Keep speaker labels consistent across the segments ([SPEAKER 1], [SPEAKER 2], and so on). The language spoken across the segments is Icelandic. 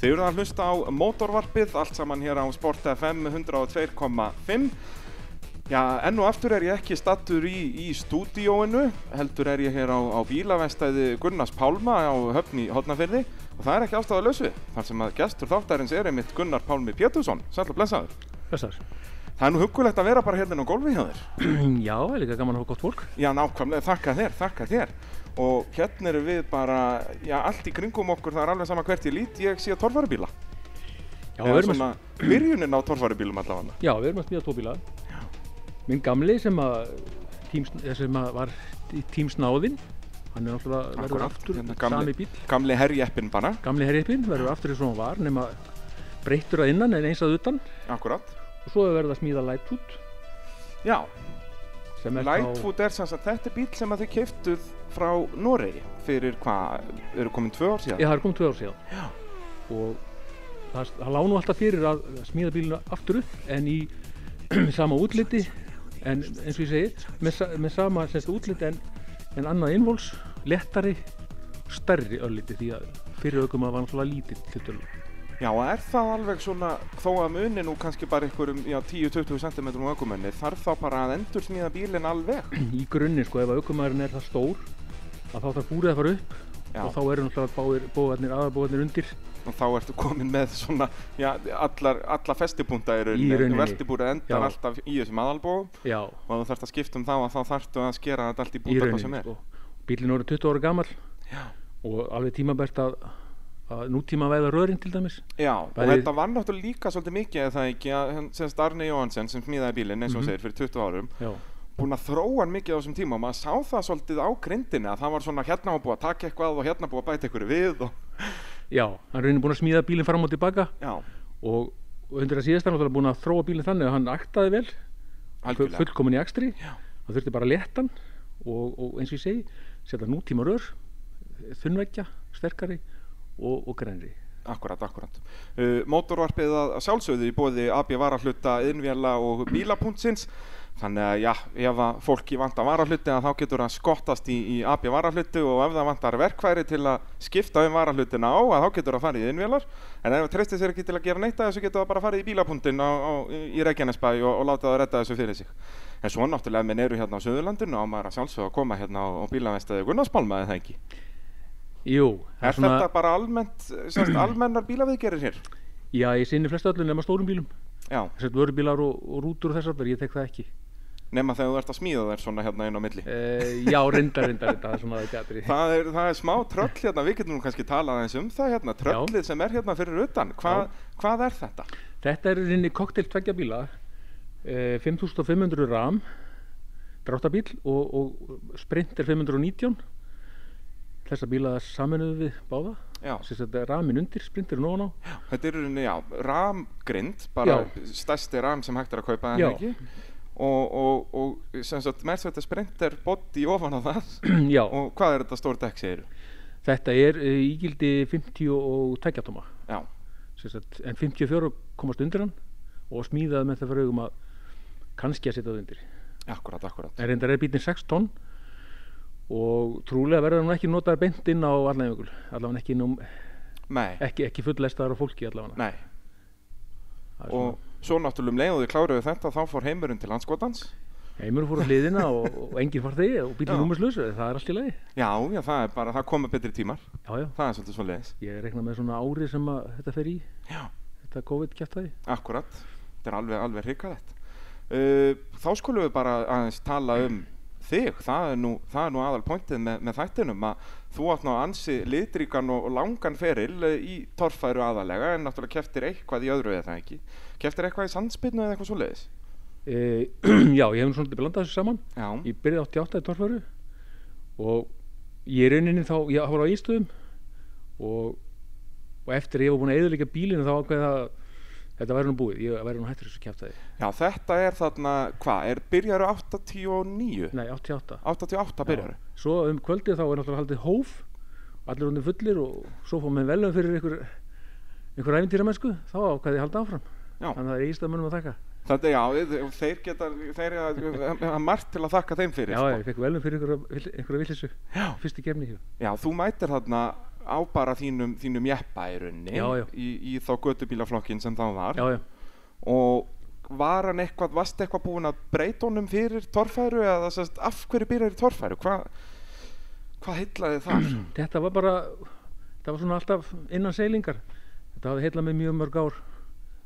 [SPEAKER 1] Þið eruð að hlusta á mótorvarpið, allt saman hér á Sport FM 102.5. Já, enn og aftur er ég ekki stattur í, í stúdíóinu, heldur er ég hér á, á bílavestæði Gunnars Pálma á höfni Hortnafyrði og það er ekki ástæðu lausu, þar sem að gestur þáttarins er einmitt Gunnar Pálmi Pétursson, sæll og blessaður.
[SPEAKER 2] Blessaður.
[SPEAKER 1] Það er nú huggulegt að vera bara hérna á gólfi hjá þér.
[SPEAKER 2] Já, það er líka gaman að hafa gott fólk.
[SPEAKER 1] Já, nákvæmlega, þakka þér, þakka þér Og hérna eru við bara, já, allt í kringum okkur, það er alveg sama hvert ég lít, ég sé torfarubíla
[SPEAKER 2] Já, við erum,
[SPEAKER 1] svona, byrjunin á torfarubílum allavega
[SPEAKER 2] að, já, við erum að smíða tvo bíla. Minn gamli sem að, tím, sem að var tímsnáðinn, hann er náttúrulega, verður
[SPEAKER 1] Akkúrat,
[SPEAKER 2] aftur
[SPEAKER 1] hérna gamli-
[SPEAKER 2] sami bíl.
[SPEAKER 1] Gamli herjeppin bara,
[SPEAKER 2] Gamli herriðbíl verður aftur eins og hann var, nema breyttur að innan en eins að utan.
[SPEAKER 1] akkurat
[SPEAKER 2] Og svo er verið að smíða Lightfoot.
[SPEAKER 1] Já,
[SPEAKER 2] sem er þá-
[SPEAKER 1] Lightfoot er sem sagt, þetta er bíl sem að þið keiftuð frá Noregi Fyrir hvað, eru komin tvö ár síðan?
[SPEAKER 2] Já, það er komið tvö ár síðan. Já. Og það, það lá nú alltaf fyrir að smíða bíluna aftur upp en í sama útliti en eins og ég segi, með, sa- með sama semst útliti en, en annað innvóls, lettari, stærri örliti því að fyrir aukum að var náttúrulega lítill hlutulega.
[SPEAKER 1] Já, og er það alveg svona, þó að muni nú kannski bara einhverjum, já, 10-20 cm um ökumenni Þarf þá bara að endur smíða bílinn alveg
[SPEAKER 2] Í grunni sko, ef að aukumæðurinn er það stór að þá þarf búrið að fara upp
[SPEAKER 1] Já.
[SPEAKER 2] og þá eru náttúrulega báðir bóðarnir, aðarbóðarnir undir
[SPEAKER 1] og þá ertu komin með svona já, allar, alla festibúnda í
[SPEAKER 2] Í
[SPEAKER 1] rauninni
[SPEAKER 2] rauninni.
[SPEAKER 1] veltibúri endar
[SPEAKER 2] Já.
[SPEAKER 1] alltaf í þessum aðalbóðum
[SPEAKER 2] Já,
[SPEAKER 1] og ef þú þarfst að skipta um þá að þá þarftu að skera þetta allt í
[SPEAKER 2] í
[SPEAKER 1] búta hvað sem
[SPEAKER 2] rauninni
[SPEAKER 1] er
[SPEAKER 2] sko. Bílinn voru 20 ára gamall
[SPEAKER 1] já,
[SPEAKER 2] og alveg tímabært að, að nútíma væða rörin til dæmis
[SPEAKER 1] já og
[SPEAKER 2] Bæði-
[SPEAKER 1] þetta var náttúrulega líka svolítið mikið eða það ekki að hann- sem Arne Jóhansen sem smíðaði bílinn
[SPEAKER 2] Mhm.
[SPEAKER 1] eins og mm segir fyrir 20 árum
[SPEAKER 2] já,
[SPEAKER 1] búin að þróa hann mikið á þessum tíma og maður sá það svolítið á grindinni að það var svona hérna var búið að taka eitthvað og hérna búið að bæta eitthvað við og,
[SPEAKER 2] já hann er raunin búin að smíða bílinn fram og tilbaka
[SPEAKER 1] já,
[SPEAKER 2] og og undir að síðast hann náttúrulega búin að þróa bílinn þannig að hann aktaði vel fu-
[SPEAKER 1] algjörlega
[SPEAKER 2] fullkomin í akstri
[SPEAKER 1] Já.
[SPEAKER 2] hann þurfti bara að leta hann og, og eins og ég segi, setja nútíma rör þunnveggja, sterkari og, og grænri
[SPEAKER 1] Akkurat, akkurat. Uh, mótorvarpið að að sjálfsögðu í bóði AB varahluta, innvjala og bílapuntsins. Þannig að já, ef að fólki vantar varahluti að þá getur það skottast í, í AB varahlutu og ef það vantar verkfæri til að skipta um varahlutina á að þá getur það farið í innvjalar. En ef það treystir sér ekki til að gera neitt að þessu getur það bara farið í bílapuntin á, á, í Reykjanesbæ og, og láta það redda þessu fyrir sig. En svo náttúrulega ef menn eru hérna á Suðurlandinu á maður að sjálfsögðu að koma hérna á, á bílavestæði Gunnarspálma eða ekki.
[SPEAKER 2] Jú, það
[SPEAKER 1] Er þetta bara almennt, semst, almennar bílaviðgerir hér?
[SPEAKER 2] já, ég sinni flest öllu nema stórum bílum
[SPEAKER 1] Já,
[SPEAKER 2] þess að vörubílar og, og rútur og þess að ég tek það ekki
[SPEAKER 1] nema þegar þú ert að smíða þær svona hérna inn á milli.
[SPEAKER 2] e, já, reyndar, reyndar, reyndar, það er svona ekki aðri
[SPEAKER 1] Það er, það er smá tröll hérna, við getum nú kannski talað eins um það hérna, tröllið sem er hérna fyrir utan, Hva, hvað er þetta?
[SPEAKER 2] Þetta er rinni koktel tveggja bíla, eh, 5500 ram, dráttabíl og, og sprint er 519. Þessa bíla saminuðu við báða.
[SPEAKER 1] Já,
[SPEAKER 2] Sérst þetta er ramin undir, sprintirinn ofan á.
[SPEAKER 1] þetta er í rauninni, já, ramgrind, bara stærsti ram sem hægt er að kaupa en
[SPEAKER 2] Já.
[SPEAKER 1] ekki og, og, og sem sagt, mersi þetta sprinter boddi ofan á það
[SPEAKER 2] Já,
[SPEAKER 1] og hvað er þetta stór dekk segir
[SPEAKER 2] þetta er eh, ígildi 52 tóma.
[SPEAKER 1] Já,
[SPEAKER 2] Sérst þetta, en 54 komast undir hann og smíðaði með það fyrir augum að kannski að setja það undir.
[SPEAKER 1] akkurat, akkurat,
[SPEAKER 2] En reyndar er bílinn 6 tonn og trúlega verður hann ekki notaður beint inn á allavegul, allavega ekki inn um
[SPEAKER 1] nei,
[SPEAKER 2] ekki, ekki fullestaðar á fólki allavega
[SPEAKER 1] nei
[SPEAKER 2] Það er
[SPEAKER 1] og svo náttúrulega um leið og þið kláruðu þetta þá fór heimurinn til landskotans
[SPEAKER 2] svona- heimur fór á hliðina og, og enginn fór þig og
[SPEAKER 1] Já.
[SPEAKER 2] bílinn númerslaus, það er allt í lagi
[SPEAKER 1] Já, já, það er bara, það koma betri tímar,
[SPEAKER 2] já, já,
[SPEAKER 1] það er svolítið svo leiðis
[SPEAKER 2] ég rekna með svona ári sem að þetta fer í
[SPEAKER 1] Já.
[SPEAKER 2] þetta COVID-kjæftæði
[SPEAKER 1] Akkurat, þetta er alveg, alveg hryggalegt. Uh, þá skulum við bara aðeins tala um þig, það er nú, það er nú aðal pointið með, með þættinum að þú átt ná ansi litríkan og, og langan feril eh, í torfæru aðalega en náttúrulega keftir eitthvað í öðru eða það ekki. Keftir eitthvað í sandspinnu eða eitthvað svo leiðis?
[SPEAKER 2] e, já, ég hef nú svona blandað þessu saman
[SPEAKER 1] Já,
[SPEAKER 2] ég byrjaði 88 í Torfæru og ég er rauninni þá, ég var á einstöðum og, og eftir að ég var búin að eðalega bílinu þá ákveði það að þetta væri nú búið, ég væri nú hættur þessu kjæftæði
[SPEAKER 1] já þetta er þarna, hvað, er byrjaru 89?
[SPEAKER 2] nei, 88
[SPEAKER 1] 88 byrjaru?
[SPEAKER 2] svo um kvöldið þá er náttúrulega haldið hóf allir honum fullir og svo fór með velum fyrir einhver, einhver æfintýramennsku þá ákvæði ég halda áfram
[SPEAKER 1] Já.
[SPEAKER 2] þannig að það er ístamönum að þakka
[SPEAKER 1] Þetta, já, þe- þeir geta, þeir hafa margt til að þakka þeim fyrir.
[SPEAKER 2] já,
[SPEAKER 1] sko.
[SPEAKER 2] ég fekk velum fyrir einhverja, vill- einhverja villisu fyrstu kemni hér
[SPEAKER 1] Já, þú mætir þarna á bara þínum, þínum jeppa í rauninni
[SPEAKER 2] Já, já.
[SPEAKER 1] Í, í þá gödubílaflokkin sem þá var
[SPEAKER 2] já, já.
[SPEAKER 1] og var hann eitthvað, varst eitthvað búinn að breyta honum fyrir torfæru eða sest, af hverju byrjar í torfæru Hva, hvað heillaði þar
[SPEAKER 2] þetta var bara þetta var svona alltaf innan seilingar þetta hafði heila mig mjög mörg ár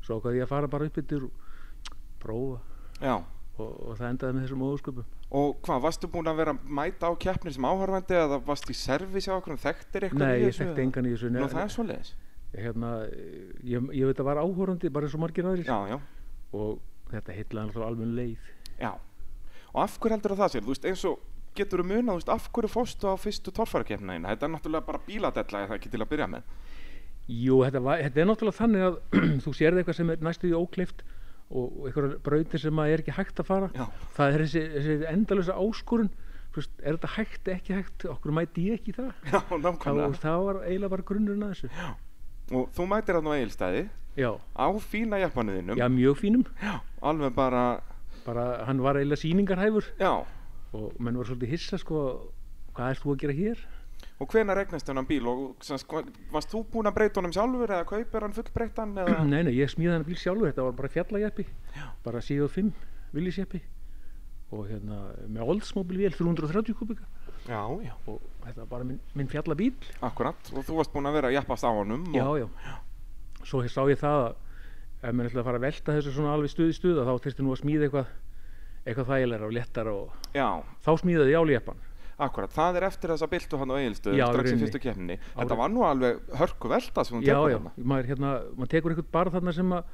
[SPEAKER 2] svo ákvað ég að fara bara upp yfir og prófa
[SPEAKER 1] já
[SPEAKER 2] og, og það endaði með þessum ósköpum
[SPEAKER 1] og hvað, varstu búinn að vera að mæta á keppnir sem áhörfandi eða varst í servisi á okkur þekktir eitthvað
[SPEAKER 2] nei,
[SPEAKER 1] í
[SPEAKER 2] ég
[SPEAKER 1] þessu
[SPEAKER 2] þekkti
[SPEAKER 1] eða?
[SPEAKER 2] engan í þessu
[SPEAKER 1] Nú það er svoleiðis
[SPEAKER 2] ég, hérna, ég, ég veit að var áhorandi bara eins og margir aðrir
[SPEAKER 1] Já, já,
[SPEAKER 2] og þetta heitlaði alltaf alveg um leið
[SPEAKER 1] já Og af hverju heldur það sér, þú veist, eins og getur þú munað, þú veist, af hverju fórstu á fyrstu torfærakefna eina Þetta er náttúrulega bara bíladella eða ekki til að byrja með
[SPEAKER 2] Jú, þetta, var, þetta er náttúrulega þannig að þú sérði eitthvað sem er næstu í ókleift og, og eitthvað brautir sem að er ekki hægt að fara
[SPEAKER 1] Já.
[SPEAKER 2] það er þessi, þessi endalösa áskorun Þú veist, er þetta hægt, ekki hægt, okkur mæti ég ekki í það
[SPEAKER 1] Já,
[SPEAKER 2] það,
[SPEAKER 1] nákvæmlega
[SPEAKER 2] og það var eiginlega bara grunnurinn að þessu
[SPEAKER 1] Og þú mætir hann á eigilstæði
[SPEAKER 2] já,
[SPEAKER 1] á fína jeppanuðinum
[SPEAKER 2] já, mjög fínum
[SPEAKER 1] Alveg bara,
[SPEAKER 2] bara hann var eiginlega sýningarhæfur
[SPEAKER 1] já
[SPEAKER 2] og menn var svolítið hissa sko hvað ert þú að gera hér?
[SPEAKER 1] Og hvena regnast þennan bíl og sem, sko, varst þú búinn að breyta honum sjálfur eða kaupir hann fullbreyttan eða
[SPEAKER 2] Nei, nei, ég smíði hann bíl sjálfur, þetta var bara fjallajeppi
[SPEAKER 1] Já.
[SPEAKER 2] bara 75 villisjeppi og hérna með Oldsmobile vél 330 kubika
[SPEAKER 1] Já, já
[SPEAKER 2] og þetta var bara minn, minn fjallabíl
[SPEAKER 1] Akkurat, og þú varst búinn að vera að jeppast á honum og,
[SPEAKER 2] já, já, svo sá ég það að ef mér ætlaði að fara að velta þessu svona alveg stuð í stuð að þá þurfti nú að smíða eitthvað eitthvað þægilegra og léttara og
[SPEAKER 1] já
[SPEAKER 2] þá smíðaði ég álíeppan
[SPEAKER 1] Akkurat, það er eftir þessa byltu hann á Egilstöðum
[SPEAKER 2] Já, í
[SPEAKER 1] strax í
[SPEAKER 2] rauninni.
[SPEAKER 1] fyrstu keppninni.
[SPEAKER 2] Á
[SPEAKER 1] Þetta
[SPEAKER 2] rauninni.
[SPEAKER 1] var nú alveg hörku velta sem hún
[SPEAKER 2] já,
[SPEAKER 1] tekur
[SPEAKER 2] já,
[SPEAKER 1] hérna.
[SPEAKER 2] maður, hérna, maður tekur eitthvað bara þarna sem að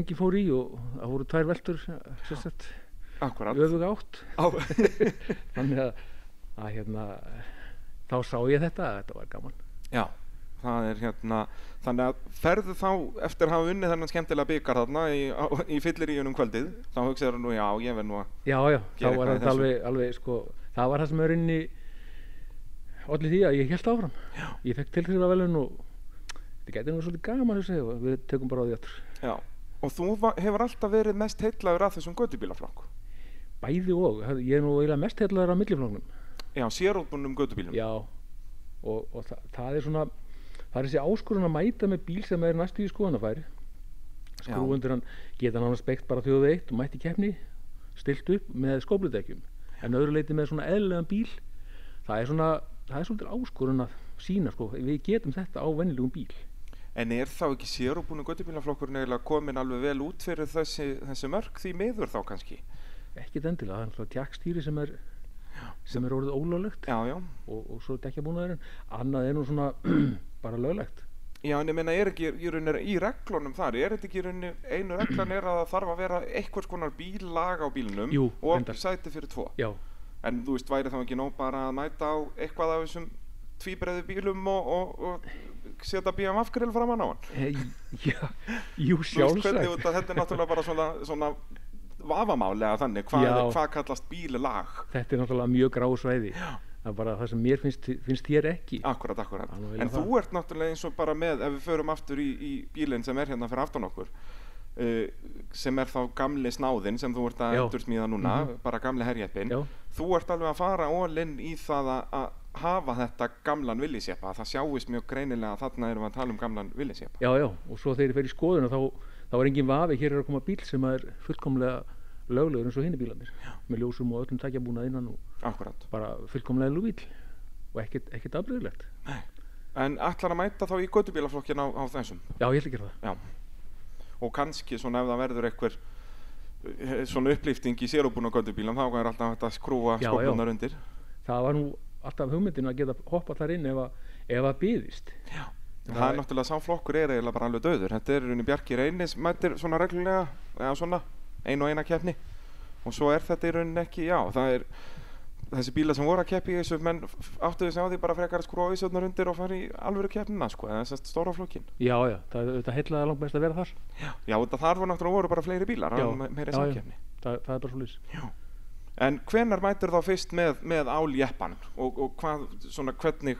[SPEAKER 2] engin fór í og það voru tvær veltur eh, sérstætt
[SPEAKER 1] Akkurat.
[SPEAKER 2] öfuga átt
[SPEAKER 1] Á,
[SPEAKER 2] þannig að, að hérna, þá sá ég þetta að þetta var gaman
[SPEAKER 1] já, það er hérna, þannig að ferðu þá eftir að hafa unnið þennan skemmtilega byggar þarna í, á, í fyllir í unum kvöldið, þá hugsaður nú já, ég verð nú að,
[SPEAKER 2] já, já, þá
[SPEAKER 1] Gera eitthvað í
[SPEAKER 2] var þetta
[SPEAKER 1] þessu.
[SPEAKER 2] alveg, alveg sko, það var það sem er inn í allir því að ég held áfram já. ég fekk tilþrifða velun og þetta gæti nú svolítið gaman þessi og við tökum bara á því aftur
[SPEAKER 1] já. Og þú va- hefur alltaf verið mest heitlaður að þessum gödubílaflokku.
[SPEAKER 2] bæði og, það- ég er nú eiginlega mest hellaður á milliflóknum
[SPEAKER 1] Já, sérútbundum gödubílum.
[SPEAKER 2] já, og, og það, það er svona það er þessi áskorun að mæta með bíl sem er næstu í skoðanafæri skrúundir hann geta hann spekt bara þjóðu eitt og mætti keppni stilt upp með skópludekjum en öðru leiti með svona eðlilegan bíl það er svona, það er svolítið áskorun að sína sko, við getum þetta á vennilegum bíl
[SPEAKER 1] En er þá ekki sérútbundum gödubílaflokkurinn eiginlega komin alveg vel út fyrir þessi, þessi mörk því miður þá kannski?
[SPEAKER 2] ekkert endilega, það er alltaf tjakkstýri sem er sem er orðið ólöglegt
[SPEAKER 1] Já, já.
[SPEAKER 2] og, og svo dekkjabúnaðurinn annað er nú svona bara löglegt
[SPEAKER 1] Já, en ég meina, er ekki í rauninni í reglunum þar, er þetta ekki í rauninni, einu reglan er að það þarf að vera einhvers konar bíllag á bílnum
[SPEAKER 2] Jú,
[SPEAKER 1] og
[SPEAKER 2] reyndar.
[SPEAKER 1] sæti fyrir tvo.
[SPEAKER 2] já,
[SPEAKER 1] En þú veist, væri þá ekki nóg bara að mæta á eitthvað af þessum tvíbreiðu bílum og, og, og setja BMF-grill framann á hann.
[SPEAKER 2] e, já jú
[SPEAKER 1] Þú veist, hvernig
[SPEAKER 2] sjálfsagt
[SPEAKER 1] út að þetta er náttúrulega bara svona, svona vafamálega þannig, hvað,
[SPEAKER 2] Já.
[SPEAKER 1] er- hvað kallast bíllag?
[SPEAKER 2] þetta er náttúrulega mjög gráðsvæði það er bara það sem mér finnst, finnst þér ekki
[SPEAKER 1] Akkurat, akkurat.
[SPEAKER 2] Alveg vel
[SPEAKER 1] En
[SPEAKER 2] á
[SPEAKER 1] þú ert náttúrulega eins og bara með, ef við förum aftur í, í bílinn sem er hérna fyrir aftan okkur, uh, sem er þá gamli snáðinn sem þú ert að
[SPEAKER 2] Já. Mhm.
[SPEAKER 1] endursmíða núna, bara gamli herjeppin.
[SPEAKER 2] já,
[SPEAKER 1] Þú ert alveg að fara ólinn í það að, að hafa þetta gamlan villisjeppa. Það sjáist mjög greinilega að þarna erum við að tala um gamlan villisjeppa.
[SPEAKER 2] Já, já, og svo þegar ég fer í skoðuna þá, þá er engin vafi, hér er að koma bíl sem er fullkomlega löglegur eins og hinni bílanir með ljósum og öllum takjabúnað innan og
[SPEAKER 1] Akkurat.
[SPEAKER 2] bara fullkomlega lú bíl og ekkert, ekkert afbreyðilegt
[SPEAKER 1] En ætlar að mæta þá í gödubílaflokkin á, á þessum?
[SPEAKER 2] Já, ég ætla að gera það
[SPEAKER 1] Já. Og kannski svona ef það verður einhver eh, svona upplýfting í sérubúna gödubílam, þá er alltaf hægt að skrúa
[SPEAKER 2] Já, já.
[SPEAKER 1] skoplunar undir.
[SPEAKER 2] Það var nú alltaf hugmyndin að geta hoppað þar inn ef að, ef að byðist
[SPEAKER 1] En
[SPEAKER 2] Það
[SPEAKER 1] Það er
[SPEAKER 2] er-
[SPEAKER 1] náttúrulega sá flokkur er eiginlega bara alveg döður. Þetta er runni Bjarki Reynis mætir svona reglulega, eða svona, ein og eina keppni. Og svo er þetta í rauninni ekki, já, það er þessi bíla sem voru að keppi í þessu, menn f- áttuðu sig á því bara frekar að skrúa ísöðnar undir og fara í alvöru keppnina, sko, eða þessast stóra flokkin.
[SPEAKER 2] Já, já, það þetta heillaði langt mest að vera þar
[SPEAKER 1] Já, þetta þar voru náttúrulega voru bara fleiri bílar,
[SPEAKER 2] Já,
[SPEAKER 1] það var meiri
[SPEAKER 2] já, já.
[SPEAKER 1] samkeppni.
[SPEAKER 2] það, það er bara svo lýs
[SPEAKER 1] En hvenar mætur þá fyrst með, með áljeppan og, og hvað, svona, hvernig,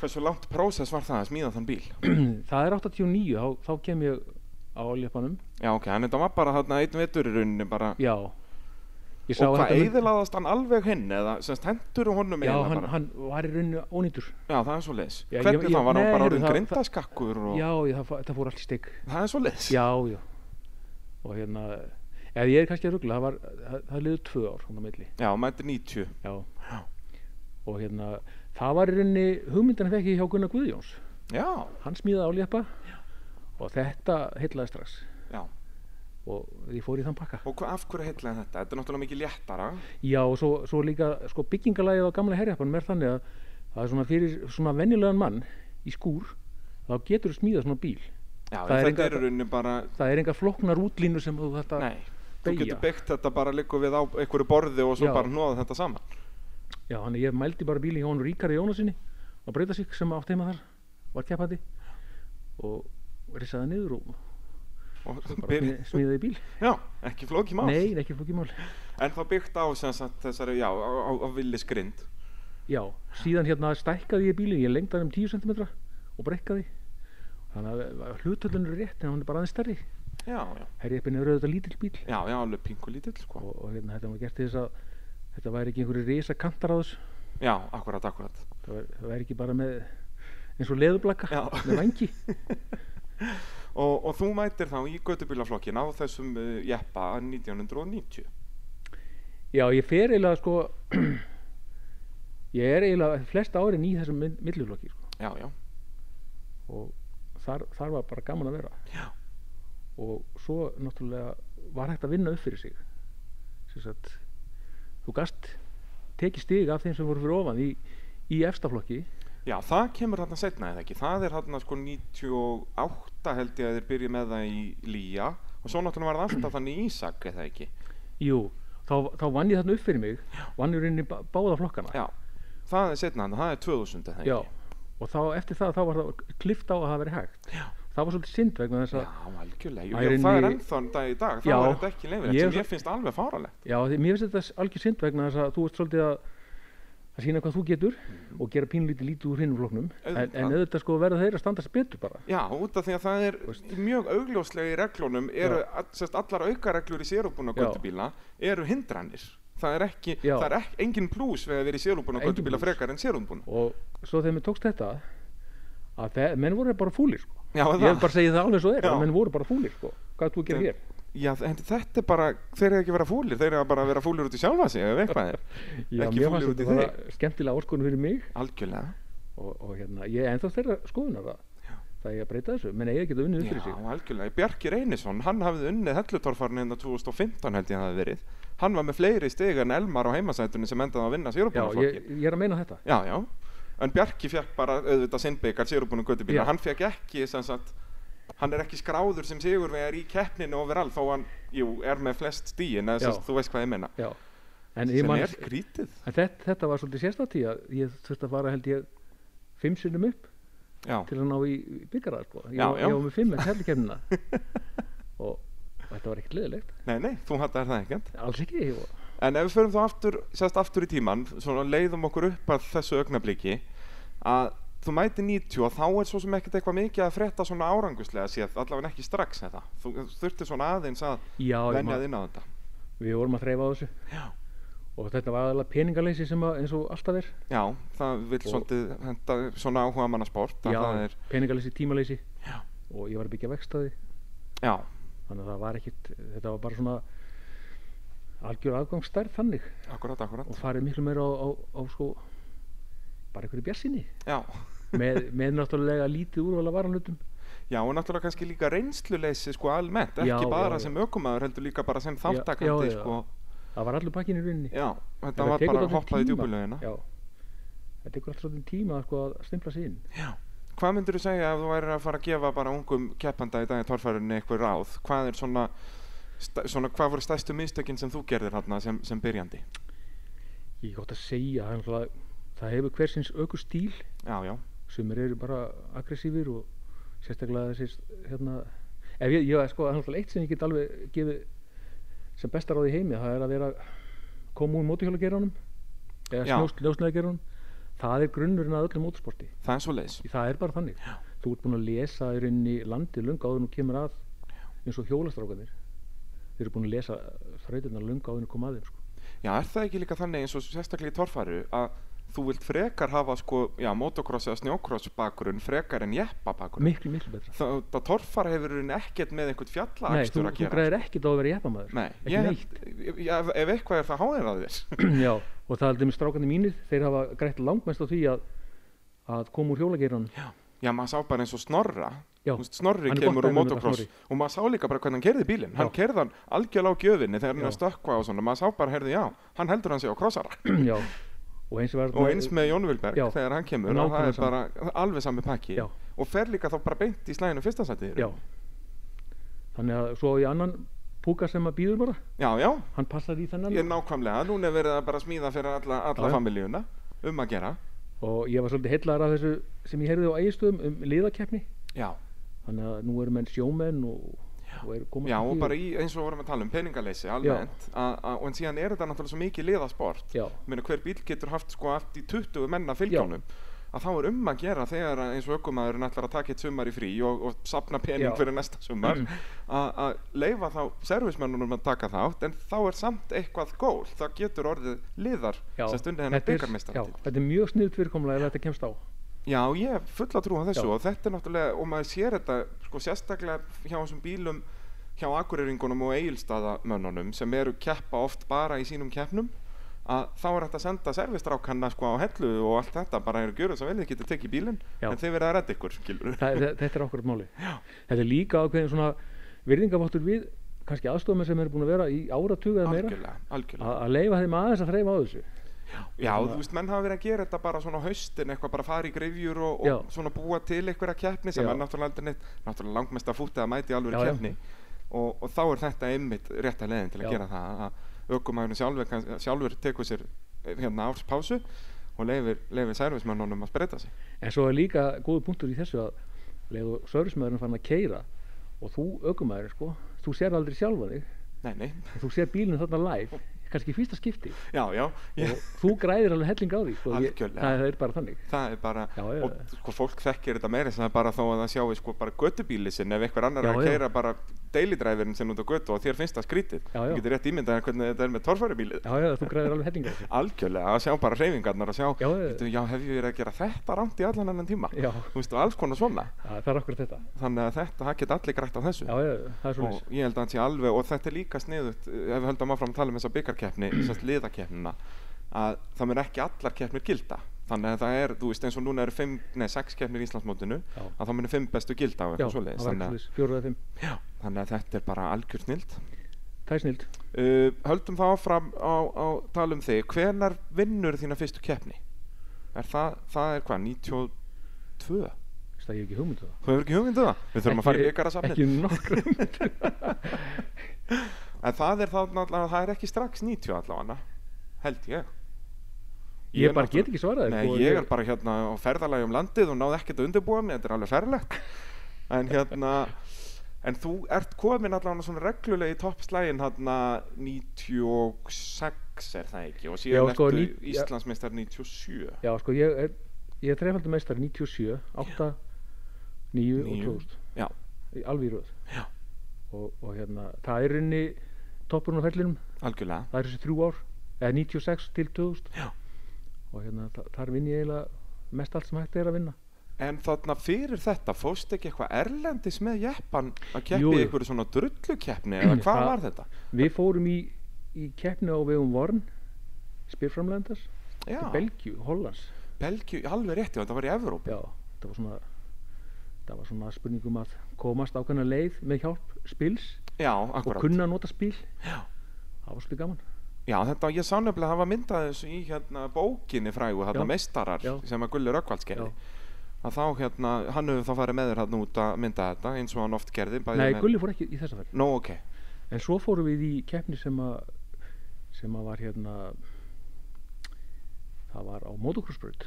[SPEAKER 1] hversu langt prósess var það að smíða þann bíl?
[SPEAKER 2] Það er 89, þá, þá kem ég á ljöpanum
[SPEAKER 1] Já, ok, en þetta var bara þarna einn vetur í rauninni bara,
[SPEAKER 2] Já, Ég sá
[SPEAKER 1] og
[SPEAKER 2] að
[SPEAKER 1] hvað
[SPEAKER 2] þetta um- mynd-
[SPEAKER 1] eiðilaðast hann alveg hinn eða semst hendur honum
[SPEAKER 2] Já,
[SPEAKER 1] eiginlega
[SPEAKER 2] hann,
[SPEAKER 1] bara?
[SPEAKER 2] hann var í rauninu ónýtur.
[SPEAKER 1] já það er svo leiðis
[SPEAKER 2] Já, ég-
[SPEAKER 1] hvernig
[SPEAKER 2] ég-
[SPEAKER 1] þá var hann
[SPEAKER 2] nei,
[SPEAKER 1] bara
[SPEAKER 2] heyrðu,
[SPEAKER 1] orðin
[SPEAKER 2] það-
[SPEAKER 1] grindaskakkur og
[SPEAKER 2] Já, ég, það, fó- þetta fór allt í stygg.
[SPEAKER 1] það er svo leiðis
[SPEAKER 2] Já, já. Og hérna, ef ég er kannski að ruggla, það var, það, það liður tvö ár, hún á milli.
[SPEAKER 1] já mæti 90
[SPEAKER 2] Já.
[SPEAKER 1] Já.
[SPEAKER 2] Og hérna, það var í rauninni hugmyndin að fekk ég hjá Gunnar Guðjóns.
[SPEAKER 1] já
[SPEAKER 2] Hann smíðaði áléppa og þetta heillaði strax.
[SPEAKER 1] já
[SPEAKER 2] Og ég fór í þann pakka.
[SPEAKER 1] og hva, af hverju heitlaði þetta þetta er náttúrulega mikið léttara
[SPEAKER 2] Já, og svo, svo líka, sko, byggingalagið á gamla herjappanum er þannig að það er svona fyrir svona venjulegan mann í skúr, þá getur þú smíðað svona bíl.
[SPEAKER 1] já
[SPEAKER 2] Það er
[SPEAKER 1] þetta
[SPEAKER 2] enga-
[SPEAKER 1] er rauninni bara
[SPEAKER 2] Það er enga floknar útlínu sem þú þetta...
[SPEAKER 1] nei þú
[SPEAKER 2] beygja.
[SPEAKER 1] getur byggt þetta bara líka við á einhverju borði og svo
[SPEAKER 2] Já.
[SPEAKER 1] bara hnoða þetta saman
[SPEAKER 2] Já, þannig ég mældi bara bíli hjá hann Ríkari Jónasinni á Breytasík sem átt heima þar, var keppandi og risaði niður og
[SPEAKER 1] og
[SPEAKER 2] bara
[SPEAKER 1] byrja
[SPEAKER 2] smíð- smíðaði bíl.
[SPEAKER 1] já ekki flókið mál
[SPEAKER 2] Nei, ekki flókið mál.
[SPEAKER 1] en þá byggt á sem sagt þessari já á, á, á villisgrind
[SPEAKER 2] Já, síðan hérna stækkaði ég bílinn, ég lengdaði hann um 10 cm og brekkaði. Þannig að hlutöldun er rétt en hann er bara aðeins stærri.
[SPEAKER 1] já já
[SPEAKER 2] Herjappin er auðvitað lítill bíl.
[SPEAKER 1] já já alveg pingu lítill sko
[SPEAKER 2] og, og hérna, þetta var gert til þess að þetta væri ekki einhverju risa kantar á þessu
[SPEAKER 1] já akkurat akkurat
[SPEAKER 2] það væri, það væri ekki bara með eins og leðublaka
[SPEAKER 1] Já.
[SPEAKER 2] með vangi
[SPEAKER 1] og, og þú mætir þá í göttubílaflokkin á þessum uh, jeppa 1990
[SPEAKER 2] já ég fer eiginlega sko ég er eiginlega flest árin í þessum mil- milliflokki sko.
[SPEAKER 1] já já
[SPEAKER 2] og þar, þar var bara gaman að vera
[SPEAKER 1] Já.
[SPEAKER 2] og svo náttúrulega var hægt að vinna upp fyrir sig sem sagt þú gast tekið stig af þeim sem voru fyrir ofan í, í efstaflokki
[SPEAKER 1] Já, það kemur þarna setna eða ekki. Það er þarna sko 98 held ég að þeir byrja með það í Lía og svo náttúrulega var það alltaf þannig í Ísak eða ekki.
[SPEAKER 2] jú, þá, þá vann ég þarna upp fyrir mig vann ég reyni báða flokkana
[SPEAKER 1] Já, það er setna þarna, það er 2000 eða ekki.
[SPEAKER 2] Já, og þá eftir það þá var það klift á að það veri hægt já. það var svolítið synd vegna þess
[SPEAKER 1] Já,
[SPEAKER 2] að já.
[SPEAKER 1] algjörlega. Jú,
[SPEAKER 2] Það er
[SPEAKER 1] Já, það er
[SPEAKER 2] inni-
[SPEAKER 1] ennþá en dag í dag. Það
[SPEAKER 2] Já.
[SPEAKER 1] er þetta ekki leifilegt
[SPEAKER 2] Ég-
[SPEAKER 1] sem ég finnst alveg fáralegt.
[SPEAKER 2] því, mér finnst þetta algjör synd vegna þess að þú ert svolítið að að sína hvað þú getur og gera pínlítið lítið úr hinnum floknum en,
[SPEAKER 1] Mhm. Auðvitað.
[SPEAKER 2] en auðvitað sko verða þeir að standast betur bara
[SPEAKER 1] Já, út af því að það er
[SPEAKER 2] Veist.
[SPEAKER 1] í mjög augljóslega í reglunum eru
[SPEAKER 2] Já.
[SPEAKER 1] all, sest, allar aukareglur í sérúbúna
[SPEAKER 2] Já.
[SPEAKER 1] göttubíla eru hindranir. Það er ekki,
[SPEAKER 2] Já.
[SPEAKER 1] það er ekki, engin plús við að vera í sérúbúna
[SPEAKER 2] Engin
[SPEAKER 1] göttubíla
[SPEAKER 2] plús.
[SPEAKER 1] frekar en sérúbúna.
[SPEAKER 2] og svo þegar mér tókst þetta að þe menn voru bara fúlir sko.
[SPEAKER 1] Já,
[SPEAKER 2] ég vil bara segja það alveg svo er
[SPEAKER 1] Já.
[SPEAKER 2] að menn voru bara fúlir sko. hvað ert þú að gera
[SPEAKER 1] Þeim-
[SPEAKER 2] hér?
[SPEAKER 1] Já, en þetta er bara, þeir eru ekki að vera fúlir, þeir eru bara að vera fúlir út í sjálfa sig, ef eitthvað er.
[SPEAKER 2] Já,
[SPEAKER 1] ekki
[SPEAKER 2] mér fannst
[SPEAKER 1] fúlir út í
[SPEAKER 2] þetta bara skemmtilega orkun fyrir mig
[SPEAKER 1] Algjörlega.
[SPEAKER 2] og, og hérna, ég er ennþá þeirra skoðunar það það ég að breyta þessu, menn ég geta unnið upp
[SPEAKER 1] Já,
[SPEAKER 2] fyrir sig
[SPEAKER 1] algjörlega. Bjarki Reynisson, hann hafði unnið hellutorfarni hérna 2015 held ég að það hafi verið. Hann var með fleiri stigar en Elmar á heimasætunni sem endaði á að vinna
[SPEAKER 2] Já, ég,
[SPEAKER 1] sérubunaflokkin.
[SPEAKER 2] ég er að meina þetta
[SPEAKER 1] Já, já. En Bjarki fekk bara auðvitað sinnbyggar sérubunum
[SPEAKER 2] Já.
[SPEAKER 1] göttubíla. Hann fekk ekki, sem sagt, hann er ekki skráður sem sigurvegar í keppninu overall þó hann, jú, er með flest stíin, eða
[SPEAKER 2] Já.
[SPEAKER 1] sem sagt, þú veist hvað ég menna.
[SPEAKER 2] Já, en, ég
[SPEAKER 1] Sem
[SPEAKER 2] man,
[SPEAKER 1] er grítið.
[SPEAKER 2] en þetta, þetta var svolítið sérstætt í að ég þurfti að fara held ég fimm sinnum upp
[SPEAKER 1] Já,
[SPEAKER 2] til að ná í byggarað sko. ég,
[SPEAKER 1] Já,
[SPEAKER 2] var-
[SPEAKER 1] já.
[SPEAKER 2] ég var með fimm en kærlikefnina og, og þetta var ekkert leðilegt
[SPEAKER 1] nei, nei, þú hattar það ekkert.
[SPEAKER 2] alls ekki ég, og,
[SPEAKER 1] En ef við förum þá aftur, sérst aftur í tíman, svona leiðum okkur upp að þessu augnabliki, að þú mæti 90 og þá er svo sem ekkert eitthvað mikið að frétta svona áranguslega séð, allavega ekki strax þetta. Þú þú þurftir svona aðeins að
[SPEAKER 2] já, ég
[SPEAKER 1] venja
[SPEAKER 2] man,
[SPEAKER 1] þinn á þetta.
[SPEAKER 2] við vorum að þreifa á þessu
[SPEAKER 1] Já.
[SPEAKER 2] og þetta var aðalega peningaleysi sem að, eins og alltaf er
[SPEAKER 1] Já, það vil
[SPEAKER 2] Og-
[SPEAKER 1] svolítið henda svona áhuga manna sport, að það er,
[SPEAKER 2] peningaleysi, tímaleysi
[SPEAKER 1] Já.
[SPEAKER 2] og ég var að byggja vekstaði
[SPEAKER 1] já,
[SPEAKER 2] þannig að það var ekkert, þetta var bara svona algjör afgangsstærð þannig
[SPEAKER 1] akkurat, akkurat,
[SPEAKER 2] og farið miklu meira á, á, á sko bara einhverju bjarsinni
[SPEAKER 1] já.
[SPEAKER 2] með, með náttúrulega lítið úrvala varanlutum
[SPEAKER 1] Já, og náttúrulega kannski líka reynsluleysi sko almennt, ekki
[SPEAKER 2] Já,
[SPEAKER 1] bara
[SPEAKER 2] já, já.
[SPEAKER 1] sem ökumæður, heldur líka bara sem
[SPEAKER 2] já,
[SPEAKER 1] þáttakandi
[SPEAKER 2] já.
[SPEAKER 1] sko.
[SPEAKER 2] það var allur pakkin í rauninni
[SPEAKER 1] Já, þetta
[SPEAKER 2] En
[SPEAKER 1] var
[SPEAKER 2] það tekur
[SPEAKER 1] bara
[SPEAKER 2] dálítinn
[SPEAKER 1] hoppaði
[SPEAKER 2] tíma.
[SPEAKER 1] djúbulögina.
[SPEAKER 2] já það tekur alltaf svolítið tíma sko, að stimpla sig inn
[SPEAKER 1] Hvað myndir þú segja ef þú værir að fara að gefa bara ungum keppanda í dag í torfærunni eitthvað ráð? Hvað er svona, sta, svona hvað voru stærstu mistökin sem þú gerðir hérna sem, sem byrjandi?
[SPEAKER 2] ég gott að segja hann, það, það hefur hversins aukur stíl
[SPEAKER 1] Já, já,
[SPEAKER 2] sem eru bara aggressífir og sérstaklega þessist hérna ef ég, ég sko, það er náttúrulega eitt sem ég get alveg gefið sem besta ráð í heimi það er að vera koma úr mótuhjólageranum eða
[SPEAKER 1] Já.
[SPEAKER 2] snjósn- snjósnæðageranum það er grunnurinn að öllum mótorsporti
[SPEAKER 1] það er svo leiðis.
[SPEAKER 2] Í- það er bara þannig þú ert búin að lesa í rauninni landið lunga áður en þú kemur að eins og hjólastrákanir þeir eru búin að lesa þrautirna lunga uh, áður en þú kom að þeim sko.
[SPEAKER 1] já, er það ekki líka þannig eins og sérstaklega í torfæru að þú vilt frekar hafa sko, já, motocross eða snjócross bakgrunn frekar en jeppa bakgrunn
[SPEAKER 2] miklu, miklu betra
[SPEAKER 1] það, það torfara hefur í rauninni ekkert með einhvern
[SPEAKER 2] Nei, þú,
[SPEAKER 1] fjallaakstur að
[SPEAKER 2] þú
[SPEAKER 1] gera sko.
[SPEAKER 2] græðir ekkert á að vera jeppamaður
[SPEAKER 1] Nei,
[SPEAKER 2] ekki
[SPEAKER 1] ég,
[SPEAKER 2] neitt.
[SPEAKER 1] ég, ég, ef, ef eitthvað er það háðir að þér
[SPEAKER 2] Já, og það er aldrei með strákandi mínir þeir hafa grætt langmest á því að að koma úr hjólageirunum
[SPEAKER 1] Já, maður sá bara eins og Snorra
[SPEAKER 2] Já,
[SPEAKER 1] Þú veist, Snorri
[SPEAKER 2] hann er
[SPEAKER 1] kemur úr
[SPEAKER 2] gott dæmi um þetta,
[SPEAKER 1] motocross og maður sá líka bara hvernig hann kerði bílinn hann
[SPEAKER 2] Já.
[SPEAKER 1] kerði hann algjörlega á gjöfinni þegar hann er
[SPEAKER 2] Já.
[SPEAKER 1] að stökkva og svona maður sá bara, heyrðu, já, hann heldur hann sig á krossara
[SPEAKER 2] já, og eins, var,
[SPEAKER 1] og eins með Jón Vilberg
[SPEAKER 2] Já.
[SPEAKER 1] þegar hann kemur
[SPEAKER 2] Nákvæmlega
[SPEAKER 1] og það er
[SPEAKER 2] sama.
[SPEAKER 1] bara alveg sami pakki
[SPEAKER 2] Já.
[SPEAKER 1] og fer líka þá bara beint í slæðinu fyrsta sæti í raun.
[SPEAKER 2] já þannig að svo á ég annan púka sem að býður bara
[SPEAKER 1] já, já,
[SPEAKER 2] hann passar í þennan
[SPEAKER 1] ég er nákvæmlega núna er verið að bara smíða fyrir alla, alla
[SPEAKER 2] Já, já.
[SPEAKER 1] familíuna um að gera
[SPEAKER 2] og ég var svolítið heillar af þessu sem ég heyrði á eigistöðum um liðakeppni
[SPEAKER 1] já,
[SPEAKER 2] þannig að nú eru menn sjómenn og, og eru komast
[SPEAKER 1] já
[SPEAKER 2] upp
[SPEAKER 1] og
[SPEAKER 2] í-
[SPEAKER 1] bara í, eins og við vorum að tala um peningaleysi almennt a- a- og en síðan er þetta náttúrulega svo mikið liðasport
[SPEAKER 2] já,
[SPEAKER 1] meina hver bíl getur haft sko allt í 20 menna fylgjónum að þá er um að gera þegar að eins og ökumæðurinn ætlar að taka eitt sumar í frí og, og sapna pening
[SPEAKER 2] Já. Mm.
[SPEAKER 1] fyrir næsta sumar að að leifa þá servismennunum að taka þátt en þá er samt eitthvað gól það getur orðið liðar
[SPEAKER 2] já
[SPEAKER 1] sem stundið hennar
[SPEAKER 2] þetta er- já,
[SPEAKER 1] byggarmestandi
[SPEAKER 2] þetta er mjög sniðt fyrirkomlega ef þetta kemst á
[SPEAKER 1] Já, ég er full að trúa þessu
[SPEAKER 2] Já.
[SPEAKER 1] og þetta er náttúrulega, og maður sér þetta sko sérstaklega hjá þessum bílum hjá akureyringunum og eigilstaðamönnunum sem eru keppa oft bara í sínum keppnum að þá er hægt að senda servistrákanna sko á hellu og allt þetta bara eru gjöruð sem vel þið getur tekið bílinn
[SPEAKER 2] Já.
[SPEAKER 1] en þið verða að redda ykkur, skilur
[SPEAKER 2] Þa, þe- þetta er okkur máli já. þetta er líka ákveðin svona virðingaváttur við kannski aðstofamenn sem eru búin að vera í áratug eða meira
[SPEAKER 1] Algjörlega, algjörlega
[SPEAKER 2] að að leifa þeim aðeins að þreyfa á þessu
[SPEAKER 1] Já, þú veist, menn hafa verið að gera þetta bara svona á haustin, eitthvað bara fara í grifjur og,
[SPEAKER 2] Já.
[SPEAKER 1] og svona búa til einhverja keppni sem
[SPEAKER 2] Já.
[SPEAKER 1] er náttúrulega aldrei neitt, náttúrulega langmest að fútið að mæti alveg
[SPEAKER 2] Já, já.
[SPEAKER 1] keppni og, og þá er þetta einmitt rétta leiðin til að
[SPEAKER 2] Já.
[SPEAKER 1] gera það að aukumæðurinn sjálfur, kann- sjálfur tekur sér eh, hérna árspásu og leifir, leifir servismönnunum að spreita sig.
[SPEAKER 2] en svo er líka góðu punktur í þessu að leiðu sörgismæðurinn farin að keira og þú ökumæður sko þú sér aldrei sjálfa þig
[SPEAKER 1] Nei, nei,
[SPEAKER 2] en þú sér bílinu þarna live kannski í fyrsta skipti
[SPEAKER 1] já, já, ég,
[SPEAKER 2] og þú græðir alveg helling á því sko, ég,
[SPEAKER 1] Algjörlega.
[SPEAKER 2] það er bara þannig
[SPEAKER 1] það er bara,
[SPEAKER 2] Já, já,
[SPEAKER 1] og sko, fólk þekkir þetta meira sem það bara þó að það sjáu sko bara göttubíli sinn ef einhver annar
[SPEAKER 2] Já,
[SPEAKER 1] er að
[SPEAKER 2] já.
[SPEAKER 1] keira bara deilidræfurinn sinn út á göttu og þér finnst það skrítið
[SPEAKER 2] Já, já.
[SPEAKER 1] þú getur rétt ímyndað þér hvernig þetta er með torfærubílið
[SPEAKER 2] já, já, þú græðir alveg helling á því
[SPEAKER 1] algjörlega að sjá bara hreyfingarnar að sjá,
[SPEAKER 2] Já, já.
[SPEAKER 1] veitum, já hef ég verið að gera þetta rámt í allan annan tíma
[SPEAKER 2] Já.
[SPEAKER 1] Þú veist, og alls konar svona
[SPEAKER 2] Já, það er okkur þetta
[SPEAKER 1] þannig að þetta, það geta allir grætt á þessu
[SPEAKER 2] já, já, það er
[SPEAKER 1] og
[SPEAKER 2] svolítið
[SPEAKER 1] ég held að hann sé alveg og þetta er líka sniðut ef við höldum áfram að tala um þessa byggarkeppni þessast liðakeppnina að það mun ekki allar keppnir gilda þannig að það er, þú veist eins og núna eru fimm, nei, sex keppnir í Íslandsmótinu
[SPEAKER 2] Já.
[SPEAKER 1] að það muni fimm bestu gilda á
[SPEAKER 2] já,
[SPEAKER 1] eitthvað
[SPEAKER 2] það var
[SPEAKER 1] svoleiðis
[SPEAKER 2] ekki
[SPEAKER 1] þannig,
[SPEAKER 2] svolítið fjóruð að fimm
[SPEAKER 1] að- já, þannig að þetta er bara algjör snild
[SPEAKER 2] það er snild
[SPEAKER 1] uh, höldum þá áfram á, á tala um þig hvenar vinnur þína fyrstu keppni er það, það er hvað, 92
[SPEAKER 2] það er ekki hugmyndu það
[SPEAKER 1] þú hefur ekki hugmyndu það, við þurfum að fara í byggarasafnið
[SPEAKER 2] ekki nokkra hugmynd
[SPEAKER 1] En það er þá náttúrulega, það er ekki strax 90 allavega, held ég.
[SPEAKER 2] Ég
[SPEAKER 1] er
[SPEAKER 2] bara
[SPEAKER 1] náttúrulega-
[SPEAKER 2] get ekki svarað þér,
[SPEAKER 1] Nei,
[SPEAKER 2] sko,
[SPEAKER 1] ég
[SPEAKER 2] ég-
[SPEAKER 1] er bara hérna á ferðalagi um landið og náði ekkert að undirbúa mig, þetta er alveg ferlegt. En hérna, en þú ert komin allavega svona reglulega í toppslægin hérna 96 er það ekki og síðan
[SPEAKER 2] Já, sko,
[SPEAKER 1] ertu
[SPEAKER 2] ní- já.
[SPEAKER 1] Íslandsmeistar 97.
[SPEAKER 2] já, sko, ég er ég er trefaldur meistar 97, 8 9 og
[SPEAKER 1] Níu.
[SPEAKER 2] 2000
[SPEAKER 1] Já,
[SPEAKER 2] í- alveg í röð
[SPEAKER 1] Já.
[SPEAKER 2] og, og hérna, það er inni toppurinn á ferlinum,
[SPEAKER 1] algjörlega.
[SPEAKER 2] það er þessi þrjú ár eða 96 til 2000
[SPEAKER 1] Já.
[SPEAKER 2] og hérna, þa- þar vinn ég eiginlega mest allt sem hægt er að vinna
[SPEAKER 1] En þarna fyrir þetta, fóst ekki eitthvað erlendis með jeppan að keppi
[SPEAKER 2] Jú,
[SPEAKER 1] í
[SPEAKER 2] jú.
[SPEAKER 1] einhverju svona drullukeppni eða hvað
[SPEAKER 2] Það-
[SPEAKER 1] var þetta?
[SPEAKER 2] Við fórum í, í keppni á vegum Vorn spyrframlendars
[SPEAKER 1] Já.
[SPEAKER 2] í Belgíu, Hollands
[SPEAKER 1] Belgíu, alveg rétti, þetta var í Evrópu
[SPEAKER 2] Já, það var svona það var svona spurningum að komast ákveðna leið með hjálp spils
[SPEAKER 1] Já,
[SPEAKER 2] og
[SPEAKER 1] akkurat
[SPEAKER 2] kunna að nota spil
[SPEAKER 1] Já.
[SPEAKER 2] Það var svolítið gaman
[SPEAKER 1] Já, þetta, ég sá nefnilega að hafa myndað þessu í hérna bókinni frægu, hérna
[SPEAKER 2] Já.
[SPEAKER 1] meistarar
[SPEAKER 2] Já.
[SPEAKER 1] sem að Gulli Rökkvalds gerði að þá hérna, hann hefur þá farið með þér hérna út að mynda þetta eins og hann oft gerði bæði
[SPEAKER 2] Nei,
[SPEAKER 1] með...
[SPEAKER 2] Gulli fór ekki í þessa ferð
[SPEAKER 1] Nó, ok,
[SPEAKER 2] En svo fórum við í keppni sem að sem að var hérna það var á motocrossbraut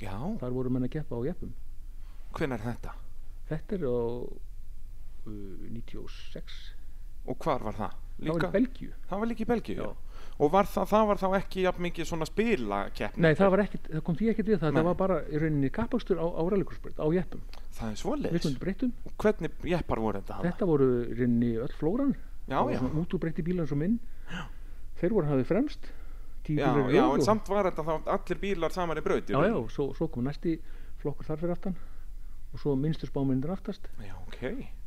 [SPEAKER 1] já,
[SPEAKER 2] þar voru menn að keppa á jeppum
[SPEAKER 1] hvenær er þetta?
[SPEAKER 2] Þetta er á uh, 96
[SPEAKER 1] Og hvar var það?
[SPEAKER 2] Það var í Belgíu
[SPEAKER 1] það var líka í Belgíu,
[SPEAKER 2] Já.
[SPEAKER 1] já Og var það, það var þá ekki jafn mikið svona spilakeppni
[SPEAKER 2] Nei, það, var ekkit, það kom því ekkert við það,
[SPEAKER 1] Nei.
[SPEAKER 2] það var bara í rauninni kappakstur á, á rallikursbreyt, á jeppum,
[SPEAKER 1] Það er svoleiðis
[SPEAKER 2] mismunandi breytum.
[SPEAKER 1] Og Hvernig jeppar voru þetta? þarna?
[SPEAKER 2] Þetta voru í rauninni öll flóran,
[SPEAKER 1] Já,
[SPEAKER 2] Það var
[SPEAKER 1] já.
[SPEAKER 2] svona út úr breyti bílan sem inn þeir voru hafið fremst tíu
[SPEAKER 1] já,
[SPEAKER 2] bílar í
[SPEAKER 1] já,
[SPEAKER 2] röð
[SPEAKER 1] en
[SPEAKER 2] og-
[SPEAKER 1] samt var þetta þá allir bílar saman í braut í
[SPEAKER 2] já, já,
[SPEAKER 1] rauninni.
[SPEAKER 2] og svo, svo kom næsti flokkur þar fyrir aftan og svo minnstur spámyndir aftast
[SPEAKER 1] já, ok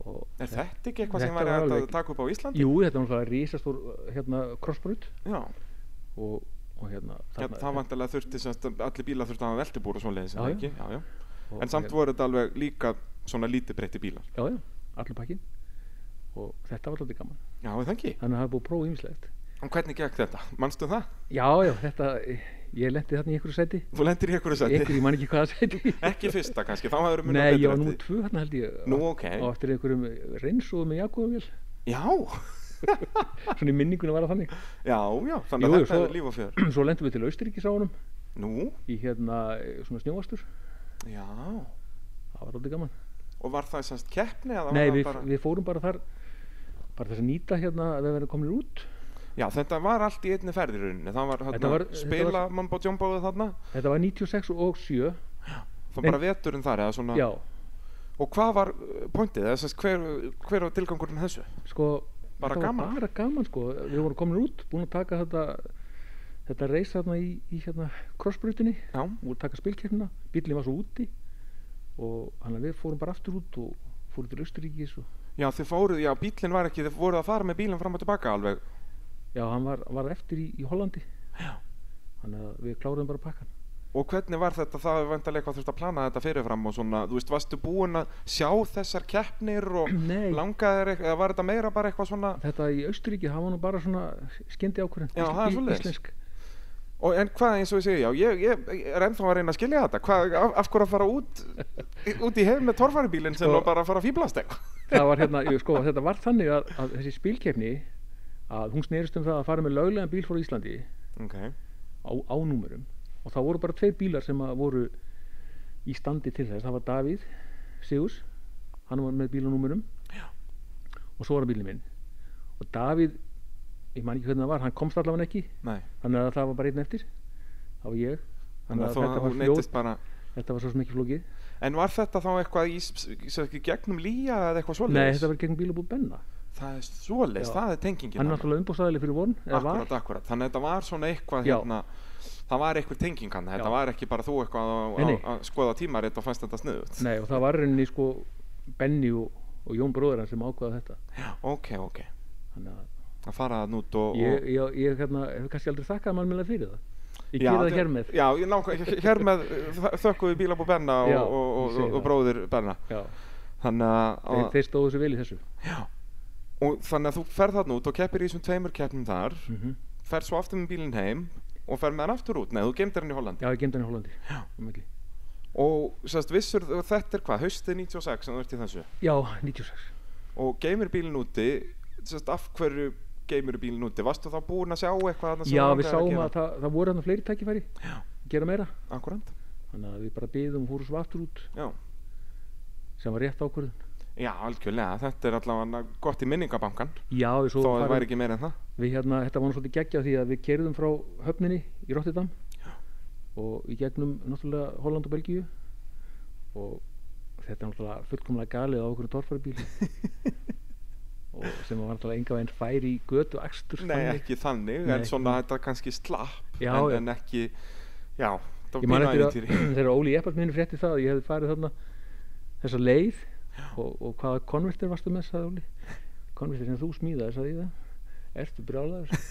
[SPEAKER 2] og
[SPEAKER 1] Er þetta ekki eitthvað sem væri
[SPEAKER 2] Þetta var
[SPEAKER 1] hægt að
[SPEAKER 2] alveg-
[SPEAKER 1] taka upp á Íslandi?
[SPEAKER 2] jú, þetta var náttúrulega risastór uh, hérna, krossbrut
[SPEAKER 1] Já,
[SPEAKER 2] og, og hérna
[SPEAKER 1] hérna, það vantilega þurfti semst að allir bílar þurfti að hafa veltibúr og svoleiðis,
[SPEAKER 2] Já,
[SPEAKER 1] en
[SPEAKER 2] já.
[SPEAKER 1] ekki? Já, já.
[SPEAKER 2] og,
[SPEAKER 1] En samt
[SPEAKER 2] hérna-
[SPEAKER 1] voru þetta alveg líka svona lítið breytti bílar.
[SPEAKER 2] já, já, allur pakkin og þetta var alltaf gaman
[SPEAKER 1] Já, er það ekki?
[SPEAKER 2] þannig að það er búið að prófa ýmislegt
[SPEAKER 1] En hvernig gekk þetta? Manstu það?
[SPEAKER 2] já, já, þetta, ég lendi þarna í einhverju seti
[SPEAKER 1] Þú lendir í einhverju
[SPEAKER 2] einhverju,
[SPEAKER 1] seti?
[SPEAKER 2] ég man ekki hvaða seti
[SPEAKER 1] ekki fyrsta kannski, þá hafður munið
[SPEAKER 2] nei, ég var númer tvö hérna held ég
[SPEAKER 1] Nú,
[SPEAKER 2] og-
[SPEAKER 1] ok.
[SPEAKER 2] og eftir einhverjum reynsóðum með Jakobumil
[SPEAKER 1] Já,
[SPEAKER 2] svona í minningunum var það þannig
[SPEAKER 1] já, já, þannig að
[SPEAKER 2] Jú, jú,
[SPEAKER 1] þetta
[SPEAKER 2] svo-
[SPEAKER 1] er líf og fjör.
[SPEAKER 2] svo lendum við til Austuríkis á honum
[SPEAKER 1] Nú,
[SPEAKER 2] í hérna eh, svona snjóastur
[SPEAKER 1] já.
[SPEAKER 2] það var alltaf gaman
[SPEAKER 1] Og var það semst keppni eða var
[SPEAKER 2] nei,
[SPEAKER 1] það
[SPEAKER 2] við,
[SPEAKER 1] bara...
[SPEAKER 2] við fórum bara þar bara þess að nýta hérna að við verðum komin út
[SPEAKER 1] Já, þetta var allt í einni ferð í rauninni. Það var, hérna,
[SPEAKER 2] Þetta var- þetta
[SPEAKER 1] spila
[SPEAKER 2] var-
[SPEAKER 1] mambo jumboðu þarna.
[SPEAKER 2] þetta var 96 og 7
[SPEAKER 1] Það var
[SPEAKER 2] Nei.
[SPEAKER 1] bara veturinn þar eða svona...
[SPEAKER 2] já,
[SPEAKER 1] Og hvað var uh, pointið? Eða, sem sagt, hver, hver var tilgangurinn með þessu?
[SPEAKER 2] sko
[SPEAKER 1] Bara
[SPEAKER 2] þetta var
[SPEAKER 1] gaman.
[SPEAKER 2] bara gaman sko við vorum komin út, búin að taka þetta þetta reis þarna í, í hérna crossbrutinni
[SPEAKER 1] Já,
[SPEAKER 2] og taka spilkjörnina, bílinn var svo úti og hann að við fórum bara aftur út og fórum til Austuríkis og
[SPEAKER 1] já þið fóruð, já bílinn var ekki, þið voruð að fara með bílinn fram og tilbaka alveg.
[SPEAKER 2] já, hann var, var eftir í, í Hollandi þannig að við kláruðum bara pakkan
[SPEAKER 1] Og hvernig var þetta, það er vantarlega eitthvað þurft að plana þetta fyrirfram og svona, þú veist, varstu búinn að sjá þessar keppnir og
[SPEAKER 2] Nei.
[SPEAKER 1] langaðir eitthvað, eða var þetta meira bara eitthvað svona,
[SPEAKER 2] þetta í Austuríki, það var nú bara svona skyndi ákvörðin,
[SPEAKER 1] Já, það er svoleiðis.
[SPEAKER 2] íslensk
[SPEAKER 1] og, en hvað eins og ég segi, já, ég, ég, ég er ennþá að reyna að skilja þetta, hvað, af, af hverju að fara út, út í heim með torfaribílinn sem
[SPEAKER 2] Sko-
[SPEAKER 1] og bara að fara að fýblast eitthvað?
[SPEAKER 2] það var hérna, jú, sko, þetta var þannig að, að þessi spilkefni að hún snerist um það að fara með löglegan bíl frá Íslandi
[SPEAKER 1] Ok,
[SPEAKER 2] á, á númurum og það voru bara tveir bílar sem að voru í standi til þess, það var Davíð Sigurs, hann var með bílanúmurum
[SPEAKER 1] Já.
[SPEAKER 2] og svo var bílinn minn og Davíð ég man ekki hvernig það var, hann komst allavega ekki
[SPEAKER 1] nei,
[SPEAKER 2] þannig að það var bara einn eftir það var ég
[SPEAKER 1] þannig að,
[SPEAKER 2] þetta
[SPEAKER 1] að þú
[SPEAKER 2] var, fljót,
[SPEAKER 1] neytist bara...
[SPEAKER 2] þetta var svo sem ekki flókið
[SPEAKER 1] En var þetta þá eitthvað í s- s- gegnum lýja eða eitthvað svoleiðis?
[SPEAKER 2] Nei, þetta var gegn bílabú Benna
[SPEAKER 1] Það er svoleiðis,
[SPEAKER 2] Já.
[SPEAKER 1] það er tengingin
[SPEAKER 2] hann er
[SPEAKER 1] þarna.
[SPEAKER 2] náttúrulega umbústæðileg fyrir vorn eða var,
[SPEAKER 1] Akkurat, akkurat, þannig að þetta var svona eitthvað
[SPEAKER 2] Já.
[SPEAKER 1] hérna Það var eitthvað tenging hann, þetta
[SPEAKER 2] Já.
[SPEAKER 1] var ekki bara þú eitthvað á,
[SPEAKER 2] Nei,
[SPEAKER 1] á,
[SPEAKER 2] nei.
[SPEAKER 1] að skoða tímarit og fannst þetta sniðut
[SPEAKER 2] Nei, og það var rauninni sko Benny og, og Jón bróður hann sem ákvaða þetta
[SPEAKER 1] Ok, ok,
[SPEAKER 2] þannig að
[SPEAKER 1] að fara þann út og,
[SPEAKER 2] ég, ég, ég hérna, hef kannski aldrei þakkað mannmjöla fyrir það ég gera það hér með
[SPEAKER 1] Já, ég nákvæm, hér með eh, þökkum við bílabú Benna og,
[SPEAKER 2] Já,
[SPEAKER 1] og,
[SPEAKER 2] ég
[SPEAKER 1] og,
[SPEAKER 2] segi
[SPEAKER 1] og,
[SPEAKER 2] það.
[SPEAKER 1] bróðir Benna
[SPEAKER 2] Já,
[SPEAKER 1] Þannig að,
[SPEAKER 2] þeir, þeir stóðu sér vel í þessu
[SPEAKER 1] og, þannig að þú ferð þann út og keppir í þessum tveimur keppnum þar
[SPEAKER 2] mm
[SPEAKER 1] Ferð svo aftur með bílinn heim og ferð með hann aftur út, nei, þú gemdir hann í Hollandi
[SPEAKER 2] Já, ég gemd hann í Hollandi Um ekki.
[SPEAKER 1] Og sérst, vissur, þú- þetta er hvað, haustið 96 sem þú ert í þessu
[SPEAKER 2] Já, 96
[SPEAKER 1] og geymir bílinn úti sérst, af hverju geymir bílinn úti varstu þá búinn að sjá eitthvað þarna sem
[SPEAKER 2] Já,
[SPEAKER 1] þú
[SPEAKER 2] við
[SPEAKER 1] langaðir
[SPEAKER 2] sáum
[SPEAKER 1] gera?
[SPEAKER 2] að það, það voru hann fleiri tækifæri
[SPEAKER 1] Já.
[SPEAKER 2] gera meira
[SPEAKER 1] akkúrat,
[SPEAKER 2] þannig að við bara byðum húru svo aftur út
[SPEAKER 1] já.
[SPEAKER 2] sem var rétt ákvörðun
[SPEAKER 1] já, algjörlega, þetta er allavega gott í minningabankan
[SPEAKER 2] Já, við svo
[SPEAKER 1] þó að það
[SPEAKER 2] farum-
[SPEAKER 1] væri ekki meira en það
[SPEAKER 2] við hérna, þetta var nú svolítið geggja því að við kerðum frá höfninni í Rotterdam og í gegnum náttúrulega Holland og Belgíu og þetta er náttúrulega fullkomlega galið á okkur torfaribíl og sem var náttúrulega enga veginn færi í götu akstur
[SPEAKER 1] nei,
[SPEAKER 2] þannig.
[SPEAKER 1] ekki þannig,
[SPEAKER 2] Nei.
[SPEAKER 1] en svona þetta kannski slapp
[SPEAKER 2] Já,
[SPEAKER 1] en,
[SPEAKER 2] já.
[SPEAKER 1] en ekki já, það var
[SPEAKER 2] ég man
[SPEAKER 1] pínu
[SPEAKER 2] eftir að
[SPEAKER 1] ævintýri.
[SPEAKER 2] þegar Óli Eppart minni frétti það að ég hefði farið þarna þessa leið og, og hvaða konvertir varstu með sagði Óli konvertir sem þú smíðaði sagði ég það ertu brjálaður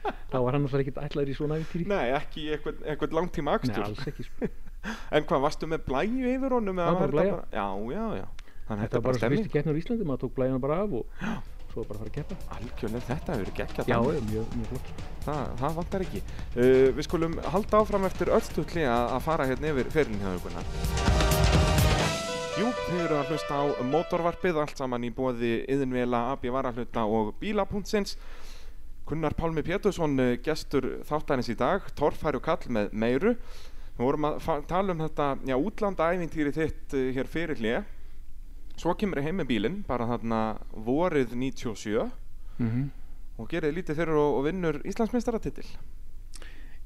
[SPEAKER 2] þá var hann náttúrulega ekkert ætlaður í svona æfintýri
[SPEAKER 1] nei, ekki í einhvern, einhvern langtíma
[SPEAKER 2] Nei,
[SPEAKER 1] akstur
[SPEAKER 2] alls ekki sko.
[SPEAKER 1] en hvað, varstu með blæju yfir honum eða
[SPEAKER 2] Það var bara
[SPEAKER 1] þetta bara- já, já, já þannig
[SPEAKER 2] Þetta var bara svo fyrstu keppnur í Íslandi, maður tók blæðina bara af og svo bara að fara að keppa.
[SPEAKER 1] algjörlega, þetta hefur verið geggjað
[SPEAKER 2] Já,
[SPEAKER 1] dæmi.
[SPEAKER 2] já, mjög, mjög flott. sko.
[SPEAKER 1] Það, það vantar ekki. Uh, við skulum halda áfram eftir öllstutli að, að fara hérna yfir fyrirliðhauðuguna. Jú, þið eru að hlusta á mótorvarpið, allt saman í bóði yðinvela, AB varahluta og bíla.sins. Gunnar Pálmi Pétursson, eh, gestur þáttarins í dag, torfæru kall með meiru. Við vorum að fa- tala um þetta, já, útlanda ævintýri þitt eh, hér fyrirlið. Svo kemur ég heim með bílinn, bara þarna vorið 97
[SPEAKER 2] Mhm.
[SPEAKER 1] og gerir lítið fyrir og, og vinnur Íslandsmeistaratitil.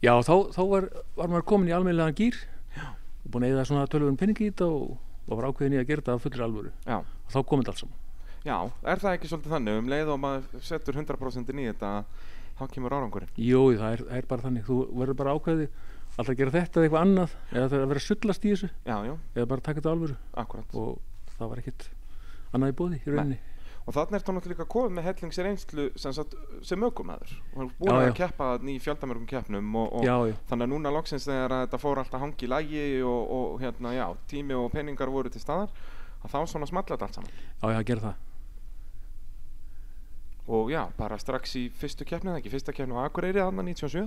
[SPEAKER 2] Já, þá, þá var, var maður komin í almeinlegan gýr og búin að eða svona tölvun penningi í þetta og, og var ákveðin í að gera þetta af fullri alvöru.
[SPEAKER 1] Já.
[SPEAKER 2] Og þá komið þetta allt saman.
[SPEAKER 1] Já, er það ekki svolítið þannig um leið og maður setur 100% inn í þetta að þá kemur árangurinn
[SPEAKER 2] Jó, það er, það er bara þannig, þú verður bara ákveðið alltaf að gera þetta eða eitthvað annað eða það er að vera að sullast í þessu
[SPEAKER 1] já, já,
[SPEAKER 2] eða bara taka þetta á alvöru
[SPEAKER 1] akkurat og,
[SPEAKER 2] og það var ekkert annað í bóði í rauninni
[SPEAKER 1] þarna ertu náttúrulega líka komið með hellingsreynslu sem, sagt, sem ökumæður og hann er
[SPEAKER 2] Já,
[SPEAKER 1] búin að
[SPEAKER 2] já.
[SPEAKER 1] keppa ný fjöldamörgum keppnum og, og
[SPEAKER 2] Já, já,
[SPEAKER 1] þannig að núna loksins þegar að þetta fór alltaf hangi í lægi og, og hérna, já, tími og peningar voru til staðar að þá svona smalla þetta allt saman
[SPEAKER 2] já, já, gera það
[SPEAKER 1] og já, bara strax í fyrstu keppni eða ekki, fyrsta keppni á Akureyri þarna 97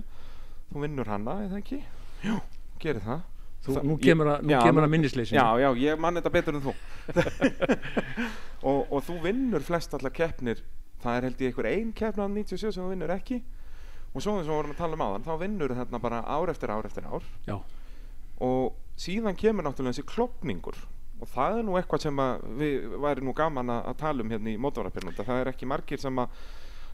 [SPEAKER 1] þú vinnur hanna, eða ekki já, gerir það
[SPEAKER 2] Þú,
[SPEAKER 1] Það-
[SPEAKER 2] Nú
[SPEAKER 1] ég-
[SPEAKER 2] kemur að, nú
[SPEAKER 1] já,
[SPEAKER 2] kemur
[SPEAKER 1] nú-
[SPEAKER 2] að minnisleysinu
[SPEAKER 1] Já, já, ég man þetta betur en þú og, og þú vinnur flest allar keppnir það er held ég einhver ein keppna á 97 sem þú vinnur ekki og svo eins og við vorum að tala um áðan þá vinnur þarna bara ár eftir ár eftir ár
[SPEAKER 2] já,
[SPEAKER 1] og síðan kemur náttúrulega þessi klopningur og það er nú eitthvað sem að við væri nú gaman að, að tala um hérna í mótorvarpinu það er ekki margir sem að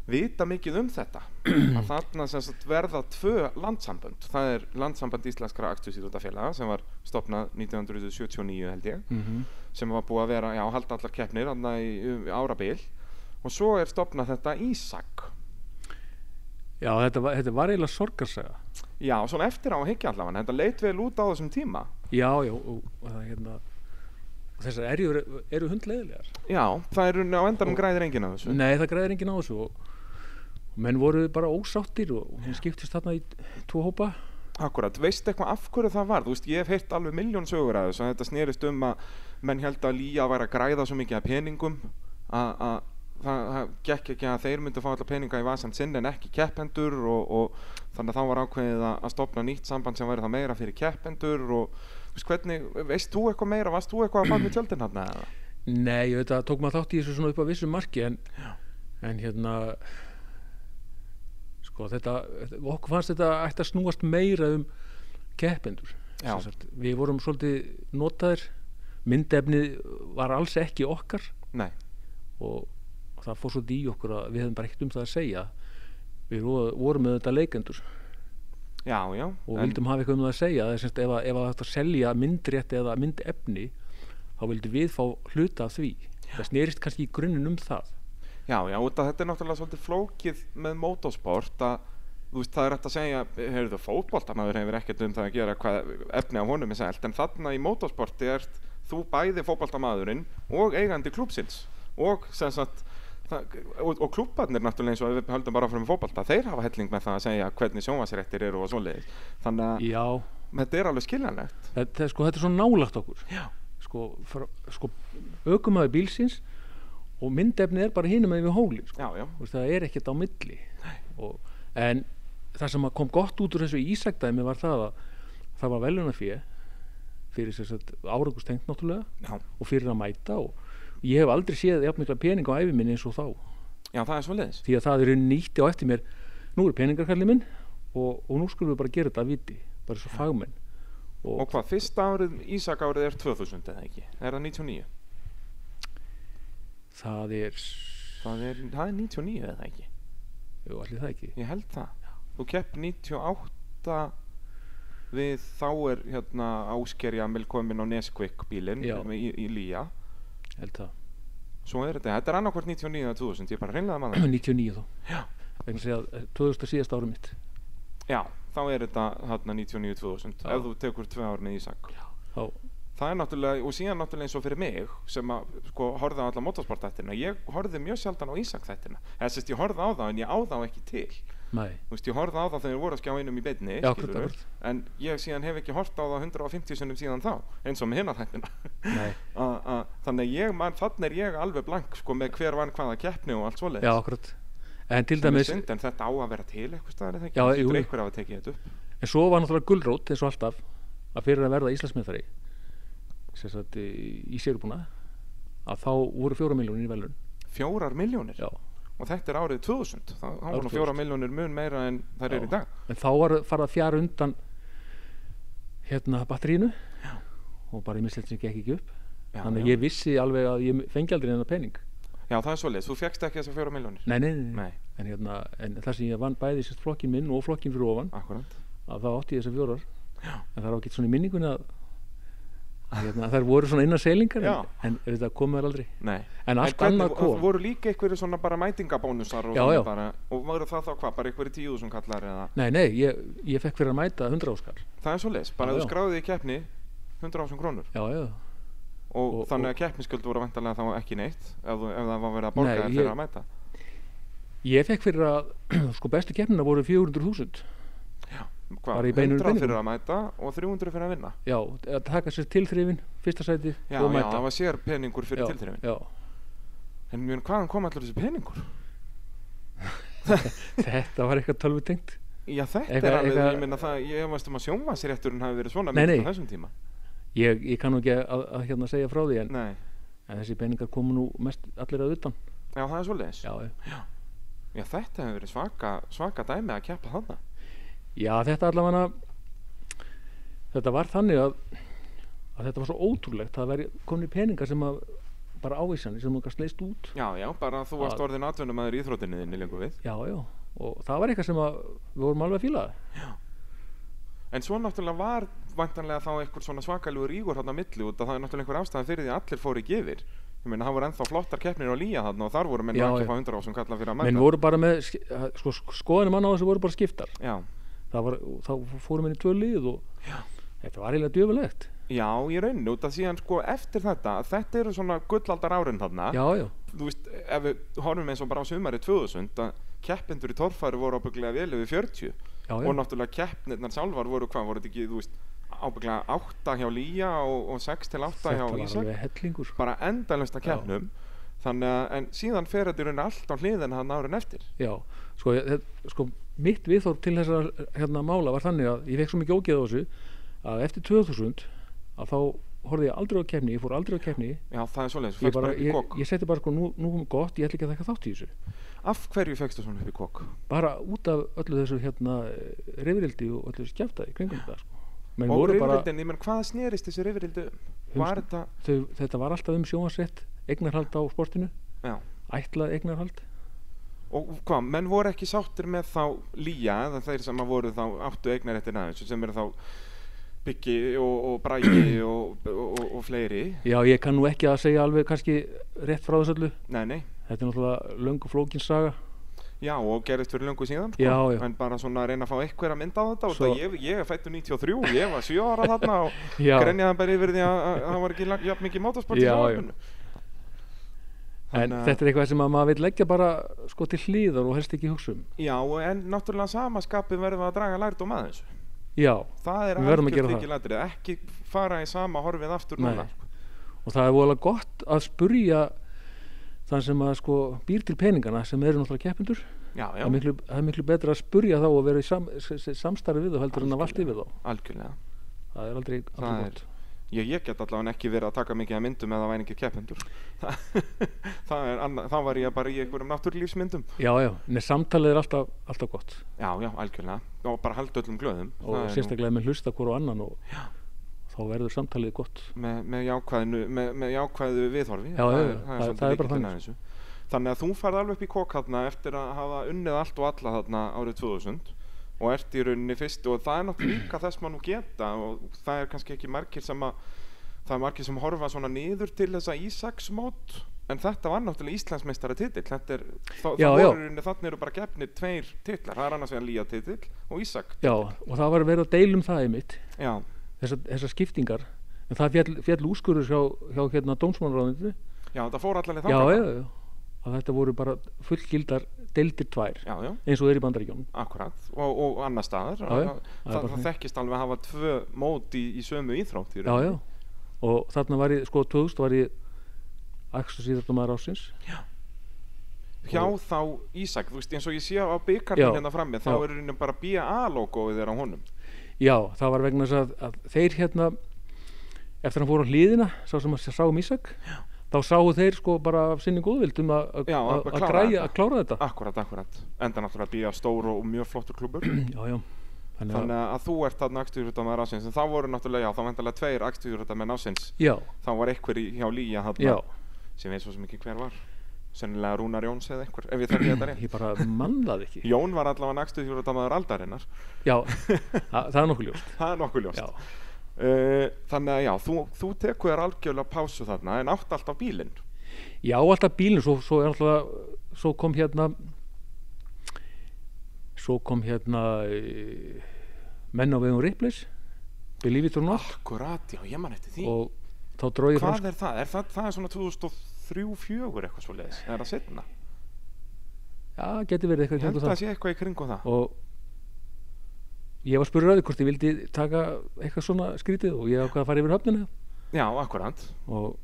[SPEAKER 1] vita mikið um þetta að þarna sem sagt verða tvö landsambönd það er landsamband íslenskra aktusýrútafélaga sem var stopnað 1979 held ég
[SPEAKER 2] mhm,
[SPEAKER 1] sem var búið að vera, já, halda allar keppnir þarna í, um, árabil og svo er stopnað þetta Ísak
[SPEAKER 2] já þetta, var, þetta var eiginlega sorgarsaga
[SPEAKER 1] já, svona eftir á að higgja allavega þetta leit vel út á þessum tíma
[SPEAKER 2] Já, já, og, og það er hérna og þessar erjur eru hundleiðilegar
[SPEAKER 1] já, það er á endanum græðir enginn af þessu
[SPEAKER 2] Nei, það græðir enginn á þessu og, og menn voru bara ósáttir og, og hún skiptist þarna í tvo hópa
[SPEAKER 1] Akkurat, veistu eitthvað af hverju það var? Þú veist, ég hef heyrt alveg miljón sögur að þessu að þetta snerist um að menn held að Lía var að græða svo mikið af peningum að að það, það gekk ekki að þeir myndu fá alla peninga í vasand sinn en ekki keppendur og, og þannig að þá var ákveðið að, að stopna nýtt samband sem væri þá meira fyrir keppendur og þú veist, hvernig, veist þú eitthvað meira, varst þú eitthvað að baka með tjöldin hann eða?
[SPEAKER 2] Nei, ég veit að tók maður þátt í þessu svona upp að vissu marki en, en hérna sko þetta okkur fannst þetta ætti að snúast meira um keppendur
[SPEAKER 1] Já.
[SPEAKER 2] Sem sagt, við vorum svolítið notaðir myndefnið var alls ekki okkar
[SPEAKER 1] Nei,
[SPEAKER 2] og, og það fór svolítið í okkur að við hefum bara ekkert um það að segja við vo- vorum með þetta leikendur
[SPEAKER 1] já, já
[SPEAKER 2] og
[SPEAKER 1] en-
[SPEAKER 2] vildum hafa eitthvað um það að segja það er semst ef að, ef að þetta selja myndrétt eða myndefni þá vildum við fá hluta af því það snerist kannski í grunninn um það
[SPEAKER 1] Já, já, út að þetta er náttúrulega svolítið flókið með motorsport að þú veist, það er hægt að segja, heyrðu, fótboltamaður hefur ekkert um það að gera hvað efni á honum er sælt, en þarna í motorsporti ert þú bæði fótboltamaðurinn og eigandi klúpsins og sem sagt það, og, og klúbarnir náttúrulega eins og ef við höldum bara frá með fótbolta, þeir hafa helling með það að segja hvernig sjónvarsréttir eru og svoleiðis þannig að
[SPEAKER 2] já,
[SPEAKER 1] þetta er alveg skiljanlegt
[SPEAKER 2] það, það, sko, þetta er svo nálagt okkur
[SPEAKER 1] Já,
[SPEAKER 2] sko, frá, sko aukumæður bílsins og myndefni er bara hinum með við hóli sko.
[SPEAKER 1] já, já,
[SPEAKER 2] Þú veist, það er ekkert á milli og, en það sem að kom gott út úr þessu ísækdæmi var það að það var veluna fyrir fyrir þess að árangustengt náttúrulega
[SPEAKER 1] já,
[SPEAKER 2] og fyrir að mæta og ég hef aldrei séð jafn mikla pening á æfi minni eins og þá
[SPEAKER 1] já, það er svoleiðis
[SPEAKER 2] því að það eru nýtti á eftir mér nú eru peningarkallið minn og, og nú skulum við bara gera þetta að viti bara svo fagmenn og,
[SPEAKER 1] Og hvað, fyrsta árið, Ísak árið er 2000 eða ekki? Er það 99?
[SPEAKER 2] það er s-
[SPEAKER 1] Það er, það er 99 eða ekki?
[SPEAKER 2] jú, allir það ekki
[SPEAKER 1] Ég held það. Þú kepp 98 við þá er hérna Áskerja Amil komin á Nesquik bílinn
[SPEAKER 2] Já.
[SPEAKER 1] í, í Lía.
[SPEAKER 2] held það
[SPEAKER 1] Svo er þetta, þetta er annarkvort 99 eða 2000, ég bara reynlega maður.
[SPEAKER 2] 99 þá vegna að segja að eh, 2000 síðasta árum mitt
[SPEAKER 1] Já, þá er þetta hérna 99-2000
[SPEAKER 2] Já.
[SPEAKER 1] ef þú tekur tvö ár með Ísak.
[SPEAKER 2] þá
[SPEAKER 1] Það er náttúrulega, og síðan náttúrulega eins og fyrir mig sem að sko horfði á alla motorsportættina ég horfði mjög sjaldan á Ísak þættina eða sérst ég horfði á þá en ég á þá ekki til
[SPEAKER 2] nei
[SPEAKER 1] þú veist, ég horfði á það þegar ég voru að skjá einum í beinni
[SPEAKER 2] Já,
[SPEAKER 1] skilurðu,
[SPEAKER 2] akkurat, akkurat.
[SPEAKER 1] en ég síðan hef ekki hort á það 150 sinnum síðan þá eins og með hinna þættina
[SPEAKER 2] Nei.
[SPEAKER 1] A- a- þannig að ég man, þannig er ég alveg blank sko með hver vann hvaða keppni og allt svoleiðis
[SPEAKER 2] Já, akkurat. En til
[SPEAKER 1] Sem er
[SPEAKER 2] dæmis,
[SPEAKER 1] synd, en þetta á að vera til eitthvað staðar eða ekki
[SPEAKER 2] Já,
[SPEAKER 1] Það
[SPEAKER 2] jú,
[SPEAKER 1] hlýtur
[SPEAKER 2] jú.
[SPEAKER 1] einhver af að tekið þetta upp
[SPEAKER 2] en svo var náttúrulega gullrót eins og alltaf að fyrir að verða Íslandsmeðari sem sagt í í sérubúna að þá voru fjóra miljónir í velun
[SPEAKER 1] fjórar miljónir
[SPEAKER 2] já,
[SPEAKER 1] og þetta er árið 2000 þá þá
[SPEAKER 2] Árið
[SPEAKER 1] var nú
[SPEAKER 2] 2000.
[SPEAKER 1] fjórar miljónir mun meira en það
[SPEAKER 2] Já.
[SPEAKER 1] er í dag
[SPEAKER 2] en þá var farið að fjara undan hérna batterínu já. og bara mislegt sem gekk ekki upp
[SPEAKER 1] já,
[SPEAKER 2] þannig að
[SPEAKER 1] já.
[SPEAKER 2] ég vissi alveg að ég fengi aldrei hennar pening
[SPEAKER 1] já, það er svoleiðis, þú fegst ekki þessar fjórar miljónir
[SPEAKER 2] nei, nei, nei,
[SPEAKER 1] Nei.
[SPEAKER 2] En, hérna, en það sem ég vann bæði sérst flokkin minn og flokkin fyrir ofan
[SPEAKER 1] akkurat
[SPEAKER 2] að þá átti ég þessar fjórar já. en það er ágætt svona í minningunni að hérna, þær voru svona innan selingar
[SPEAKER 1] Já.
[SPEAKER 2] en, en auðvitað komu þær aldrei
[SPEAKER 1] Nei.
[SPEAKER 2] En allt
[SPEAKER 1] hvernig-
[SPEAKER 2] annað kom.
[SPEAKER 1] Voru líka einhverju svona bara mætingabónusar og,
[SPEAKER 2] Já,
[SPEAKER 1] þannig
[SPEAKER 2] já.
[SPEAKER 1] Bara, og voru það þá hvað, bara einhverju tíu sem kallar eða
[SPEAKER 2] Nei, nei, ég, ég fekk fyrir að mæta 100 áskall
[SPEAKER 1] Það er svo leis, bara
[SPEAKER 2] Já,
[SPEAKER 1] þú
[SPEAKER 2] já.
[SPEAKER 1] skráði í keppni 100 ásum krónur
[SPEAKER 2] Já, já,
[SPEAKER 1] og,
[SPEAKER 2] Og-
[SPEAKER 1] þannig
[SPEAKER 2] og-
[SPEAKER 1] að keppniskjöld voru vantarlega þá ekki neitt ef, þú- ef það var verið að borga
[SPEAKER 2] Nei,
[SPEAKER 1] þér
[SPEAKER 2] ég-
[SPEAKER 1] fyrir að mæta
[SPEAKER 2] ég fekk fyrir að sko bestu keppnina voru 400.000
[SPEAKER 1] Hvað,
[SPEAKER 2] Bara í beinum
[SPEAKER 1] 100 fyrir
[SPEAKER 2] peningum.
[SPEAKER 1] að mæta og 300 fyrir að vinna
[SPEAKER 2] Já, að taka sér tilþrifin, fyrsta sæti
[SPEAKER 1] Já,
[SPEAKER 2] og
[SPEAKER 1] já,
[SPEAKER 2] mæta
[SPEAKER 1] það var sér peningur fyrir
[SPEAKER 2] Já,
[SPEAKER 1] tilþrifin
[SPEAKER 2] Já,
[SPEAKER 1] En mjön, hvaðan kom allir þessi peningur?
[SPEAKER 2] þetta var eitthvað tölvutengt
[SPEAKER 1] Já, þetta er
[SPEAKER 2] Eitthvað-
[SPEAKER 1] alveg,
[SPEAKER 2] eitthvað-
[SPEAKER 1] ég meina það, ég veist um að sjónvansrétturinn hafi verið svona
[SPEAKER 2] Nei,
[SPEAKER 1] mikill
[SPEAKER 2] nei.
[SPEAKER 1] á þessum tíma
[SPEAKER 2] Ég, ég kann nú ekki að, að hérna segja frá því en,
[SPEAKER 1] Nei,
[SPEAKER 2] en þessi peningar komu nú mest allir að utan
[SPEAKER 1] já, það er svo leis
[SPEAKER 2] Já, já.
[SPEAKER 1] Já, þetta hefur verið svaka, svaka dæmi að keppa þarna.
[SPEAKER 2] já þetta allavega þetta var þannig að, að þetta var svo ótrúlegt það væri komin í peningar sem að bara ávísanir sem þú gæst leist út
[SPEAKER 1] Já, já, bara þú varst
[SPEAKER 2] Að-
[SPEAKER 1] orðin atvinnumæður í íþróttinni þinni lengur við.
[SPEAKER 2] Já, já, og það var eitthvað sem að við vorum alveg að fíla
[SPEAKER 1] En svo náttúrulega var vantanlega þá einhver svona svakalugur ígur þarna á milli út að það er náttúrulega einhver ástæðan fyrir því að allir fóru í gefir. Ég meina, það voru ennþá flottar keppnir á lýja þarna og þar voru menn
[SPEAKER 2] Já,
[SPEAKER 1] nú ekki
[SPEAKER 2] já.
[SPEAKER 1] að fá 100 ásum kalla fyrir að mæta.
[SPEAKER 2] menn voru bara með sk- að- sko, sko- skoðanir manna á þessu voru bara skiptar
[SPEAKER 1] Já,
[SPEAKER 2] það var, og þá fórum við í tvö lið og þetta var eiginlega djöfulegt
[SPEAKER 1] já, í rauninu út að síðan sko eftir þetta, þetta eru svona gullaldar árin þarna.
[SPEAKER 2] já, já,
[SPEAKER 1] Þú veist, ef við horfum eins og bara á sumari 2000 að keppindur í torfæri voru ábygglega vel yfir 40.
[SPEAKER 2] já,
[SPEAKER 1] og
[SPEAKER 2] já.
[SPEAKER 1] náttúrulega keppnirnar sjálfar voru hvað, voru þetta ekki, þú veist ábygglega átta hjá Lía og, og 6 til átta hjá
[SPEAKER 2] þetta var
[SPEAKER 1] Ísak,
[SPEAKER 2] alveg hellingur
[SPEAKER 1] bara endalöst að
[SPEAKER 2] Já.
[SPEAKER 1] keppnum þannig að, en síðan fer þetta í rauninni allt á hliðin hann árin eftir
[SPEAKER 2] já, sko, ég- þetta- sko mitt viðþórn til þessar hérna mála var þannig að ég fekk svo mikið ógeð á þessu að eftir 2000 að þá horfði ég aldrei á kefni, ég fór aldrei á kefni
[SPEAKER 1] já, það er svoleiðis, þú
[SPEAKER 2] ég,
[SPEAKER 1] fegst
[SPEAKER 2] bara,
[SPEAKER 1] bara upp í
[SPEAKER 2] ég,
[SPEAKER 1] kók
[SPEAKER 2] ég seti bara sko nú, nú er komið gott, ég ætla ekki að taka þátt í þessu
[SPEAKER 1] af hverju fegst þú svona upp í kók?
[SPEAKER 2] bara út af öllu þessu hérna reyfrildi og öllu þessu kjæftæði kringum þetta sko. Menn
[SPEAKER 1] og
[SPEAKER 2] voru bara-
[SPEAKER 1] rifrildin, ég menn hvað snerist þessi rifrildi um?
[SPEAKER 2] Um
[SPEAKER 1] var
[SPEAKER 2] sn-
[SPEAKER 1] þetta,
[SPEAKER 2] þau, þetta var alltaf um sjónvarsrétt eignarhald á sportinu,
[SPEAKER 1] já
[SPEAKER 2] ætlað eignarhald
[SPEAKER 1] og hvað, menn voru ekki sáttir með þá Lía, eða þeir sem að voru þá áttu eignaréttin aðeins, sem eru þá Byggi og, og Bragi og, og, og, og fleiri
[SPEAKER 2] já ég kann nú ekki að segja alveg kannski rétt frá þessu öllu
[SPEAKER 1] nei, nei,
[SPEAKER 2] þetta er náttúrulega löngu flókinsaga
[SPEAKER 1] Já, og gerist fyrir löngu síðan sko.
[SPEAKER 2] Já, já.
[SPEAKER 1] en bara svona að reyna að fá eitthvað að mynda á þetta Svo...
[SPEAKER 2] Svo-
[SPEAKER 1] ég, ég er fættu 93, ég var 7 ára þarna og
[SPEAKER 2] Já.
[SPEAKER 1] grenjaði bara yfir því að að- að það var ekki lang- jafn mikið motorsport í
[SPEAKER 2] Já, já.
[SPEAKER 1] sjónvarpinu.
[SPEAKER 2] en
[SPEAKER 1] Þannig að-
[SPEAKER 2] þetta er eitthvað sem að maður vil leggja bara sko til hlýðar og helst ekki hugsa um
[SPEAKER 1] Já, og en náttúrulega samaskapi verðum við að draga lærdóm að þessu
[SPEAKER 2] já,
[SPEAKER 1] Það er
[SPEAKER 2] Við verðum að
[SPEAKER 1] algjört
[SPEAKER 2] gera það.
[SPEAKER 1] lykilatriði, ekki fara í sama horfið aftur
[SPEAKER 2] Nei.
[SPEAKER 1] núna sko.
[SPEAKER 2] og það er voðalega gott að spurja þann sem að sko býr til peningana sem eru náttúrulega keppindur
[SPEAKER 1] Já, já,
[SPEAKER 2] það er, miklu, það er miklu betra að spurja þá og vera í sam, s- s- samstarfi við þá heldur en að valdi við þá
[SPEAKER 1] algjörlega
[SPEAKER 2] það er aldrei, aldrei
[SPEAKER 1] Það er-
[SPEAKER 2] gott
[SPEAKER 1] Ég, ég get allavega ekki verið að taka mikið að myndum eða væningi keppendur það er, annað- þá var ég bara í einhverjum náttúrlífsmyndum
[SPEAKER 2] já, já, en samtalið er alltaf, alltaf gott
[SPEAKER 1] Já, já, algjörlega og bara halda öllum glöðum
[SPEAKER 2] og
[SPEAKER 1] Það er nú-
[SPEAKER 2] sérstaklega með hlusta hver og annan og þá verður samtalið gott
[SPEAKER 1] með, með, jákvæðinu, með, með jákvæðu viðhorfi
[SPEAKER 2] Já, já, já, það-
[SPEAKER 1] svolítið
[SPEAKER 2] það er bara
[SPEAKER 1] lykillinn
[SPEAKER 2] þannig.
[SPEAKER 1] að þessu. þannig að þú farði alveg upp í kokk þarna eftir að hafa unnið allt og alla þarna árið 2000 og ert í rauninni fyrst og það er náttúrulega líka þess maður nú geta og það er kannski ekki margir sem að það er margir sem horfa svona niður til þessa Ísaksmót en þetta var náttúrulega Íslandsmeistara titill þetta er, þá,
[SPEAKER 2] Já,
[SPEAKER 1] það
[SPEAKER 2] já.
[SPEAKER 1] voru í rauninni þannig eru bara gefnir tveir titlar, það er annars vegar Lía titill og Ísak,
[SPEAKER 2] já, og það var verið að deilum það einmitt
[SPEAKER 1] já,
[SPEAKER 2] þessar, þessar skiptingar en það fjall, fjall úrskurur hjá, hjá hérna dómsmálaráðinu
[SPEAKER 1] já það fór allan í
[SPEAKER 2] já,
[SPEAKER 1] þangað.
[SPEAKER 2] já, já, að þetta voru bara fullgildar deildir tvær
[SPEAKER 1] já, já
[SPEAKER 2] eins og er í bandaríkjónum
[SPEAKER 1] Akkurat, og, og annar staðar
[SPEAKER 2] Já, já.
[SPEAKER 1] það,
[SPEAKER 2] Það er
[SPEAKER 1] það,
[SPEAKER 2] bara þannig.
[SPEAKER 1] þekkist alveg að hafa tvö mót í, í sömu íþrótt í
[SPEAKER 2] já, já,
[SPEAKER 1] rauninni.
[SPEAKER 2] og þarna var ég, sko 2000 var ég akstusíðartumæður ásins
[SPEAKER 1] Hjá þá Ísak, þú veist eins og ég sé á byggarnum
[SPEAKER 2] Já,
[SPEAKER 1] hérna frammi þá
[SPEAKER 2] já.
[SPEAKER 1] er rauninni bara BA-logóið er á honum
[SPEAKER 2] já, það var vegna þess að, að þeir hérna eftir að hann fór á hliðina sá sem að sá um Ísak já. þá sáu þeir sko bara af sinni góðvildum að að-
[SPEAKER 1] Já, að
[SPEAKER 2] að- að
[SPEAKER 1] klára
[SPEAKER 2] græja-
[SPEAKER 1] þetta.
[SPEAKER 2] að klára þetta
[SPEAKER 1] Akkurat, akkurat, enda náttúrulega BA stór og mjög flottur klubur
[SPEAKER 2] já, já þannig að,
[SPEAKER 1] Þannig að þú ert þarna akstýrjúrutamenn ásins en þá voru náttúrulega, já, þá vandalega tveir akstýrjúrutamenn ásins
[SPEAKER 2] já,
[SPEAKER 1] þá var einhver í, hjá Lía
[SPEAKER 2] já,
[SPEAKER 1] þarna sem eins og sem ekki hver var sennilega Rúnar Jóns eða einhver, ef ég þekki þetta rétt
[SPEAKER 2] ég bara mannaði ekki
[SPEAKER 1] Jón var allavega akstýrjúrutamenn aldarinnar
[SPEAKER 2] já, það, það er nokkuð ljóst
[SPEAKER 1] það er nokkuð ljóst
[SPEAKER 2] já,
[SPEAKER 1] Eh, Uh, þannig að já, þú, þú tekur þér algjörlega pásu þarna en átt alltaf bílinn
[SPEAKER 2] Já, alltaf bílinn, svo, svo, er alltaf, svo kom hérna svo kom hérna eh, menn á vegum Ripplis Believe it or not
[SPEAKER 1] Akkurat, já, ég man eftir því
[SPEAKER 2] og þá dróði ég fram
[SPEAKER 1] Hvað er það? Er það, það er svona 2003-04 eitthvað svo leiðis, er það setna?
[SPEAKER 2] já, geti verið eitthvað í
[SPEAKER 1] Ég held
[SPEAKER 2] kringum
[SPEAKER 1] að það
[SPEAKER 2] það
[SPEAKER 1] sé eitthvað í kringum það
[SPEAKER 2] og ég var spurður að því hvort ég vildi taka eitthvað svona skrítið og ég ákvað að fara yfir höfnina
[SPEAKER 1] Já, akkurat,
[SPEAKER 2] og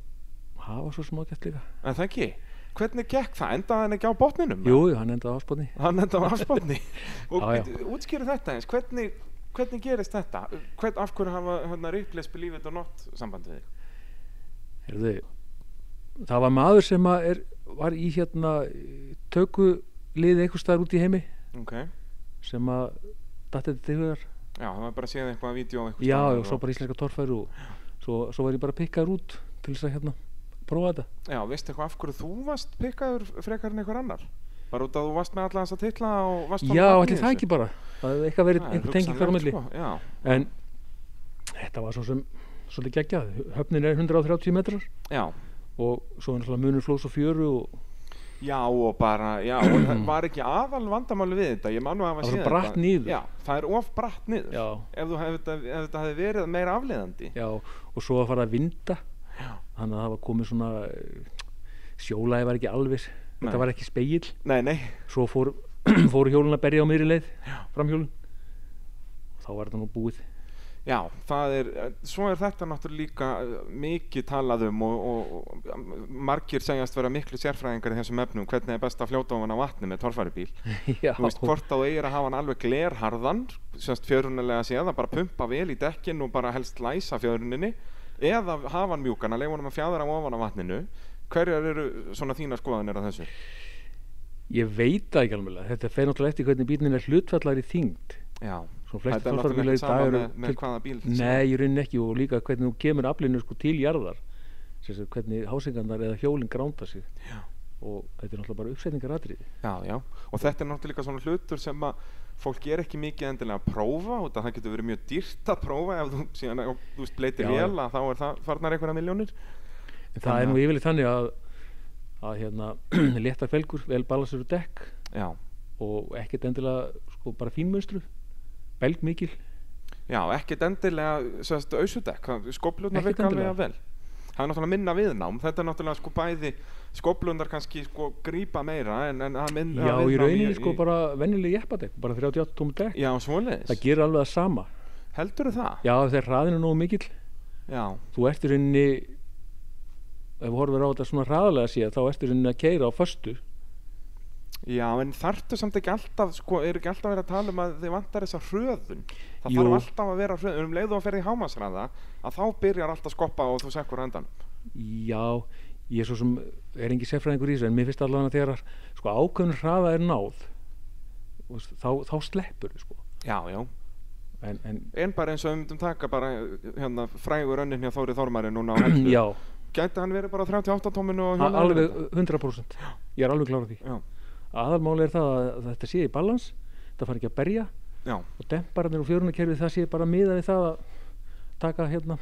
[SPEAKER 2] það var svo smá gett líka
[SPEAKER 1] en það ekki Hvernig gekk það? Endaði hann ekki á botninum?
[SPEAKER 2] Jú, jú, hann endaði áspotni
[SPEAKER 1] Hann endaði á afspotni Og
[SPEAKER 2] Já, já.
[SPEAKER 1] útskýru þetta eins, hvernig, hvernig gerist þetta? Hvern, af hverju hafa hérna hann að ripplega spilífið þetta nott samband við þig?
[SPEAKER 2] Herðu, það var maður sem að er, var í hérna töku liðið einhvers staðar út í heimi
[SPEAKER 1] Ok,
[SPEAKER 2] sem að datti þetta til hugar
[SPEAKER 1] já, það var bara að séð eitthvað að vídeo eitthvað
[SPEAKER 2] já,
[SPEAKER 1] staðar
[SPEAKER 2] já, svo bara íslenska torfæru og svo, svo var ég bara að pikkaður út til þess að hérna prófa þetta
[SPEAKER 1] Já, veistu eitthvað af hverju þú varst pikkaður frekar en einhver annar? Bara út að þú varst með alla þessa titla og varst
[SPEAKER 2] já, ætli það ekki bara það hefði eitthvað verið einhver tenging þar á milli
[SPEAKER 1] sko. Já,
[SPEAKER 2] en þetta var svo sem svolítið geggjað, höfnin er 130 metrar
[SPEAKER 1] já,
[SPEAKER 2] og svo er náttúrulega munur flóðs og fjöru og
[SPEAKER 1] já og bara, já, og það var ekki aðal vandamáli við þetta, ég man nú að hafa
[SPEAKER 2] Það var
[SPEAKER 1] séð
[SPEAKER 2] bratt
[SPEAKER 1] þetta.
[SPEAKER 2] niður.
[SPEAKER 1] Já, það er of bratt niður.
[SPEAKER 2] já,
[SPEAKER 1] Ef, þú hef, ef þetta hefði verið meira afleiðandi.
[SPEAKER 2] já, og svo að fara að vinda
[SPEAKER 1] Já.
[SPEAKER 2] þannig að það var komið svona sjólaði var ekki alveg
[SPEAKER 1] Nei.
[SPEAKER 2] þetta var ekki spegill
[SPEAKER 1] Nei, nei,
[SPEAKER 2] svo fór, fór hjólun að berja á miðri leið framhjólun þá var þetta nú búið
[SPEAKER 1] já, það er, svo er þetta náttúrulega líka eh, mikið talað um og, og, og margir segjast vera miklu sérfræðingar í þessum efnum, hvernig er best að fljóta ofan á vatni með torfæribíl.
[SPEAKER 2] já,
[SPEAKER 1] þú veist hvort að þú eigir að hafa hann alveg glerharðan semst fjörunulega séð að bara pumpa vel í dekkin og bara helst læsa fjöruninni eða hafa hann mjúkan að leifa hann að fjadra á ofan á vatninu hverjar eru svona þína skoðanir á þessu
[SPEAKER 2] ég veit það ekki alveg þetta fer náttúrulega eftir hvernig bílinn er hlutfallar í þyngd
[SPEAKER 1] já
[SPEAKER 2] Svo flestir
[SPEAKER 1] þetta er náttúrulega
[SPEAKER 2] torfærubílar í
[SPEAKER 1] ekki
[SPEAKER 2] dag
[SPEAKER 1] sama
[SPEAKER 2] eru
[SPEAKER 1] með, með
[SPEAKER 2] til-
[SPEAKER 1] hvaða bíl
[SPEAKER 2] nei, í rauninni ekki og líka hvernig þú kemur aflinu sko til jarðar sem sagt, hvernig hásingarnar eða hjólinn gránda sig
[SPEAKER 1] Já.
[SPEAKER 2] og þetta er náttúrulega bara uppsetningaratriði
[SPEAKER 1] já, já. og þetta er náttúrulega líka svona hlutur sem að fólk er ekki mikið endilega að prófa og það getur verið mjög dýrt að prófa ef þú síðan ef þú veist,
[SPEAKER 2] Já,
[SPEAKER 1] bleitir
[SPEAKER 2] já.
[SPEAKER 1] vel að þá er það farnar einhverja miljónir
[SPEAKER 2] en það er nú yfirleitt þannig að að hérna, létta felgur, vel balansur og dekk
[SPEAKER 1] já
[SPEAKER 2] og ekkert endilega sko bara fínmönstru belg mikil
[SPEAKER 1] Já, ekkert endilega sérst, ausudekk, skóplurnar
[SPEAKER 2] Ekkert
[SPEAKER 1] virka alveg
[SPEAKER 2] endilega.
[SPEAKER 1] að vel Það er náttúrulega minna viðnám, þetta er náttúrulega sko bæði skóplurnar kannski sko grípa meira en, en að minna
[SPEAKER 2] já, í rauninni sko bara venjuleg jeppadekk bara 38 tómur dekk
[SPEAKER 1] Já, svoleiðis,
[SPEAKER 2] það gerir alveg að sama
[SPEAKER 1] heldurðu það?
[SPEAKER 2] já, þegar hraðin er nógu mikill
[SPEAKER 1] Já,
[SPEAKER 2] þú ert í rauninni ef við horfum á þetta svona hraðalega síðan þá ert í rauninni að keira á föstu
[SPEAKER 1] já, en þarftu samt ekki alltaf sko, er ekki alltaf verið að tala um að þið vantar þessa hröðun Það
[SPEAKER 2] Jú.
[SPEAKER 1] þarf alltaf að vera hröðun, um leið og að ferði í hámasræða að þá byrjar allt að skoppa og þú sekkur endan
[SPEAKER 2] já, ég er svo sem er engi sérfræðingur í þessu en mér finnst allavega að þegar að, sko ákveðin hraða er náð þú veist, þá, þá sleppur sko.
[SPEAKER 1] Já, já
[SPEAKER 2] en, en
[SPEAKER 1] En bara eins og við myndum taka bara hérna frægur önnin hjá Þóri Þormari núna á helstu
[SPEAKER 2] já,
[SPEAKER 1] Gæti hann verið bara á 38 tóminu og
[SPEAKER 2] a-
[SPEAKER 1] hjólaði
[SPEAKER 2] alveg
[SPEAKER 1] þetta?
[SPEAKER 2] 100% ég er alveg klára því
[SPEAKER 1] Já,
[SPEAKER 2] aðalmáli er það að þetta sé í balans þetta fari ekki að berja
[SPEAKER 1] já,
[SPEAKER 2] og dempararnir og fjörunarkerfið það sé bara miða við það að taka hérna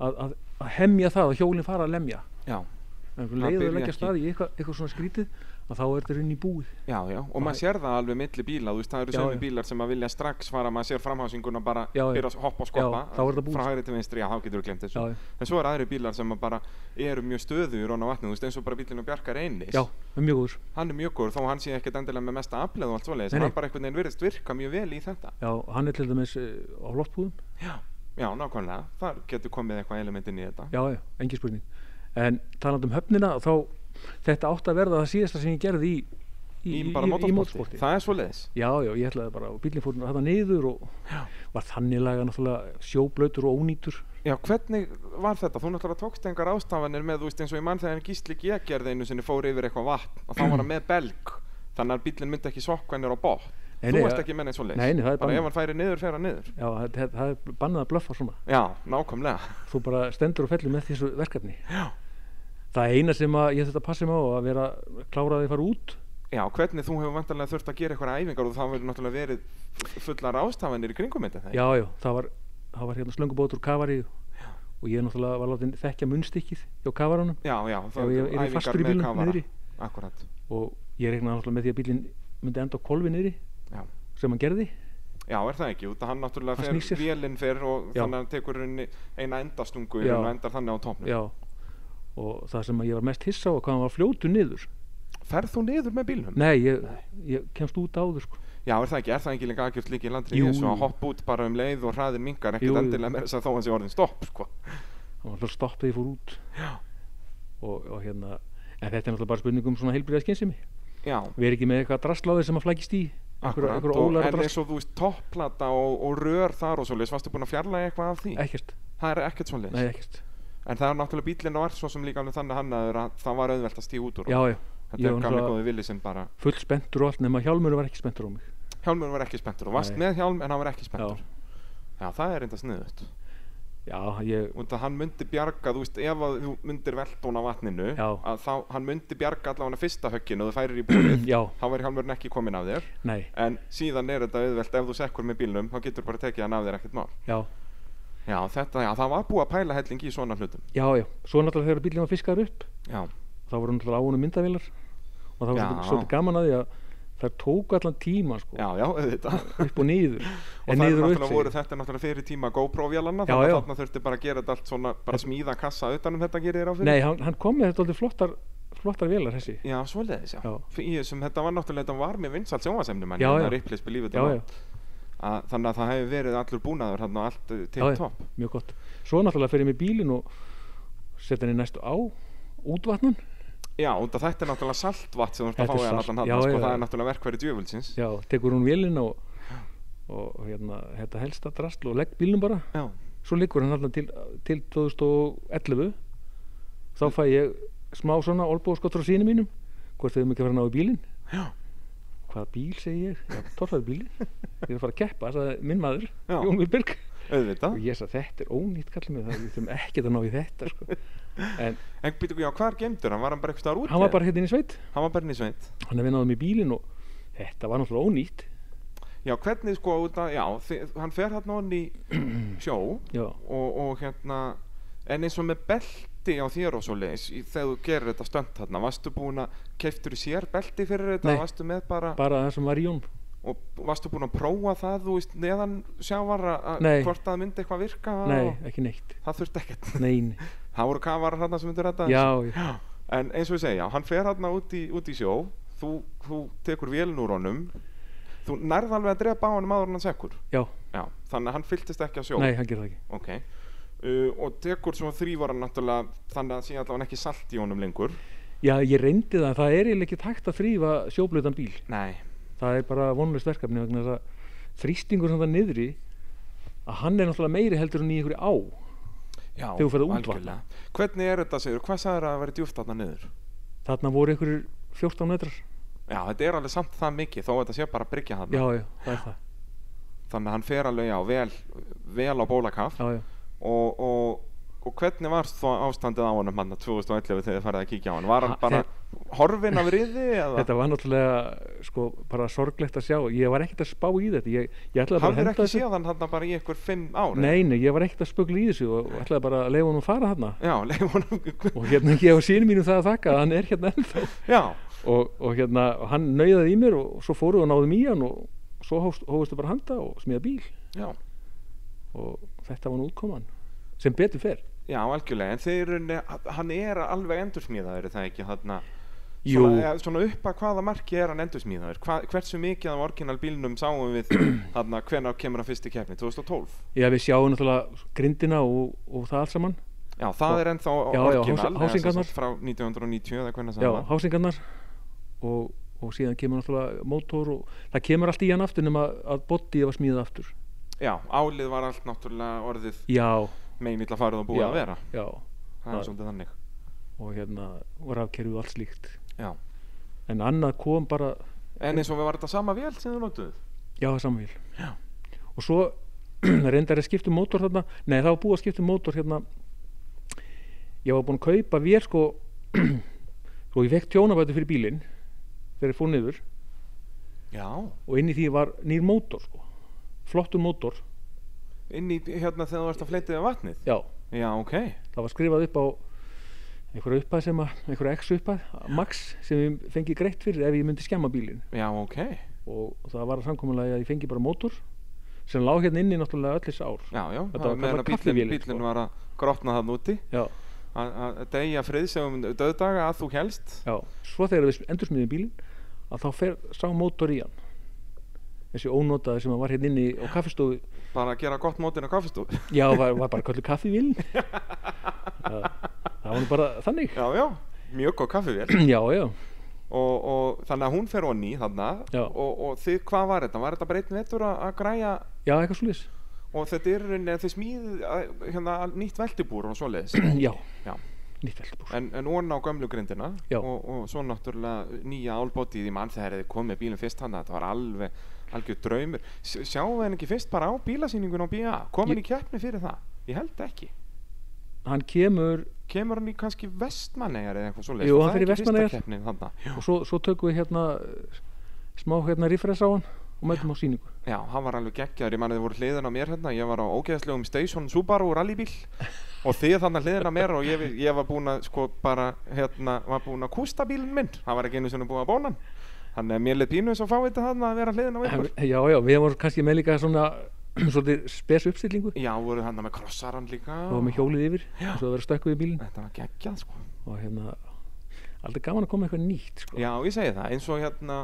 [SPEAKER 2] að, að, að hemja það að hjólinn fara að lemja
[SPEAKER 1] já,
[SPEAKER 2] en
[SPEAKER 1] Það
[SPEAKER 2] leiður
[SPEAKER 1] byrja
[SPEAKER 2] að leggja
[SPEAKER 1] ekki.
[SPEAKER 2] staði í eitthvað, eitthvað svona skrítið að þá er þetta inn í búið
[SPEAKER 1] já, já og maður sér það alveg milli bíla, þú veist, það eru
[SPEAKER 2] Já,
[SPEAKER 1] sömu
[SPEAKER 2] já.
[SPEAKER 1] bílar sem að vilja strax fara, maður sér framhásinguna bara
[SPEAKER 2] Já, já.
[SPEAKER 1] byrja að hoppa og skoppa
[SPEAKER 2] Já, þá er það búið.
[SPEAKER 1] frá hægri til vinstri, já, þá getur þú glemt þessu
[SPEAKER 2] Já, já.
[SPEAKER 1] en svo eru aðri bílar sem að bara eru mjög stöður ofan á vatnið, þú veist, eins og bara bílinn og bjarkar einis
[SPEAKER 2] já, það er mjög góður
[SPEAKER 1] hann er mjög góður, þó hann sé ekkert endilega með mesta afleð og allt svoleiðis,
[SPEAKER 2] Nei,
[SPEAKER 1] en
[SPEAKER 2] nei.
[SPEAKER 1] hann bara einhvern veginn virðist virka mjög vel í þetta
[SPEAKER 2] já, hann er til dæmis eh, á loftbúðum
[SPEAKER 1] já, já nákvæmlega, þar getur komið eitthvað elementin í þetta
[SPEAKER 2] já, já, engin spurning en talandi um höfnina þá þetta átt að verða það síðasta sem ég gerði í
[SPEAKER 1] í, bara motorsporti, það er svoleiðis
[SPEAKER 2] já, já, ég ætlaði bara og bílinn fór þetta niður og var þannig laga náttúrulega sjóblautur og ónýtur
[SPEAKER 1] Já, hvernig var þetta? Þú náttúrulega tókst engar ástafanir með, þú veist, eins og ég mann þegar gísli ég gerði einu sinni fór yfir eitthvað vatn og þá var hann með belg, þannig að bílinn myndi ekki sokka hennir á bótt.
[SPEAKER 2] Nei,
[SPEAKER 1] Þú
[SPEAKER 2] nei,
[SPEAKER 1] varst
[SPEAKER 2] ja.
[SPEAKER 1] ekki með neitt svo
[SPEAKER 2] Nei, nei, það
[SPEAKER 1] Bara
[SPEAKER 2] er bannað.
[SPEAKER 1] ef hann færi niður, fer hann niður.
[SPEAKER 2] já, það, það- það er bannað að blöffa svona
[SPEAKER 1] Já, nákvæmlega.
[SPEAKER 2] þú bara stendur og fellur með þessu verkefni
[SPEAKER 1] Já.
[SPEAKER 2] það eina sem að ég þetta passi mig á að vera kláraði að fara út
[SPEAKER 1] Já, hvernig þú hefur vantarlega þurft að gera eitthvað æfingar og það verður náttúrulega verið f- fullar ástafanir í kringum þetta, það?
[SPEAKER 2] já, já, það var það var hérna slöngubótur kafari og ég náttúrulega var látið þekkja munnstykkið hjá kafaranum
[SPEAKER 1] já, já,
[SPEAKER 2] ef ég er fastur í
[SPEAKER 1] með
[SPEAKER 2] bílunum
[SPEAKER 1] kafara
[SPEAKER 2] niðri
[SPEAKER 1] akkurat,
[SPEAKER 2] og ég reiknaði náttúrulega með því að bílinn myndi enda á kolvi niðri
[SPEAKER 1] já
[SPEAKER 2] sem hann gerði
[SPEAKER 1] Já, er það ekki, út að hann náttúrulega
[SPEAKER 2] Hann
[SPEAKER 1] fer
[SPEAKER 2] snýr sér.
[SPEAKER 1] vélinn fyrr og
[SPEAKER 2] Já.
[SPEAKER 1] þannig að hann tekur henni eina endastungu í
[SPEAKER 2] Já.
[SPEAKER 1] raun og endar þannig á topnum.
[SPEAKER 2] já og það sem ég var mest hissa á var hvað hann var fljótu niður
[SPEAKER 1] Ferð þú niður með bílnum?
[SPEAKER 2] nei, ég, ég kemst út áður sko.
[SPEAKER 1] Já, er það ekki, er það ekki líka aðgjörst líka í landri
[SPEAKER 2] Jú,
[SPEAKER 1] þessu
[SPEAKER 2] jú.
[SPEAKER 1] að hoppa út bara um leið og hraðin mingar
[SPEAKER 2] Jú,
[SPEAKER 1] ekkert
[SPEAKER 2] jú.
[SPEAKER 1] endilega með þess að þó hann sé orðin stopp, sko.
[SPEAKER 2] hann var alltaf stopp þegar ég fór út
[SPEAKER 1] Já.
[SPEAKER 2] og, og hérna en þetta er náttúrulega bara spurning um svona heilbriða skynsemi
[SPEAKER 1] Já,
[SPEAKER 2] við erum ekki með eitthvað drastláði sem að flækist í einhverja
[SPEAKER 1] akkurat,
[SPEAKER 2] einhver
[SPEAKER 1] og
[SPEAKER 2] ólar
[SPEAKER 1] en
[SPEAKER 2] drast
[SPEAKER 1] eins og þú veist topplata og, og rör þar og svoleiðis, varstu búin að fjarlæga eitthvað af því?
[SPEAKER 2] ekkert,
[SPEAKER 1] Það er ekkert svoleiðis.
[SPEAKER 2] nei ekkert
[SPEAKER 1] En það er náttúrulega bílinn og er svo sem líka alveg þannig hannaður að það var auðvelt að stíga út úr.
[SPEAKER 2] já,
[SPEAKER 1] honum.
[SPEAKER 2] já,
[SPEAKER 1] Þetta
[SPEAKER 2] ég
[SPEAKER 1] er
[SPEAKER 2] var
[SPEAKER 1] gamli
[SPEAKER 2] náttúrulega-
[SPEAKER 1] góði villi sem bara,
[SPEAKER 2] full spenntur og allt nema hjálmur var ekki spenntur á mig
[SPEAKER 1] hjálmur var ekki spenntur og vast
[SPEAKER 2] Nei.
[SPEAKER 1] með hjálm en hann var ekki
[SPEAKER 2] já,
[SPEAKER 1] spenntur. Já, það er enda sniðut.
[SPEAKER 2] já, ég
[SPEAKER 1] Og það hann myndi bjarga, þú veist, ef að þú myndir velta hún á vatninu,
[SPEAKER 2] Já.
[SPEAKER 1] að þá, hann myndi bjarga allavega fyrsta högginu og þú færir í búrið,
[SPEAKER 2] já,
[SPEAKER 1] þá verður hjálmurinn ekki kominn af þér.
[SPEAKER 2] nei,
[SPEAKER 1] En síðan er þetta auðvelt, ef þú sekkur með bílnum, þá getur bara tekið hann af þér ekkert mál.
[SPEAKER 2] já
[SPEAKER 1] Já, þetta, já, það var búið að pæla helling í svona hlutum.
[SPEAKER 2] já, já, svo náttúrulega þegar bílinn var fiskaður upp
[SPEAKER 1] Já,
[SPEAKER 2] þá voru náttúrulega á honum myndavélar og það var
[SPEAKER 1] Já.
[SPEAKER 2] svolítið, svolítið gaman að því að þær tóku allan tíma sko,
[SPEAKER 1] já, já, auðvitað.
[SPEAKER 2] upp og niður
[SPEAKER 1] Og
[SPEAKER 2] en
[SPEAKER 1] það er
[SPEAKER 2] niður og upp
[SPEAKER 1] náttúrulega voru
[SPEAKER 2] segir-
[SPEAKER 1] þetta er náttúrulega fyrir tíma GoPro-vélanna,
[SPEAKER 2] Já,
[SPEAKER 1] þannig
[SPEAKER 2] já.
[SPEAKER 1] að þarna þurfti bara að gera þetta allt svona, bara smíða kassa utanum þetta gerir þér á fyrir.
[SPEAKER 2] nei, hann, hann kom með þetta aldrei flottar flottar vélar þessi
[SPEAKER 1] Já, svoleiðis, já.
[SPEAKER 2] Já.
[SPEAKER 1] F- Í þessum, þetta var náttúrulega, þetta var mjög vinsalt sjónvasemnum, en
[SPEAKER 2] Já,
[SPEAKER 1] hérna
[SPEAKER 2] já.
[SPEAKER 1] Ripley's Believe It
[SPEAKER 2] já,
[SPEAKER 1] or
[SPEAKER 2] já,
[SPEAKER 1] Not. að, þannig að það hefur verið allur búnaður þarna og allt eh, til
[SPEAKER 2] já, já,
[SPEAKER 1] topp
[SPEAKER 2] mjög gott svo náttúrulega fer ég með bílinn og setja henni næstu á útvatnun
[SPEAKER 1] já, og þetta er náttúrulega saltvatt sem þú ert
[SPEAKER 2] Þetta
[SPEAKER 1] að fá
[SPEAKER 2] er
[SPEAKER 1] í hann
[SPEAKER 2] salt-
[SPEAKER 1] allan hann
[SPEAKER 2] já,
[SPEAKER 1] sko,
[SPEAKER 2] já,
[SPEAKER 1] það
[SPEAKER 2] já.
[SPEAKER 1] er náttúrulega verkverði djöfulsins
[SPEAKER 2] já, tekur hún vélina og, og hérna, þetta helsta drastl og legg bílnum bara
[SPEAKER 1] já,
[SPEAKER 2] svo liggur hann allan til, til 2011 þá fæ ég smá svona olbóðskottur á síni mínum hvort þau mikið fara að ná í bílinn
[SPEAKER 1] Já.
[SPEAKER 2] hvaða bíl segi ég, já, torfæður bílinn ég er að fara að keppa, sagði minn maður
[SPEAKER 1] Já.
[SPEAKER 2] Jón Vilberg
[SPEAKER 1] auðvitað
[SPEAKER 2] og ég sagði þetta er ónýtt kallið mig það við þurfum ekkert að ná í þetta sko. en
[SPEAKER 1] en býtum já, hvað er gemdur, hann var hann bara eitthvað út
[SPEAKER 2] hann var bara hérna í sveit
[SPEAKER 1] hann var bara inn í sveit
[SPEAKER 2] hann er við náðum í bílinn og þetta var náttúrulega ónýtt
[SPEAKER 1] já, hvernig sko, út að, já, þi- hann fer hann onni í sjó og,
[SPEAKER 2] já,
[SPEAKER 1] og hérna en eins og með belti á þér og svo leis þegar þú gerir þetta stönd þarna varstu búin að, keiftur í sér belti fyrir þetta
[SPEAKER 2] Nei.
[SPEAKER 1] varstu með bara
[SPEAKER 2] bara það sem var í Jón
[SPEAKER 1] og varstu búin að prófa það þú veist, neðan sjávar að- að
[SPEAKER 2] Nei.
[SPEAKER 1] hvort það myndi eitthvað virka
[SPEAKER 2] nei,
[SPEAKER 1] og
[SPEAKER 2] ekki neitt
[SPEAKER 1] það þurfti ekkert
[SPEAKER 2] nein,
[SPEAKER 1] það voru kafarar þarna sem myndur þetta
[SPEAKER 2] já, já,
[SPEAKER 1] en eins og ég segja, hann fer þarna út í, út í sjó þú, þú tekur vélin úr honum þú nærð alveg að drepa á honum áður en hann sekkur
[SPEAKER 2] já
[SPEAKER 1] já, þannig að hann fyltist ekki á sjó
[SPEAKER 2] nei, hann gerði það ekki
[SPEAKER 1] ok Uh, og tekur svo þrývar hann náttúrulega þannig að sé allavega ekki salt í honum lengur
[SPEAKER 2] Já, ég reyndi það, það er eiginlega ekki hægt að þrýfa sjóblöðan bíl.
[SPEAKER 1] nei,
[SPEAKER 2] Það er bara vonlust verkefni vegna þess að þrýstingur sem það niðri að hann er náttúrulega meiri heldur en í einhverju á.
[SPEAKER 1] já,
[SPEAKER 2] Þegar þú ferð að útvatna.
[SPEAKER 1] algjörlega. hvernig er þetta segir, hvað sagður að vera djúft þarna niður
[SPEAKER 2] Þarna voru einhverjur 14 metrar.
[SPEAKER 1] já, þetta er alveg samt það mikið þó að þetta sé bara að bryggja
[SPEAKER 2] Já,
[SPEAKER 1] þarna
[SPEAKER 2] já, það er það.
[SPEAKER 1] þannig að hann fer alveg já, vel, vel á bólakaf
[SPEAKER 2] Já, já.
[SPEAKER 1] og, og, og hvernig var þá ástandið á honum hann 2011 þegar þið farið að kíkja á hann var hann
[SPEAKER 2] Ha-
[SPEAKER 1] bara horfinn af riði eða
[SPEAKER 2] Þetta var náttúrulega sko bara sorglegt að sjá. Ég var ekkert að spá í þetta. Ég, ég ætlaði bara að
[SPEAKER 1] hafðir
[SPEAKER 2] henda
[SPEAKER 1] ekki
[SPEAKER 2] þessu.
[SPEAKER 1] séð hann hann bara í einhver fimm ári
[SPEAKER 2] Nei, nei, ég var ekkert að spugla í þessu og og ætlaði bara að leifa hann að fara þarna.
[SPEAKER 1] já, leif honum
[SPEAKER 2] Og hérna ég á sínum mínum það að þakka að hann er hérna ennþá.
[SPEAKER 1] já,
[SPEAKER 2] og, og hérna, og hann nöyðaði í mér og, og svo fóruð og náðum í hann og svo hófst- hófustu bara handa og smíða bíl
[SPEAKER 1] já,
[SPEAKER 2] og þetta var nú útkoman sem betur fer
[SPEAKER 1] já, algjörlega en þeir runni, hann er alveg endursmíðaður er það ekki þarna
[SPEAKER 2] Jú.
[SPEAKER 1] Svona, eða svona upp að hvaða marki er hann endursmíðaður Hva, hversu mikið af orginal bílnum sáum við þarna hvenær kemur hann fyrst í keppni 2012
[SPEAKER 2] já við sjáum náttúrulega grindina og, og það allt saman
[SPEAKER 1] já það er ennþá
[SPEAKER 2] Já, já,
[SPEAKER 1] orginal
[SPEAKER 2] hási-
[SPEAKER 1] eða sem
[SPEAKER 2] hásingarnar.
[SPEAKER 1] sagt frá 1990 eða hvernig sem
[SPEAKER 2] já,
[SPEAKER 1] var.
[SPEAKER 2] hásingarnar og, og síðan kemur náttúrulega mótor og það kemur allt í hann aftur nema að bodyið var smíðað aftur
[SPEAKER 1] Já, álið var allt náttúrulega orðið
[SPEAKER 2] já,
[SPEAKER 1] meginvill að farið og búið
[SPEAKER 2] já,
[SPEAKER 1] að vera
[SPEAKER 2] já,
[SPEAKER 1] Það er
[SPEAKER 2] Það-
[SPEAKER 1] svolítið þannig
[SPEAKER 2] og hérna og rafkerfið og allt slíkt
[SPEAKER 1] Já.
[SPEAKER 2] en annað kom bara
[SPEAKER 1] En eins og við var þetta sama vél sem þú notuð
[SPEAKER 2] Já, það er saman bíl. Og svo reyndar að skipta um mótor þarna, nei það var búið að skipta um mótor hérna, ég var búinn að kaupa vél sko, og ég fekk tjónabætu fyrir bílinn þegar ég fór niður
[SPEAKER 1] Já
[SPEAKER 2] og inn í því var nýr mótor sko, flottur mótor
[SPEAKER 1] inn í hérna þegar þú ert að fleitið af vatnið
[SPEAKER 2] já,
[SPEAKER 1] já, ok,
[SPEAKER 2] það var skrifað upp á einhverja uppæð sem að, einhverja x uppæð max sem ég fengi greitt fyrir ef ég myndi skemma bílin
[SPEAKER 1] já, ok
[SPEAKER 2] og það var að samkomulega að ég fengi bara mótor sem lág hérna inni náttúrulega öllis ár
[SPEAKER 1] já, já,
[SPEAKER 2] Þetta
[SPEAKER 1] það
[SPEAKER 2] var
[SPEAKER 1] meðan að
[SPEAKER 2] kallað
[SPEAKER 1] bílinn
[SPEAKER 2] kaffivélin, sko.
[SPEAKER 1] bílin var að grotna þarna úti
[SPEAKER 2] já,
[SPEAKER 1] að- að deyja friðsegum döðdaga að þú helst
[SPEAKER 2] já, svo þegar við endursmiðum bílinn að þá fer, sá mótor í hann þessi ónotaði sem að var hérna inni á kaffistofu
[SPEAKER 1] bara að gera gott mótin á kaffestúr
[SPEAKER 2] já, var, var bara kallið kaffivillin það, það var nú bara þannig
[SPEAKER 1] já, já, mjög góð kaffivél
[SPEAKER 2] já, já,
[SPEAKER 1] og, og þannig að hún fer onni þarna
[SPEAKER 2] Já.
[SPEAKER 1] og, og þið, hvað var þetta? Var þetta bara einn vettur að, að græja
[SPEAKER 2] já, eitthvað slúðis
[SPEAKER 1] og þetta er í rauninni að þið smíð að- hérna, nýtt veltibúr og svoleiðis
[SPEAKER 2] já,
[SPEAKER 1] Já.
[SPEAKER 2] nýtt veltbúr
[SPEAKER 1] en, en onna á gömlu grindina
[SPEAKER 2] Já.
[SPEAKER 1] og, og svo náttúrulega nýja álbótið í mann þegar þið komið bílum fyrst hann þetta var alveg algjör draumur S sjáum við henni ekki fyrst bara á bílasýningun á BA kom hann í keppni fyrir það ég held ekki
[SPEAKER 2] hann kemur
[SPEAKER 1] kemur hann í kannski vestmannegar eða eitthvað svoleiðis
[SPEAKER 2] Jú,
[SPEAKER 1] Var
[SPEAKER 2] hann
[SPEAKER 1] það
[SPEAKER 2] fer í
[SPEAKER 1] ekki fyrsta
[SPEAKER 2] Vestmannaeyjar.
[SPEAKER 1] keppnin þarna? Já.
[SPEAKER 2] og svo, svo tökum við hérna eh, smá hérna rifræs á hann og mætum á síningu
[SPEAKER 1] Já, hann var alveg geggjaður, ég man að þið voru hliðin á mér hérna, ég var á ógeðslegum Station Subaru rallybíl og þið þannig hliðin á mér og ég, ég var búinn að sko bara, hérna, var búinn að kústa bílinn minn, hann var ekki einu sinni búinn að bóna hann Þannig að mér leið pínu eins og fá þetta þarna að vera hliðin á
[SPEAKER 2] En-
[SPEAKER 1] ykkur
[SPEAKER 2] já, já, við varum kannski með líka svona svolítið spes uppstillingu
[SPEAKER 1] Já, voru þarna með krossarann líka
[SPEAKER 2] og varum með hjólið yfir
[SPEAKER 1] Já.
[SPEAKER 2] og svo að vera stökkuð í bílinn
[SPEAKER 1] Þetta var geggjað sko
[SPEAKER 2] og hérna aldrei gaman að koma eitthvað nýtt sko.
[SPEAKER 1] Já, ég segi það, eins og hérna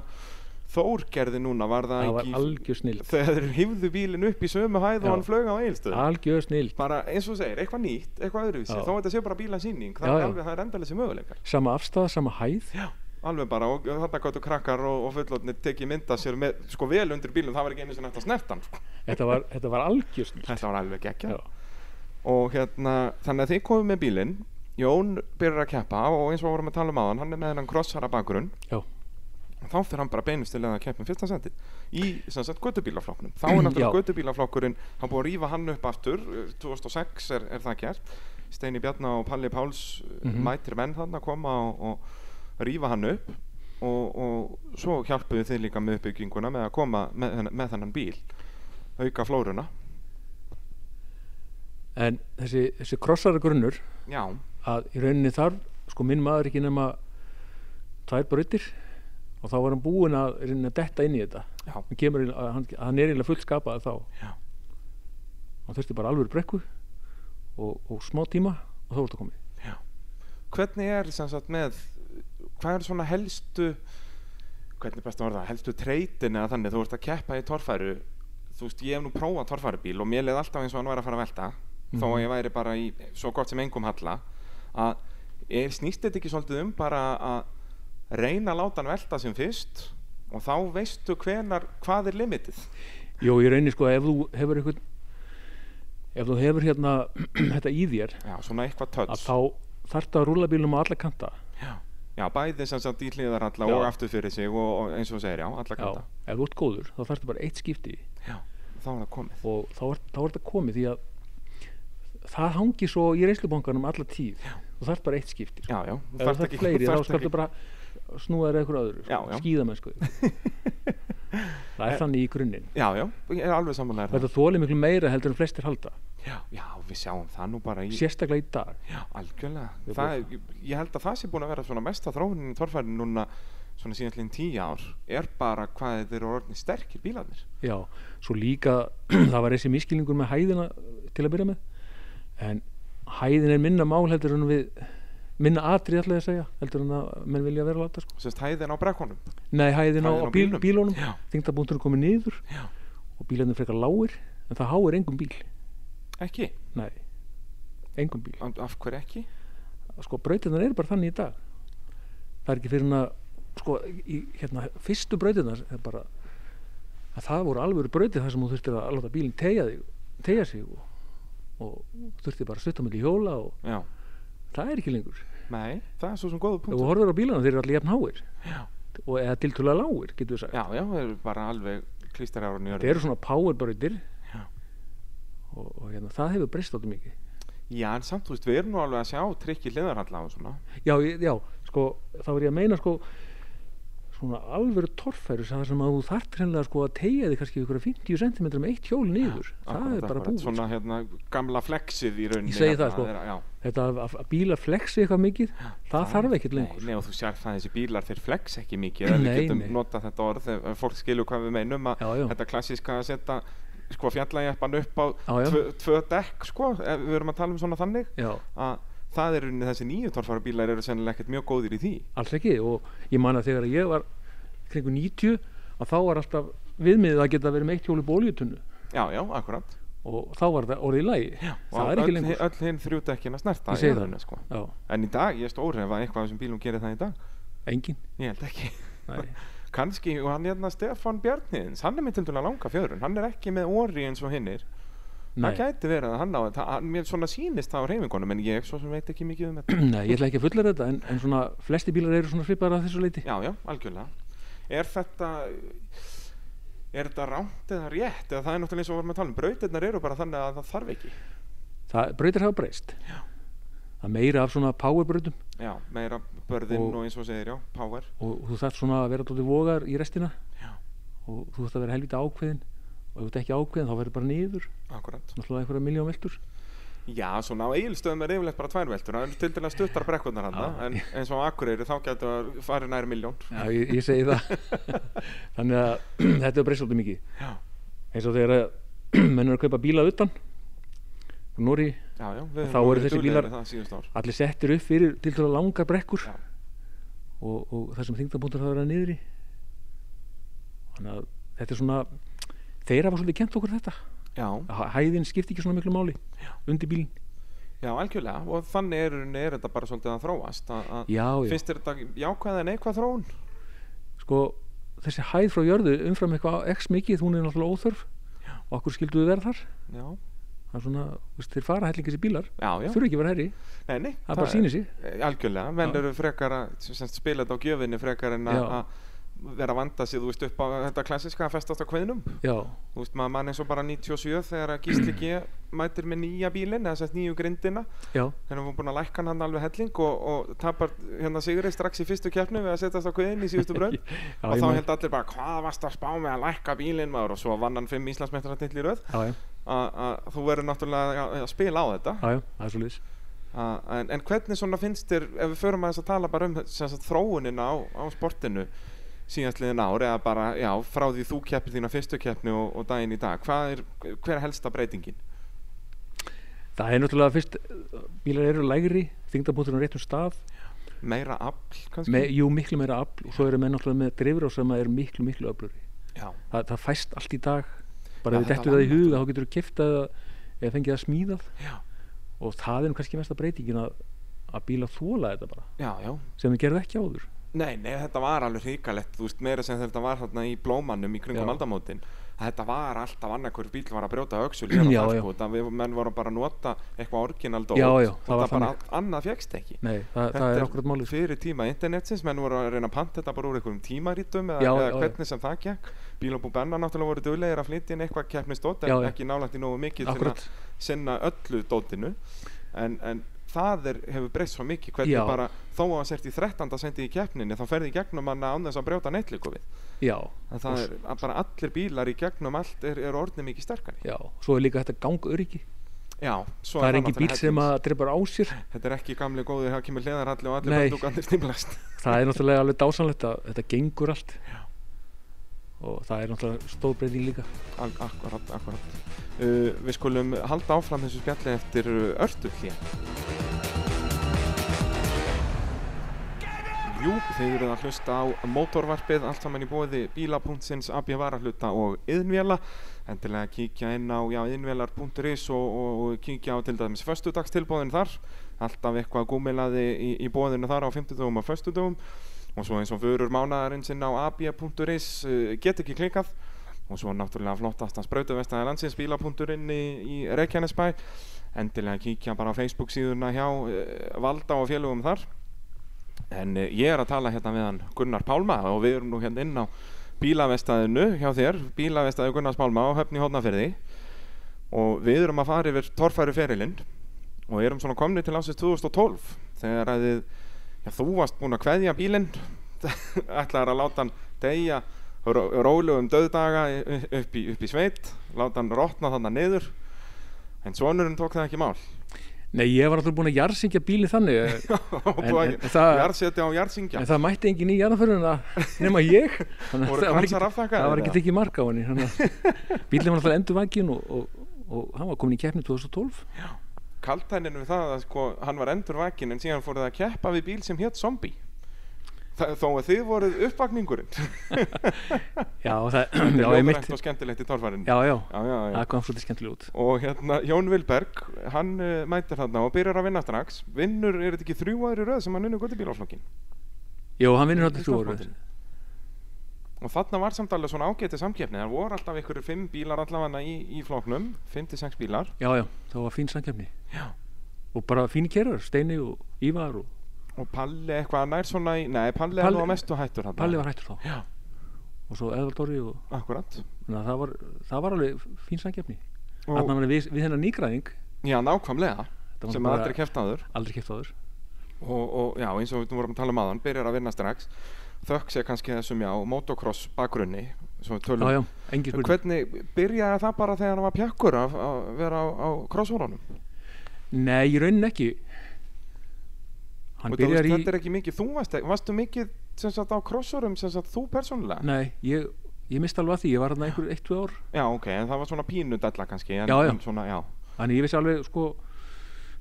[SPEAKER 1] Þór gerði núna, var það,
[SPEAKER 2] það var
[SPEAKER 1] ekki
[SPEAKER 2] algjör snild
[SPEAKER 1] Þegar þeir hýfðu bílinn upp í sömu hæð
[SPEAKER 2] Já.
[SPEAKER 1] og hann flög á eilstöð
[SPEAKER 2] algjör snild,
[SPEAKER 1] bara eins og þú segir, eitthvað nýtt, eitthvað öðruvísi
[SPEAKER 2] Já.
[SPEAKER 1] þó að þetta sé bara bílasýning, það
[SPEAKER 2] Já,
[SPEAKER 1] er
[SPEAKER 2] já.
[SPEAKER 1] alveg, það er endalessi möguleikar
[SPEAKER 2] sama afstæða, sama hæð
[SPEAKER 1] alveg bara, og þarna gáttu krakkar og, og fullotnir tekið mynda sér með, sko vel undir bílum það var ekki einu sem hægt að snerta hann sko.
[SPEAKER 2] þetta var, þetta var algjör snild
[SPEAKER 1] þetta var alveg gekkja
[SPEAKER 2] já,
[SPEAKER 1] og hérna, þannig að þið komum með bílinn Jón byrjar að keppa og eins og við vorum að tala um áðan, hann er með hennan krossara bakgrunn
[SPEAKER 2] já,
[SPEAKER 1] og þá fyrir hann bara beinust til að keppa um fyrsta sendi í, sem sagt, göttubílaflokknum þá er náttúrulega
[SPEAKER 2] Já.
[SPEAKER 1] göttubílaflokkurinn hann búið að rífa hann upp aftur eh, 2006 er, er það gert Steini Bjarnar og Palli Páls mm
[SPEAKER 2] Mhm.
[SPEAKER 1] mætir menn hann að koma og, og rífa hann upp og, og svo hjálpuðu þið líka með uppbygginguna með að koma með, þennan- með þennan bíl auka flóruna
[SPEAKER 2] en þessi, þessi krossara grunnur
[SPEAKER 1] já,
[SPEAKER 2] að í rauninni þarf, sko minn maður ekki nema tvær brautir og þá var hann búinn að reyna að detta inn í þetta
[SPEAKER 1] já,
[SPEAKER 2] hann, kemur, eiginlega- að hann, hann er eiginlega fullskapað þá
[SPEAKER 1] Já.
[SPEAKER 2] hann þurfti bara alveg brekku og, og smá tíma og þá var þetta komið
[SPEAKER 1] hvernig er sem sagt með hvað er svona helstu hvernig er best að orða það, helstu treytin eða þannig, þú ert að keppa í torfæru þú veist, ég hef nú prófað torfærubíl og mér leið alltaf eins og hann væri að fara að velta þó
[SPEAKER 2] Mhm.
[SPEAKER 1] að ég væri bara í svo gott sem engum halla að er snýst þetta ekki svolítið um bara að reyna að láta hann velta sem fyrst og þá veistu hvenar hvað er limitið
[SPEAKER 2] Jó, ég reyni sko ef þú hefur eitthvað ef þú hefur hérna þetta í þér
[SPEAKER 1] já, svona eitthvað
[SPEAKER 2] að
[SPEAKER 1] töts
[SPEAKER 2] þá þarftu að rúlla bílum á alla kanta
[SPEAKER 1] já, bæði sem sagt í hliðaralla
[SPEAKER 2] Já.
[SPEAKER 1] og aftur fyrir sig og, og eins og þú segir, já, alla
[SPEAKER 2] Já,
[SPEAKER 1] kanta
[SPEAKER 2] ef þú ert góður þá þarftu bara eitt skipti
[SPEAKER 1] þá er það komið
[SPEAKER 2] og þá er, þá er þetta komið því að það hangi svo í reynslubankanum alla tíð og þarf bara eitt skipti sko.
[SPEAKER 1] já, já,
[SPEAKER 2] ef það er fleiri þá skaldu bara snúa þér eitthvað öðru
[SPEAKER 1] Já, já.
[SPEAKER 2] skýðamennsku það er þannig í grunninn
[SPEAKER 1] já, já, ég er alveg samanlega
[SPEAKER 2] þetta þóli miklu meira heldur en flestir halda
[SPEAKER 1] já, já, við sjáum það nú bara í
[SPEAKER 2] sérstaklega í dag
[SPEAKER 1] já,
[SPEAKER 2] Við
[SPEAKER 1] algjörlega það, er- ég held að það sé búin að vera svona mesta þróunin í torfærin núna svona síðan til tíu ár er bara hvað þeir eru orðin sterkir bílarnir
[SPEAKER 2] já, svo líka það var þessi miskilningur með hæðina til að byrja með en hæðin er minna mál heldur en við minna atrið ætlaði að segja heldur en að menn vilja vera láta sko.
[SPEAKER 1] sérst hæðin á brekkunum
[SPEAKER 2] nei,
[SPEAKER 1] Hæðin
[SPEAKER 2] hæðin á, á
[SPEAKER 1] á
[SPEAKER 2] bíl,
[SPEAKER 1] bílnum.
[SPEAKER 2] bílunum
[SPEAKER 1] Já.
[SPEAKER 2] þingdabúnturinn komið niður
[SPEAKER 1] Já.
[SPEAKER 2] og bílarnir frekar lágir en það háir engum bíl
[SPEAKER 1] ekki,
[SPEAKER 2] nei, engum bíl
[SPEAKER 1] af, af hverju ekki
[SPEAKER 2] sko brautirnar eru bara þannig í dag það er ekki fyrir hann að sko, í, hérna, fyrstu brautirnar er bara að það voru alvöru brautir þar sem þú þurftir að láta bílinn tegja þig tegja sig og, og þurftir bara að stutta melli hjóla og
[SPEAKER 1] já,
[SPEAKER 2] það er ekki lengur
[SPEAKER 1] nei, það er svo sem góða
[SPEAKER 2] ef
[SPEAKER 1] punkt
[SPEAKER 2] þú horfir á bílana þeir eru allir jafn háir
[SPEAKER 1] já,
[SPEAKER 2] og eða tiltúlega lágir, getur við sagt
[SPEAKER 1] já, já, það eru bara alveg klísterjárun í
[SPEAKER 2] þetta eru svona powerbrautir
[SPEAKER 1] Já.
[SPEAKER 2] og, og hérna, það hefur breyst áttu mikið
[SPEAKER 1] já, en samt, þú veist, við erum nú alveg að sjá trikki hliðarhalla og svona
[SPEAKER 2] já, ég- já, sko, þá er ég að meina sko, svona alvöru torfæru sem það sem að þú þart hreinlega sko að tegja þig kannski ykkur 50 cm með eitt hjól niður það
[SPEAKER 1] Akkurat,
[SPEAKER 2] er bara
[SPEAKER 1] akkurat.
[SPEAKER 2] búið
[SPEAKER 1] Svona hérna gamla flexið í rauninni
[SPEAKER 2] Ég segi
[SPEAKER 1] hérna,
[SPEAKER 2] það, sko.
[SPEAKER 1] er að- já.
[SPEAKER 2] þetta að, að bíla flexi eitthvað mikið það þarf ekkert lengur
[SPEAKER 1] Nei, nei, og þú sér það að þessi bílar þeir flex ekki mikið eða við
[SPEAKER 2] Nei,
[SPEAKER 1] getum
[SPEAKER 2] nei.
[SPEAKER 1] notað þetta orð ef ef fólk skilur hvað við meinum að
[SPEAKER 2] Já, já.
[SPEAKER 1] þetta klassíska að setja sko fjallajappan upp á
[SPEAKER 2] Já, já.
[SPEAKER 1] tvö, tvö dekk sko, ef við erum að tala um svona þannig
[SPEAKER 2] já,
[SPEAKER 1] að það er unni þessi nýju torfara bílar eru sennilega ekkert mjög góðir í því
[SPEAKER 2] alls ekki og ég man að þegar ég var kringu 90 að þá var alltaf viðmiðið að geta verið með eitt hjól í bóljutunnu
[SPEAKER 1] Já, já, akkurat
[SPEAKER 2] og þá var það orðið í lagi já, það er
[SPEAKER 1] öll,
[SPEAKER 2] ekki lengur
[SPEAKER 1] hi- öll hinn þrjú dekkina snerta
[SPEAKER 2] Ég
[SPEAKER 1] í
[SPEAKER 2] segi það.
[SPEAKER 1] rauninni, sko.
[SPEAKER 2] já,
[SPEAKER 1] En í dag, ég er stórhef að eitthvað af þessum bílum gerir það í dag
[SPEAKER 2] engin
[SPEAKER 1] Ég held ekki
[SPEAKER 2] Nei.
[SPEAKER 1] Kanski, og hann hérna Stefan Bjarniðins, hann er með til dæla langa fjörun, hann er ekki með orri eins og hinnir
[SPEAKER 2] Nei.
[SPEAKER 1] Það gæti verið að hann á þetta, hann- mér svona sýnist það á reyfingunum en ég svo sem veit ekki mikið um þetta.
[SPEAKER 2] Nei, ég ætla ekki að fullera þetta en, en svona flesti bílar eru svona svipaðar að þessu leiti
[SPEAKER 1] Já, já, algjörlega. Er þetta, er þetta rámt eða rétt eða það er náttúrulega eins og við varum að tala um, brautirnar eru bara þannig að það þarf ekki.
[SPEAKER 2] það breytir hafa breyst já. það er meira af svona powerbrautum
[SPEAKER 1] Já, meira börðinn og,
[SPEAKER 2] Og-
[SPEAKER 1] eins og þú segir, já, power.
[SPEAKER 2] og þú þarf svona að vera dóttir vogar í restina
[SPEAKER 1] Já.
[SPEAKER 2] og þú þarf að vera helvita ákveðin og ef þú ert ekki ákveðin þá verður bara niður
[SPEAKER 1] Akkurat.
[SPEAKER 2] náttúrulega einhverja miljón veldur
[SPEAKER 1] Já, svona á eigilstöðum er yfirlegt bara tvær veldur, það eru til dæla stuttar brekkurnar hann,
[SPEAKER 2] Já.
[SPEAKER 1] en eins og á Akureyri þá getur það farið nær miljón.
[SPEAKER 2] já, ég, ég segi það þannig að þetta er breyst svolítið mikið
[SPEAKER 1] Já,
[SPEAKER 2] eins og þegar að menn eru að kaupa bíla utan og Nóri
[SPEAKER 1] já, já, við höfum
[SPEAKER 2] Þá eru
[SPEAKER 1] verið
[SPEAKER 2] þessir
[SPEAKER 1] duglegir
[SPEAKER 2] bílar-
[SPEAKER 1] við það síðustu ár.
[SPEAKER 2] allir settir upp fyrir til til að langa brekkur
[SPEAKER 1] Já.
[SPEAKER 2] og, og það sem þingdabúndur hafa verið niður í þannig að þetta er svona þeir hafa svolítið kent okkur þetta
[SPEAKER 1] Já,
[SPEAKER 2] Hæ- hæðin skipti ekki svona miklu máli undir bílinn
[SPEAKER 1] Já, algjörlega og þannig er, er þetta bara svolítið að þróast að, að
[SPEAKER 2] já, já.
[SPEAKER 1] finnst þér þetta jákvæð en eitthvað þróun?
[SPEAKER 2] sko þessi hæð frá jörðu umfram eitthvað x mikið hún er náttúrulega óþörf og okkur skildu við verð þar
[SPEAKER 1] Já,
[SPEAKER 2] það er svona, þú veist, þeir fara hellingi þessi bílar
[SPEAKER 1] já, já
[SPEAKER 2] þurfi ekki að vera herri,
[SPEAKER 1] Nei, nei,
[SPEAKER 2] það bara sýnir sig
[SPEAKER 1] er- eh, Algjörlega, menn
[SPEAKER 2] Já.
[SPEAKER 1] eru frekar að sem sagt, spila þetta á gjöfinni frekar en að
[SPEAKER 2] Já.
[SPEAKER 1] að vera að vanda sig, þú veist, upp á þetta klassiska að festast á kveðnum
[SPEAKER 2] já,
[SPEAKER 1] Þú veist, maður mann eins og bara 97 þegar að Gísli G mætir með nýja bílinn eða sett nýju grindina
[SPEAKER 2] já,
[SPEAKER 1] þannig að hún búin að lækka hann alveg helling og, og tapar hérna Sigurði strax í fyrstu keppnu við að setjast á kveðin í síðustu brönd
[SPEAKER 2] já,
[SPEAKER 1] og
[SPEAKER 2] ég
[SPEAKER 1] þá
[SPEAKER 2] man-
[SPEAKER 1] held allir bara hvað varst að spá með að lækka bílinn maður og svo vann hann fimm Íslandsmeistaratill í röð
[SPEAKER 2] já, já,
[SPEAKER 1] að að þú verður náttúrulega að- að spila á þetta
[SPEAKER 2] já, já, það er svo liðs
[SPEAKER 1] að, en, en hvernig svona finnst þér ef við förum aðeins að tala bara um sem sagt, þróunina á, á sportinu síðastliðin ár eða bara já, frá því þú keppir þína fyrstu keppni og, og daginn í dag hvað er, hver er helsta breytingin?
[SPEAKER 2] það er náttúrulega fyrst, bílar eru lægri þingdabúndur á réttum stað
[SPEAKER 1] meira afl kannski?
[SPEAKER 2] með, jú, miklu meira afl og svo eru menn náttúrulega með drifur sem er miklu, miklu öflur
[SPEAKER 1] já,
[SPEAKER 2] það, það fæst allt í dag bara
[SPEAKER 1] Já,
[SPEAKER 2] ja, við
[SPEAKER 1] þetta
[SPEAKER 2] dettur
[SPEAKER 1] var
[SPEAKER 2] það í huga þá getur þú kiftað eða fengið það smíðað
[SPEAKER 1] Já.
[SPEAKER 2] og það er nú kannski mesta breytingin að, að bíla þóla þetta bara
[SPEAKER 1] já, já
[SPEAKER 2] sem við gerðum ekki áður
[SPEAKER 1] Nei, nei, þetta var alveg hrikalegt, þú veist, meira sem þetta var þarna í blómannum í kringum
[SPEAKER 2] Já.
[SPEAKER 1] aldamótin Þetta var alltaf annarkur bíl var að brjóta öxul hér og
[SPEAKER 2] Já,
[SPEAKER 1] þar,
[SPEAKER 2] já.
[SPEAKER 1] sko, það við menn voru bara að nota eitthvað orginaldótt
[SPEAKER 2] Já, já,
[SPEAKER 1] og
[SPEAKER 2] það
[SPEAKER 1] það
[SPEAKER 2] var
[SPEAKER 1] bara
[SPEAKER 2] þannig.
[SPEAKER 1] annað fegst ekki
[SPEAKER 2] Nei, það, það er akkurat málið sko.
[SPEAKER 1] fyrir tíma internetsins, menn voru að reyna að panta þetta bara úr einhverjum tímarítum eða,
[SPEAKER 2] Já,
[SPEAKER 1] eða
[SPEAKER 2] já, já.
[SPEAKER 1] hvernig sem það gekk Bílabú Benna náttúrulega voru duglegir að flytja inn eitthvað keppnisdótt en
[SPEAKER 2] Já, já.
[SPEAKER 1] ekki nálægt í nógu mikið
[SPEAKER 2] akkurat,
[SPEAKER 1] til að sinna öllu dóttinu en, en það er, hefur breyst svo mikið hvernig
[SPEAKER 2] Já.
[SPEAKER 1] bara þó að það sért í 13. sendi í keppninni þá ferði í gegnum hann án þess að brjóta neitt líku við
[SPEAKER 2] já,
[SPEAKER 1] en það er að bara allir bílar í gegnum allt er, er orðnið mikið sterkari
[SPEAKER 2] já svo er líka þetta gangöryggi
[SPEAKER 1] Já, svo
[SPEAKER 2] það er engin bíl
[SPEAKER 1] náttúrulega
[SPEAKER 2] sem
[SPEAKER 1] hellingur.
[SPEAKER 2] að drifur á sér
[SPEAKER 1] Þetta er ekki gamli góður, það kemur hliðarhalli og allir
[SPEAKER 2] Nei.
[SPEAKER 1] bandúkandir stimlast
[SPEAKER 2] það er náttúrulega alveg dásanlegt að þetta gengur allt og það er náttúrulega stór breyting líka
[SPEAKER 1] Al- Akkurat, akkurat uh, Við skulum halda áfram þessu spjalli eftir uh, örtu hlýja Jú, þeir eru að hlusta á mótorvarpið allt saman í bóði bíla.sins AB varahluta og yðnvjala endilega kíkja inn á yðnvjalar.is og, og, og kíkja á til dæmis föstudagstilbóðin þar alltaf eitthvað gúmilaði í, í bóðinu þar á 50 dögum og föstudögum og svo eins og vörur mánaðarinn sinn á ab.is uh, get ekki klikað og svo náttúrulega flottasta sprautuvestaði landsins bíla.inn í, í Reykjanesbæ endilega kíkja bara á Facebook síðuna hjá uh, Valda og félögum þar en uh, ég er að tala hérna við hann Gunnar Pálma og við erum nú hérna inn á bílavestaðinu hjá þér bílavestaði Gunnars Pálma á höfni hóðnaferði og við erum að fara yfir torfæru ferilinn og erum svona komni til ásins 2012 þegar að þið, já, þú varst búin að kveðja bílinn ætlaður að láta hann deyja ró, rólegum döðdaga upp í, upp í sveit láta hann rotna þarna niður en sonurinn tók það ekki í mál
[SPEAKER 2] Nei, ég var alltaf búin að jarðsingja bíli þannig
[SPEAKER 1] og
[SPEAKER 2] En-
[SPEAKER 1] búið
[SPEAKER 2] en
[SPEAKER 1] að
[SPEAKER 2] það-
[SPEAKER 1] jarðsetja á jarðsingja
[SPEAKER 2] en það mætti engin í jarðanföruna nema ég þannig
[SPEAKER 1] Voru
[SPEAKER 2] að það var
[SPEAKER 1] kransar
[SPEAKER 2] ekki,
[SPEAKER 1] afþakkaðir
[SPEAKER 2] það var ekki
[SPEAKER 1] eða?
[SPEAKER 2] tekið mark á henni þannig að bílinn var alltaf endur vangin og, og, og hann var komin í keppni 2012
[SPEAKER 1] kaltænin við það að sko, hann var endur vakin en síðan fóruð það að keppa við bíl sem hétt zombie Þa, þó að þið voruð uppvakningurinn
[SPEAKER 2] Já, það,
[SPEAKER 1] Þetta er
[SPEAKER 2] já, ég
[SPEAKER 1] ljóðrænt og skemmtilegt í torfærin
[SPEAKER 2] Já, já,
[SPEAKER 1] já, já, já.
[SPEAKER 2] það kom svolítið skemmtilega út
[SPEAKER 1] og hérna Jón Vilberg hann uh, mætir þarna og byrjar að vinna strax vinnur, er þetta ekki þrjú ári röð sem hann vinnur gott í bílaflokkin
[SPEAKER 2] Jó, hann vinnur hátta þrjú orðu
[SPEAKER 1] og þarna var samt alveg svona ágæti samkeppni það voru alltaf ykkur fimm bílar allavega í, í flokknum, fimm til sex bílar
[SPEAKER 2] Já, já, það var fín samkeppni
[SPEAKER 1] Já.
[SPEAKER 2] Og bara fín kerrar, Steini og Ívar og
[SPEAKER 1] og Palli eitthvað nær svona í, nei Palli, er
[SPEAKER 2] Palli-
[SPEAKER 1] nú að mestu hættur þarna
[SPEAKER 2] Palli var hættur þá
[SPEAKER 1] Já.
[SPEAKER 2] Og svo Eðvald Orri og
[SPEAKER 1] akkurat
[SPEAKER 2] þannig að það var, það var alveg fín samkeppni
[SPEAKER 1] Og-
[SPEAKER 2] Þannig að við, við hennar nýgræðing
[SPEAKER 1] já, nákvæmlega,
[SPEAKER 2] var
[SPEAKER 1] sem
[SPEAKER 2] bara-
[SPEAKER 1] aldrei keppt áður
[SPEAKER 2] aldrei keppt áður
[SPEAKER 1] og, og já, eins og við vorum að tala um aðan byrjar að vinna strax þökk sé kannski þessum já, motocross bakgrunni sem við tölum
[SPEAKER 2] Já, já, engin spurning
[SPEAKER 1] Hvernig byrjaði það bara þegar hann var pjakkur að, að vera á, á krosshólanum?
[SPEAKER 2] Nei, í raunin ekki Hann
[SPEAKER 1] Og þú
[SPEAKER 2] byrjar
[SPEAKER 1] veist,
[SPEAKER 2] í
[SPEAKER 1] Þetta er ekki mikið, þú varst, varstu mikið sem sagt á krosshórum sem sagt þú persónulega?
[SPEAKER 2] Nei, ég, ég misti alveg að því, ég var hann einhver eitt, tvö ár
[SPEAKER 1] Já, ok, en það var svona pínu dalla kannski en,
[SPEAKER 2] Já, já.
[SPEAKER 1] En svona, já,
[SPEAKER 2] Þannig ég vissi alveg, sko,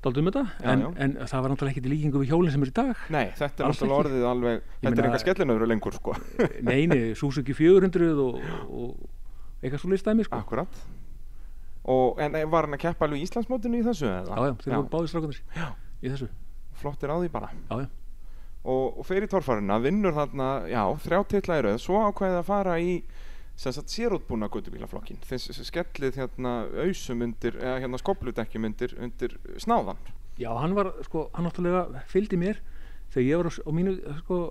[SPEAKER 2] daldum þetta
[SPEAKER 1] Já,
[SPEAKER 2] en,
[SPEAKER 1] já.
[SPEAKER 2] en það var náttúrulega ekkert í líkingu við hjólinn sem er í dag
[SPEAKER 1] Nei, þetta er
[SPEAKER 2] Alls
[SPEAKER 1] náttúrulega
[SPEAKER 2] ekki.
[SPEAKER 1] orðið alveg Þetta
[SPEAKER 2] meina-
[SPEAKER 1] er eitthvað skellinöðru lengur, sko
[SPEAKER 2] Neini, Suzuki 400 og, og eitthvað svo listæmi, sko
[SPEAKER 1] Akkurat Og, en eh, var hann að keppa alveg í Íslandsmótinu í þessu? eða?
[SPEAKER 2] Já, já, þeir voru báðið strákunir
[SPEAKER 1] Já.
[SPEAKER 2] í þessu
[SPEAKER 1] Flottir á því bara
[SPEAKER 2] Já, já,
[SPEAKER 1] og, og fer í torfarina, vinnur þarna já, þrjá titla í rauð, svo ákveðið að fara í sem sagt sérútbúna guttubílaflokkin þess þess- skellið hérna ausum undir, eða hérna skobludekkjum undir, undir snáðan
[SPEAKER 2] já, hann var, sko, hann náttúrulega fylgdi mér þegar ég var á, s- á mínu, sko,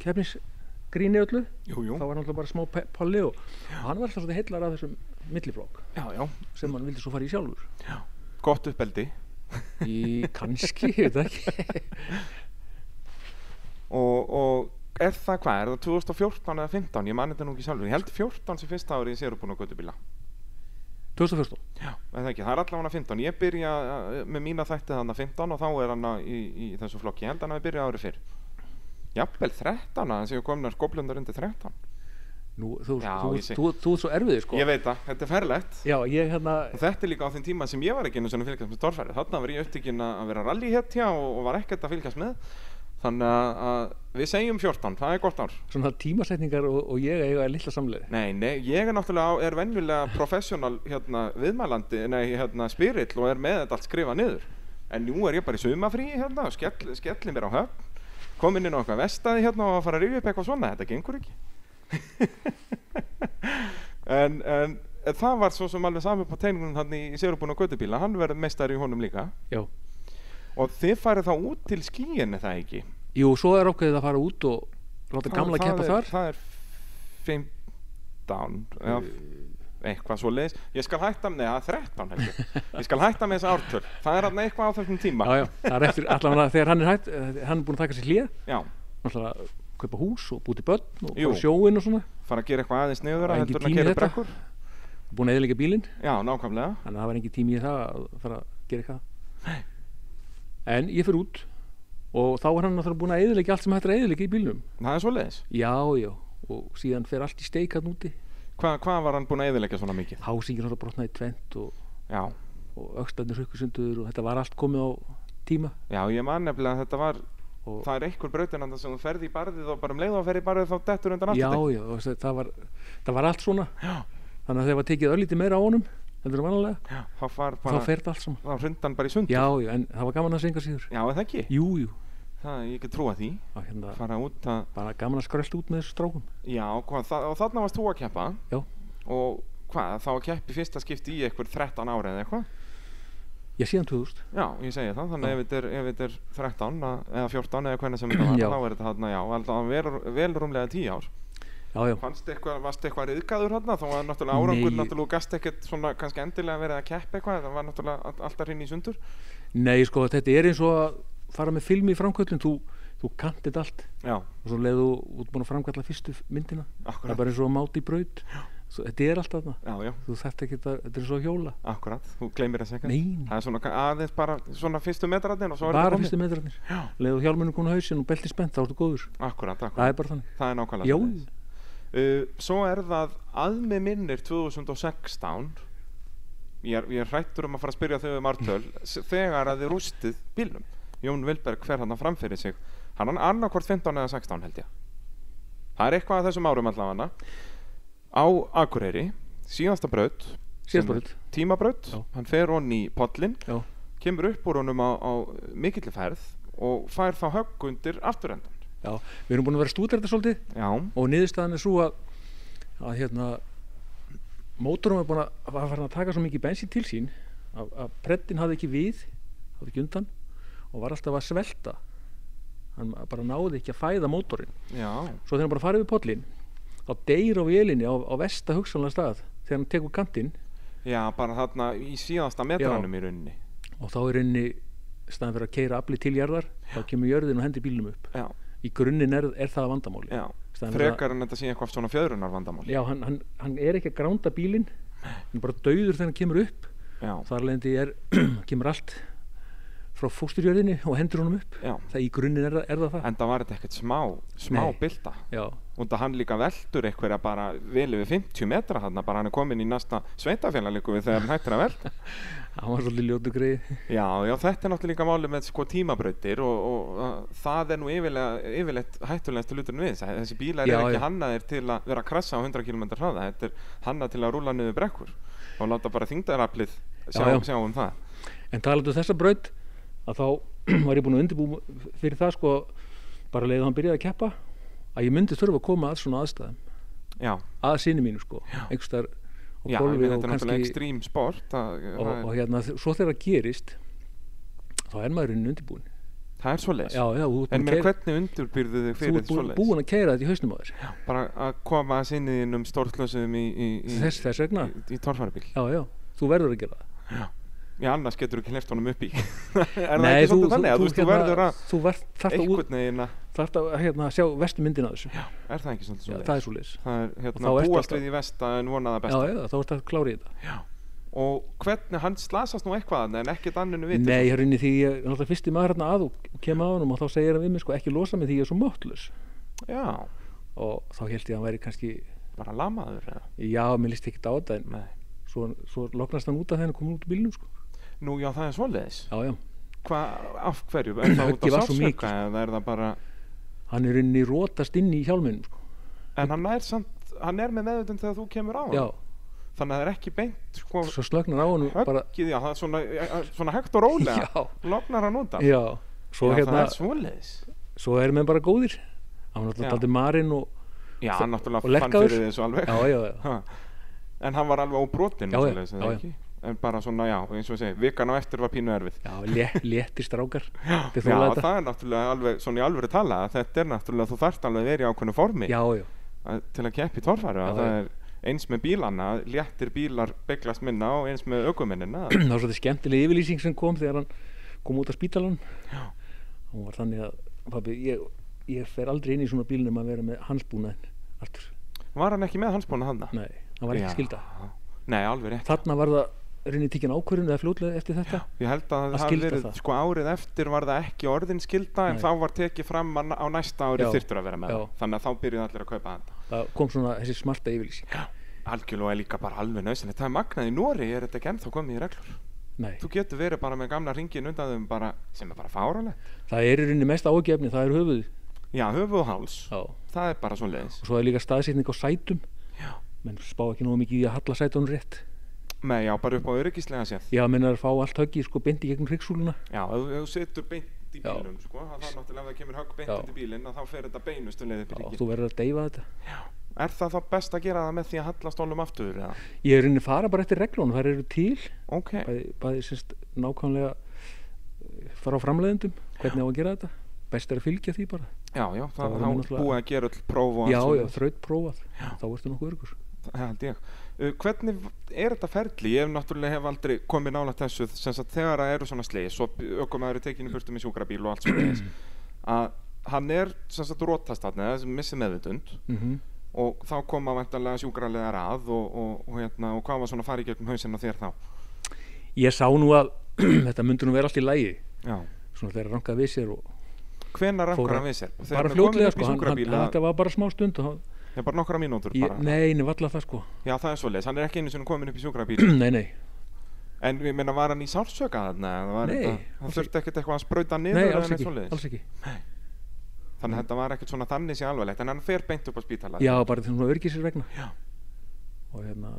[SPEAKER 2] kefnisgríni öllu
[SPEAKER 1] Jú, jú,
[SPEAKER 2] þá var náttúrulega bara smá pe- palli og, og hann var alltaf svolítið heillar af þessum milliflokk
[SPEAKER 1] já, já,
[SPEAKER 2] sem hann vildi svo fara í sjálfur
[SPEAKER 1] gott uppeldi
[SPEAKER 2] í kannski, ég veit það ekki
[SPEAKER 1] og, og er það hvað, er það 2014 eða 15, ég man þetta nú ekki sjálfur ég held 14 sem fyrsta ári í sérútbúna guttubíla
[SPEAKER 2] 2014,
[SPEAKER 1] Já, er það ekki, það er allavega 15 ég byrja eh, með mína þætti þarna 15 og þá er hann í, í þessu flokki ég held hann að við byrja árið fyrr jafnvel 13, þannig að ég komin að skoblundar undir 13
[SPEAKER 2] nú, þú,
[SPEAKER 1] Já,
[SPEAKER 2] þú,
[SPEAKER 1] ég sé.
[SPEAKER 2] þú, þú, þú ert svo erfiðið sko
[SPEAKER 1] Ég veit það, þetta er ferlegt
[SPEAKER 2] Já, ég hérna,
[SPEAKER 1] og þetta er líka á þeim tíma sem ég var ekki einu svona fylgjast með torfæri þarna var ég upptíkin að vera rally héttja og, og var ekkert að fylgjast með þannig að, að við segjum 14, það er gott ár
[SPEAKER 2] svona tímasetningar og, og ég eiga lilla samlega
[SPEAKER 1] Nei, nei, ég er náttúrulega á- er venjulega professional hérna, viðmælandi, nei, hérna spyrill og er með þetta allt skrifað niður en nú er ég bara í sumafrí hérna og skell, skelli mér á höfn komin inn á eitthvað vestaði hérna og að fara að rifja upp eitthvað svona þetta gengur ekki en, en en það var svo sem alveg saman på teiningunum þannig í Sérubún og Götubíla, hann verður meistari í honum líka
[SPEAKER 2] Já,
[SPEAKER 1] og þið farið þá út til skíin er það ekki
[SPEAKER 2] jú, svo er ákveðið að fara út og láta gamla
[SPEAKER 1] það
[SPEAKER 2] keppa
[SPEAKER 1] er,
[SPEAKER 2] þar
[SPEAKER 1] það er 15 eða eitthvað svo leiðis ég skal hætta með það er 13 held ég. ég skal hætta með þessa ártöl það er alveg eitthvað á þessum tíma
[SPEAKER 2] Já, já, það er eftir allavega þegar hann er hætt eh, hann er búin að taka sér hlýja
[SPEAKER 1] Já,
[SPEAKER 2] náttúrulega kaupa hús og búti börn og
[SPEAKER 1] Jú.
[SPEAKER 2] bara sjóin og svona
[SPEAKER 1] fara að gera eitthvað aðeins niður
[SPEAKER 2] Það er
[SPEAKER 1] að
[SPEAKER 2] engin
[SPEAKER 1] heldur en að
[SPEAKER 2] tími í
[SPEAKER 1] gera
[SPEAKER 2] þetta.
[SPEAKER 1] brekkur
[SPEAKER 2] búin að eðilega bílinn
[SPEAKER 1] já, nákvæmlega
[SPEAKER 2] þannig að það var engin tími í það að fara að gera eitthvað En ég fyrir út og þá er hann náttúrulega búin að eðilega allt sem hættir að eðilega í bílnum
[SPEAKER 1] það er svo leiðis
[SPEAKER 2] Já, já, og síðan fer allt í steik hann úti
[SPEAKER 1] Hva, hvað var hann búin að eðilegja svona mikið
[SPEAKER 2] hásingin var að brotna í tvent og,
[SPEAKER 1] já,
[SPEAKER 2] og öxtarnir hrukkusundur og þetta var allt komið á tíma
[SPEAKER 1] já, ég man nefnilega að þetta var
[SPEAKER 2] og
[SPEAKER 1] það er einhver brautinanda sem þú ferði í barðið og bara um leið og ferði í barðið þá dettur undan
[SPEAKER 2] já,
[SPEAKER 1] aftur
[SPEAKER 2] já, og þess- það var, það var allt svona
[SPEAKER 1] Já.
[SPEAKER 2] þannig að þegar var tekið örlítið meira á honum heldur en vanalega,
[SPEAKER 1] þá far
[SPEAKER 2] þá
[SPEAKER 1] bara,
[SPEAKER 2] fer þetta allt saman
[SPEAKER 1] þá hrundan bara í sund
[SPEAKER 2] já, já, en það var gaman að syngja síður
[SPEAKER 1] já, er það ekki,
[SPEAKER 2] jú, jú,
[SPEAKER 1] það, ég get trúa því
[SPEAKER 2] það var hérna,
[SPEAKER 1] fara út að
[SPEAKER 2] bara gaman að skrölda út með þessu strákum
[SPEAKER 1] Já, hvað, þa og þarna varst þú að keppa
[SPEAKER 2] Já.
[SPEAKER 1] Og hvað, þá að keppi fyrsta skipti í eitthvað 13 ára eða eitthvað
[SPEAKER 2] já, síðan 2000,
[SPEAKER 1] Já, ég segi það, þannig
[SPEAKER 2] Já.
[SPEAKER 1] ef þetta er, ef þetta er 13 að- eða 14 eða hvernig sem þetta var
[SPEAKER 2] Já.
[SPEAKER 1] þá er þetta þarna, já, alltaf vel, vel rúmlega 10 ár
[SPEAKER 2] já, já
[SPEAKER 1] Fannst eitthvað, varst eitthvað riðgæður þarna þá var náttúrulega árangur,
[SPEAKER 2] Nei.
[SPEAKER 1] náttúrulega þú gast ekkert svona kannski endilega verið að keppa eitthvað það var náttúrulega all- alltaf hinn í sundur
[SPEAKER 2] nei, sko, þetta er eins og að fara með film í framkvöldin þú, þú þú kannt þetta allt
[SPEAKER 1] já,
[SPEAKER 2] og svo leiðu út búin að framkalla fyrstu f- myndina það er
[SPEAKER 1] akkurat
[SPEAKER 2] bara eins og að máta í braut svo, þetta er alltaf þarna,
[SPEAKER 1] já, já,
[SPEAKER 2] þú þarft ekki að þetta er svo að hjóla
[SPEAKER 1] akkurat, þú gleymir þessi ekki
[SPEAKER 2] Nei,
[SPEAKER 1] það er svona ka- aðeins bara svona fyrstu metrarnir og svo er
[SPEAKER 2] bara
[SPEAKER 1] komið.
[SPEAKER 2] fyrstu metrarnir
[SPEAKER 1] Já.
[SPEAKER 2] leiðu hjálminu konu hausin og belti spennt þá ertu góður,
[SPEAKER 1] akkurat, akkurat,
[SPEAKER 2] það er bara þannig
[SPEAKER 1] það er nákvæmlega
[SPEAKER 2] Jó,
[SPEAKER 1] svoleiðis. Uh, svo er það að með minnir 2016 ég er, ég er hrættur um að fara að spyrja þau um artöl s- þegar að þið rústið bílnum Jón Vilberg fer hann framfyrir sig hann er annarkvort 15 eða 16 held ég það er eitthvað að þessum árum allavega á Akureyri síðasta braut
[SPEAKER 2] síðast bara þetta
[SPEAKER 1] tímabraut,
[SPEAKER 2] Já.
[SPEAKER 1] hann fer honni í podlin
[SPEAKER 2] Já.
[SPEAKER 1] kemur upp úr honum á, á mikill ferð og fær þá högg undir afturendan
[SPEAKER 2] Já, við erum búin að vera stúdar þetta svolítið
[SPEAKER 1] já,
[SPEAKER 2] og niðurstaðan er svo að, að hérna, mótorum er búin að, að var farin að taka svo mikið bensín til sín að, að preddin hafði ekki við hafði ekki undan og var alltaf að svelta hann bara náði ekki að fæða mótorinn
[SPEAKER 1] já,
[SPEAKER 2] svo þegar hann bara farið við pollin þá deyr á vélinni á, á vesta hugsanlega stað þegar hann tekur kantinn
[SPEAKER 1] já bara þarna í síðasta metranum í rauninni
[SPEAKER 2] og þá er henni staðan fyrir að keira afli til jarðar þá kemur jörðin og hendir bílnum upp
[SPEAKER 1] já,
[SPEAKER 2] í grunninn er, er það vandamáli
[SPEAKER 1] já,
[SPEAKER 2] Staðan fyrir að-
[SPEAKER 1] frekar en þetta sé eitthvað svona fjöðrunar vandamál
[SPEAKER 2] Já, hann, hann, hann er ekki að gránda bílinn hann er bara dauður þegar hann kemur upp
[SPEAKER 1] já,
[SPEAKER 2] þar leðandi er, kemur allt frá fósturjörðinni og hendur honum upp
[SPEAKER 1] já.
[SPEAKER 2] það í grunninn er, það- er það það
[SPEAKER 1] en það var þetta ekkert smá smá
[SPEAKER 2] Nei.
[SPEAKER 1] bylta
[SPEAKER 2] já,
[SPEAKER 1] og það hann líka veldur einhverja bara vel yfir 50 metra þarna bara hann er komin í næsta sveitafélagleiku við þegar hann hættir að velta
[SPEAKER 2] hann var svolítið ljótu greið
[SPEAKER 1] Já, já, þetta er náttúrulega líka máli með sko tímabrautir og, og uh, það er nú yfirlega, yfirleitt hættulegast hluturinn við þess þessi bílar
[SPEAKER 2] Já,
[SPEAKER 1] eru ekki
[SPEAKER 2] já.
[SPEAKER 1] hannaðir til að vera að krassa á 100 km hraða, þetta er hannað til að rúla niður brekkur og láta bara þingdaraflið sjá,
[SPEAKER 2] Já, já.
[SPEAKER 1] sjá um það
[SPEAKER 2] en talandi um þessa braut að þá var ég búin að undirbú fyrir það sko bara leiðið hann byrjaði að keppa að ég myndi þurfa að koma að svona aðstæðum
[SPEAKER 1] Já,
[SPEAKER 2] að sinni mínu sko einhverstaðar og
[SPEAKER 1] já, ég meina,
[SPEAKER 2] gólfi og
[SPEAKER 1] þetta er náttúrulega
[SPEAKER 2] kannski
[SPEAKER 1] ekstrím sport það,
[SPEAKER 2] og,
[SPEAKER 1] það,
[SPEAKER 2] og
[SPEAKER 1] er,
[SPEAKER 2] hérna, svo þegar það gerist þá er maður unni undirbúin
[SPEAKER 1] það er svoleiðis
[SPEAKER 2] já, já, þú ert búinn
[SPEAKER 1] En
[SPEAKER 2] að
[SPEAKER 1] mér,
[SPEAKER 2] keyra-
[SPEAKER 1] hvernig undurbyrðu þig
[SPEAKER 2] þú
[SPEAKER 1] fyrir
[SPEAKER 2] ert búin,
[SPEAKER 1] svoleiðis?
[SPEAKER 2] búin að keira þetta í hausnum á þér
[SPEAKER 1] Bara að koma að sinni þínum stórklösum í, í, í,
[SPEAKER 2] þess, þess vegna,
[SPEAKER 1] í, í torfarabíl
[SPEAKER 2] já já, þú verður að gera það
[SPEAKER 1] Já, annars getur ekki hleft honum upp í Er það ekki svolítið þannig að þú, veist, þú verður að
[SPEAKER 2] þú verð, þarft að, út,
[SPEAKER 1] einhvern veginn að
[SPEAKER 2] þarft að hérna, sjá vestu myndina af þessu já,
[SPEAKER 1] er það ekki svolítið svolítið
[SPEAKER 2] það er svo leis
[SPEAKER 1] það er hérna
[SPEAKER 2] Og þá ertu
[SPEAKER 1] búast
[SPEAKER 2] alltaf-
[SPEAKER 1] við í vesta en vonaða
[SPEAKER 2] já,
[SPEAKER 1] besta
[SPEAKER 2] já, þá ertu að klára í þetta
[SPEAKER 1] og hvernig hann slasast nú eitthvað þarna en ekkert anninu vitur
[SPEAKER 2] nei, hér inni því ég er náttúrulega fyrsti maður hérna að og og kem að honum og þá segir hann við mig sko, ekki losa mig því ég er svo máttlös
[SPEAKER 1] já,
[SPEAKER 2] og þá held ég að hann væri kannski
[SPEAKER 1] bara lamaður eða
[SPEAKER 2] já, mér líst ekki á þetta en
[SPEAKER 1] Nei.
[SPEAKER 2] svo, svo loknast hann út af þegar hann kom út úr bílnum sko.
[SPEAKER 1] nú já það er svoleiðis
[SPEAKER 2] já, já,
[SPEAKER 1] Hva, af hverju, er það út
[SPEAKER 2] Höggið
[SPEAKER 1] af
[SPEAKER 2] var svo
[SPEAKER 1] sársauka eða er það bara
[SPEAKER 2] hann er inni rótast inn í hjálminum sko.
[SPEAKER 1] en hann er samt, hann er með meðutund þegar þú kemur á hann
[SPEAKER 2] já,
[SPEAKER 1] þannig að það er ekki beint sko,
[SPEAKER 2] svo slögnar á honum bara,
[SPEAKER 1] höggið, já það er svona, eh, svona hægt og rólega
[SPEAKER 2] já,
[SPEAKER 1] lognar hann undan
[SPEAKER 2] já svo,
[SPEAKER 1] já það
[SPEAKER 2] hérna,
[SPEAKER 1] er svoleiðis
[SPEAKER 2] svo er menn bara góðir hann
[SPEAKER 1] Já.
[SPEAKER 2] var náttúrulega daldið marinn og
[SPEAKER 1] já,
[SPEAKER 2] Og
[SPEAKER 1] hann
[SPEAKER 2] og
[SPEAKER 1] náttúrulega fann
[SPEAKER 2] lerkaður.
[SPEAKER 1] fyrir þessu alveg
[SPEAKER 2] já, já, já,
[SPEAKER 1] Ha. En hann var alveg á brotin
[SPEAKER 2] Já, já,
[SPEAKER 1] svoleiðis, eða
[SPEAKER 2] já, já.
[SPEAKER 1] ekki? En bara svona, já, eins og ég segi, vikan á eftir var pínu erfið
[SPEAKER 2] já lé, létti strákar þeir
[SPEAKER 1] Já,
[SPEAKER 2] þóla þetta
[SPEAKER 1] það er náttúrulega alveg, svona í alvöru tala að Þetta er náttúrulega, þú þarft alveg að vera í ákveðnu formi
[SPEAKER 2] já, já,
[SPEAKER 1] að, Til að keppa í torfæru
[SPEAKER 2] Já,
[SPEAKER 1] að Það er eins með bílana, að léttir bílar beglast minna og eins með aukumennina
[SPEAKER 2] það var svolítið skemmtileg yfirlýsing sem kom þegar hann kom út af spítalan hún var þannig að pabbi, ég, ég fer aldrei inn í svona bílnum að vera með hans búnaðin Artur,
[SPEAKER 1] Var hann ekki með hansbúna þarna?
[SPEAKER 2] nei, hann var ekki
[SPEAKER 1] Já.
[SPEAKER 2] skilda
[SPEAKER 1] Nei, alveg rétt
[SPEAKER 2] þarna var það reynið tíkin ákvörðun eða fljótlega eftir þetta
[SPEAKER 1] Ég held að
[SPEAKER 2] Að
[SPEAKER 1] það hafi
[SPEAKER 2] skylda
[SPEAKER 1] verið,
[SPEAKER 2] það.
[SPEAKER 1] sko árið eftir var það ekki orðin skilda en
[SPEAKER 2] Nei.
[SPEAKER 1] þá var tekið fram að á næsta ári
[SPEAKER 2] Já.
[SPEAKER 1] þyrftur að vera með
[SPEAKER 2] Já.
[SPEAKER 1] það Þannig að þá byrjuði allir að kaupa þetta
[SPEAKER 2] það kom svona þessi smarta yfirlýsing
[SPEAKER 1] Algjörlega er líka bara alveg nöðsynlegt. Það er magnað í Nóri, er þetta ekki ennþá komið í reglur.
[SPEAKER 2] nei,
[SPEAKER 1] Þú getur verið bara með gamla ringin undan þeim bara, sem er bara fáralegt.
[SPEAKER 2] það er í rauninni mest ágefni, það er höfuð
[SPEAKER 1] Já, höfuð og háls,
[SPEAKER 2] já. og
[SPEAKER 1] það er bara svo leiðis.
[SPEAKER 2] svo er líka staðsetning á sætum
[SPEAKER 1] Já.
[SPEAKER 2] menn spá ekki nógu mikið í að halla sætunum rétt
[SPEAKER 1] Nei, já, bara upp á öryggislega séð.
[SPEAKER 2] Já, menn er að fá allt höggið sko beint í gegnum hryggsúluna
[SPEAKER 1] Já, ef ef þú setur beint í
[SPEAKER 2] Já.
[SPEAKER 1] bílum, sko, að það er náttúrulega ef það kemur högg beint
[SPEAKER 2] Já.
[SPEAKER 1] undir bílinn, að þá fer þetta beinustu leiði
[SPEAKER 2] og
[SPEAKER 1] byrjum.
[SPEAKER 2] þú verður að deyfa þetta.
[SPEAKER 1] Er það þá best að gera það með því að halla stólum aftur, eða?
[SPEAKER 2] Ég er rauninni að fara bara eftir reglunum, þær eru til,
[SPEAKER 1] Ok,
[SPEAKER 2] bæði, bæði sérst nákvæmlega eh, fara á framleiðendum, hvernig á að gera þetta. Best er að fylgja því bara.
[SPEAKER 1] já, já, það
[SPEAKER 2] verður
[SPEAKER 1] er
[SPEAKER 2] náttúrulega-
[SPEAKER 1] búið að gera öll próf og allt
[SPEAKER 2] já, já,
[SPEAKER 1] svoleiðis.
[SPEAKER 2] þraut prófað, þá ertu nokkuð örgur.
[SPEAKER 1] Það held ég. Uh, hvernig v- er þetta ferli? Ég hef náttúrulega hef aldrei komið nálægt þessu sem sagt þegar það eru svona slegis og ökumæður er tekinu burtu með sjúkrabíl og allt svona þess að hann er sem sagt rótast þarna, sem missi meðvitund
[SPEAKER 2] Mhm.
[SPEAKER 1] og þá koma vantanlega sjúkrarlegar að og, og, og, hérna, og hvað var svona að fara í gegnum hausinn á þér þá?
[SPEAKER 2] Ég sá nú að þetta myndi nú vera allt í lægi
[SPEAKER 1] Já.
[SPEAKER 2] svona þegar rankaði við sér og
[SPEAKER 1] Hvenar
[SPEAKER 2] Fór
[SPEAKER 1] rangur
[SPEAKER 2] að-
[SPEAKER 1] hann við sér? Þegar
[SPEAKER 2] bara
[SPEAKER 1] hann er kominn
[SPEAKER 2] fljótlega
[SPEAKER 1] upp í
[SPEAKER 2] sko, hann, hann,
[SPEAKER 1] sjúkrabíl,
[SPEAKER 2] þetta var bara smá stund og,
[SPEAKER 1] það er bara nokkra mínútur
[SPEAKER 2] ég,
[SPEAKER 1] bara.
[SPEAKER 2] Nei, neina, valla það sko
[SPEAKER 1] Já, það er svoleiðis, hann er ekki einu sinni komin upp í sjúkrabíl
[SPEAKER 2] Nei, nei,
[SPEAKER 1] En ég meina, var hann í sársöka þarna? eða var
[SPEAKER 2] Nei,
[SPEAKER 1] þetta- Hann
[SPEAKER 2] alls
[SPEAKER 1] þurfti ekkert eitthvað að sprauta niður
[SPEAKER 2] nei
[SPEAKER 1] eða
[SPEAKER 2] alls,
[SPEAKER 1] neitt
[SPEAKER 2] ekki,
[SPEAKER 1] svoleiðis?
[SPEAKER 2] alls ekki
[SPEAKER 1] Þannig að þetta var ekkert svona þannig sé alvarlegt En hann fer beint upp á spítala
[SPEAKER 2] Já, bara þegar hún örgir sér vegna
[SPEAKER 1] Já.
[SPEAKER 2] og hérna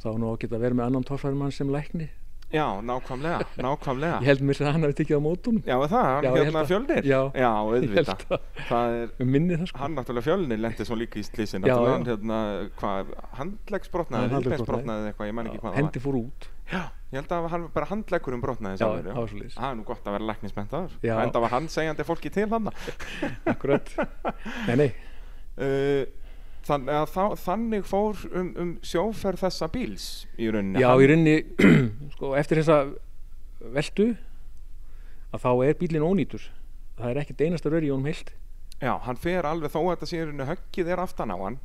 [SPEAKER 2] þá nú ágætt að vera með annan torfærumann sem lækni
[SPEAKER 1] Já, nákvæmlega, nákvæmlega
[SPEAKER 2] Ég held mér að hann hafi tekið á mótunum
[SPEAKER 1] Já, er það, hann
[SPEAKER 2] Já, ég held
[SPEAKER 1] hérna
[SPEAKER 2] að-
[SPEAKER 1] fjölnir
[SPEAKER 2] já.
[SPEAKER 1] já
[SPEAKER 2] Ég held
[SPEAKER 1] auðvitað
[SPEAKER 2] að,
[SPEAKER 1] Það er,
[SPEAKER 2] við minni það sko
[SPEAKER 1] hann náttúrulega fjölnir lendi svo líka í slísin
[SPEAKER 2] Já, já.
[SPEAKER 1] Hann hérna, hvað, handleggsbrotnaði
[SPEAKER 2] Hann handleggsbrotnaði.
[SPEAKER 1] Handleggsbrotnaði eða eitthvað, ég man ekki hvað
[SPEAKER 2] Hendi fór út
[SPEAKER 1] það var Já, ég held að hann bara handleggurum brotnaði
[SPEAKER 2] Já,
[SPEAKER 1] sjálfur já.
[SPEAKER 2] það var svoleiðis.
[SPEAKER 1] Það er nú gott að vera læknismentaður
[SPEAKER 2] Já.
[SPEAKER 1] Enda var hann segjandi fólki til hann
[SPEAKER 2] Akkurat Nei, nei,
[SPEAKER 1] Uh, þann, að, þá, þannig fór um, um sjóferð þessa bíls í rauninni
[SPEAKER 2] já,
[SPEAKER 1] Hann-
[SPEAKER 2] í rauninni sko, eftir þessa veltu að þá er bílinn ónýtur það er ekkert einasta rör í honum heilt
[SPEAKER 1] já, hann fer alveg þó að þetta sé í rauninni höggið er aftan á hann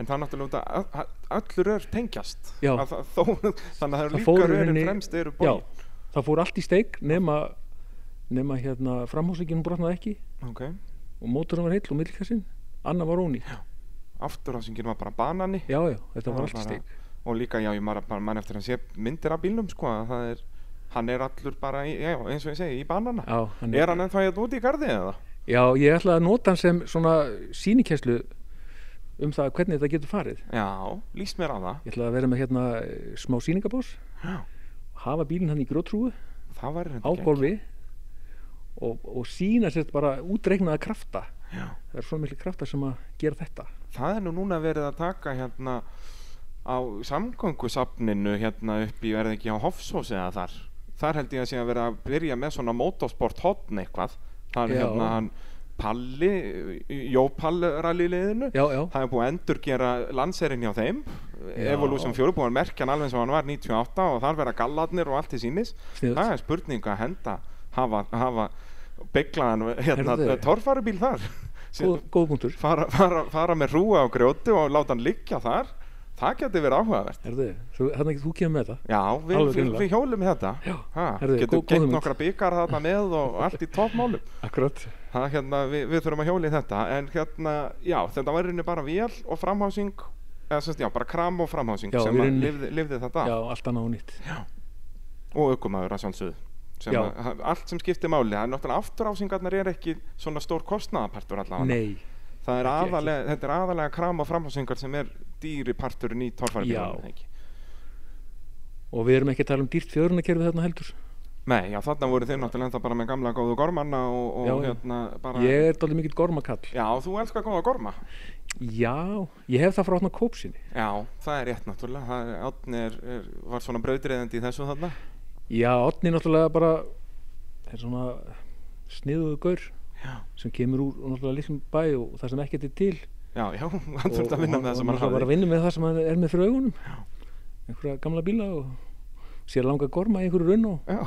[SPEAKER 1] en það er náttúrulega út að öll rör tengjast
[SPEAKER 2] Já.
[SPEAKER 1] Að það, þó, þannig að það eru
[SPEAKER 2] Það
[SPEAKER 1] líka
[SPEAKER 2] fór í
[SPEAKER 1] rörin
[SPEAKER 2] rauninni-
[SPEAKER 1] fremst eru
[SPEAKER 2] Já,
[SPEAKER 1] bóin
[SPEAKER 2] það fór allt í steik nema, nema hérna framhúsleikinu brotnaði ekki
[SPEAKER 1] okay.
[SPEAKER 2] og móturinn var heill og millkassinn annar var ónýtt
[SPEAKER 1] afturhásingin var bara banani
[SPEAKER 2] Já, já, þetta
[SPEAKER 1] Það
[SPEAKER 2] var
[SPEAKER 1] var
[SPEAKER 2] allt í
[SPEAKER 1] bara-
[SPEAKER 2] steik
[SPEAKER 1] og líka já, ég maður bara mann eftir að sé myndir af bílnum sko, að það er, hann er allur bara í, já, eins og ég segi, í banana
[SPEAKER 2] Já, hann
[SPEAKER 1] er hann ennþá hérna úti í gardi eða?
[SPEAKER 2] Já, ég ætla að nota hann sem svona sýnikeslu um það hvernig þetta getur farið
[SPEAKER 1] já, líst mér á það
[SPEAKER 2] Ég ætla að vera með hérna eh, smá sýningabós
[SPEAKER 1] Já.
[SPEAKER 2] hafa bílinn hann í grótrúu
[SPEAKER 1] það var
[SPEAKER 2] á golfi og, og sína sér bara útreiknaða krafta
[SPEAKER 1] já
[SPEAKER 2] það er svona miklu krafta sem að gera þetta
[SPEAKER 1] það er nú núna verið að taka hérna á samgöngusafninu hérna upp í verði ekki á Hofsós eða þar þar held ég að sé að vera að byrja með svona motorsport hotn eitthvað það er
[SPEAKER 2] Já.
[SPEAKER 1] hérna hann Palli, Jópall rallyliðinu
[SPEAKER 2] já, já,
[SPEAKER 1] það er búið að endurgera landserinn hjá þeim
[SPEAKER 2] Já.
[SPEAKER 1] Evolution 4 búið að merkja hann alveg sem hann var 98 og þar vera gallarnir og allt í sínis
[SPEAKER 2] Sniðugt.
[SPEAKER 1] það er spurning að henda hafa, hafa bygglaðan hérna,
[SPEAKER 2] Herðu.
[SPEAKER 1] torfarubíl þar
[SPEAKER 2] góð, góð punktur
[SPEAKER 1] fara, fara, fara með hrúa á grjóti og láta hann liggja þar það geti verið áhugavert
[SPEAKER 2] Herðu, svo, þannig að þú kemur með þetta
[SPEAKER 1] já, við,
[SPEAKER 2] Alveg
[SPEAKER 1] við,
[SPEAKER 2] greinilega.
[SPEAKER 1] við hjólum í þetta
[SPEAKER 2] Já,
[SPEAKER 1] ha,
[SPEAKER 2] herðu,
[SPEAKER 1] getum
[SPEAKER 2] gó- góð
[SPEAKER 1] gett
[SPEAKER 2] hugmynd.
[SPEAKER 1] nokkra byggar þarna með og allt í toppmálum
[SPEAKER 2] akkurat
[SPEAKER 1] það, hérna, við, við þurfum að hjóla í þetta en hérna, já, þetta var í rauninni bara vél og framhásing eða semst, já, bara kram og framhásing
[SPEAKER 2] Já, í
[SPEAKER 1] sem að
[SPEAKER 2] rauninni.
[SPEAKER 1] lifði, lifði þetta
[SPEAKER 2] já,
[SPEAKER 1] af.
[SPEAKER 2] allt annað og nýtt
[SPEAKER 1] og aukumæður að sjálfsögðu sem
[SPEAKER 2] Já.
[SPEAKER 1] að, allt sem skiptir máli, það er náttúrulega afturásingarnar er ekki svona stór kostnaðapartur allavega
[SPEAKER 2] nei,
[SPEAKER 1] Það er
[SPEAKER 2] Ekki, ekki.
[SPEAKER 1] aðalega, þetta er aðalega kram og framhásingar sem er dýri parturinn í torfæribílanum,
[SPEAKER 2] Já.
[SPEAKER 1] ekki?
[SPEAKER 2] og við erum ekki að tala um dýrt fjörunakerfi þarna heldur
[SPEAKER 1] Nei, já, þarna voru þeir náttúrulega ennþá bara með gamla góðu gormanna og, og
[SPEAKER 2] Já, já.
[SPEAKER 1] hérna bara...
[SPEAKER 2] ég er dálítið mikill gormakall
[SPEAKER 1] Já, þú elskar góða gorma.
[SPEAKER 2] já, ég hef það frá hann að kóp sinni
[SPEAKER 1] Já, það er rétt náttúrulega. Það er, Átni er, er, var svona brautriðandi í þessu þarna.
[SPEAKER 2] já, Otni náttúrulega bara er svona sniðuðu gaur
[SPEAKER 1] Já.
[SPEAKER 2] sem kemur úr náttúrulega litlum bæ og það sem ekkert er til
[SPEAKER 1] Já, já, hann þurfti að vinna með það sem hann
[SPEAKER 2] hann var að
[SPEAKER 1] hafði.
[SPEAKER 2] vinna með það sem hann er með fyrir augunum einhverja gamla bíla og sér langa gorma í einhverju raun og
[SPEAKER 1] Já,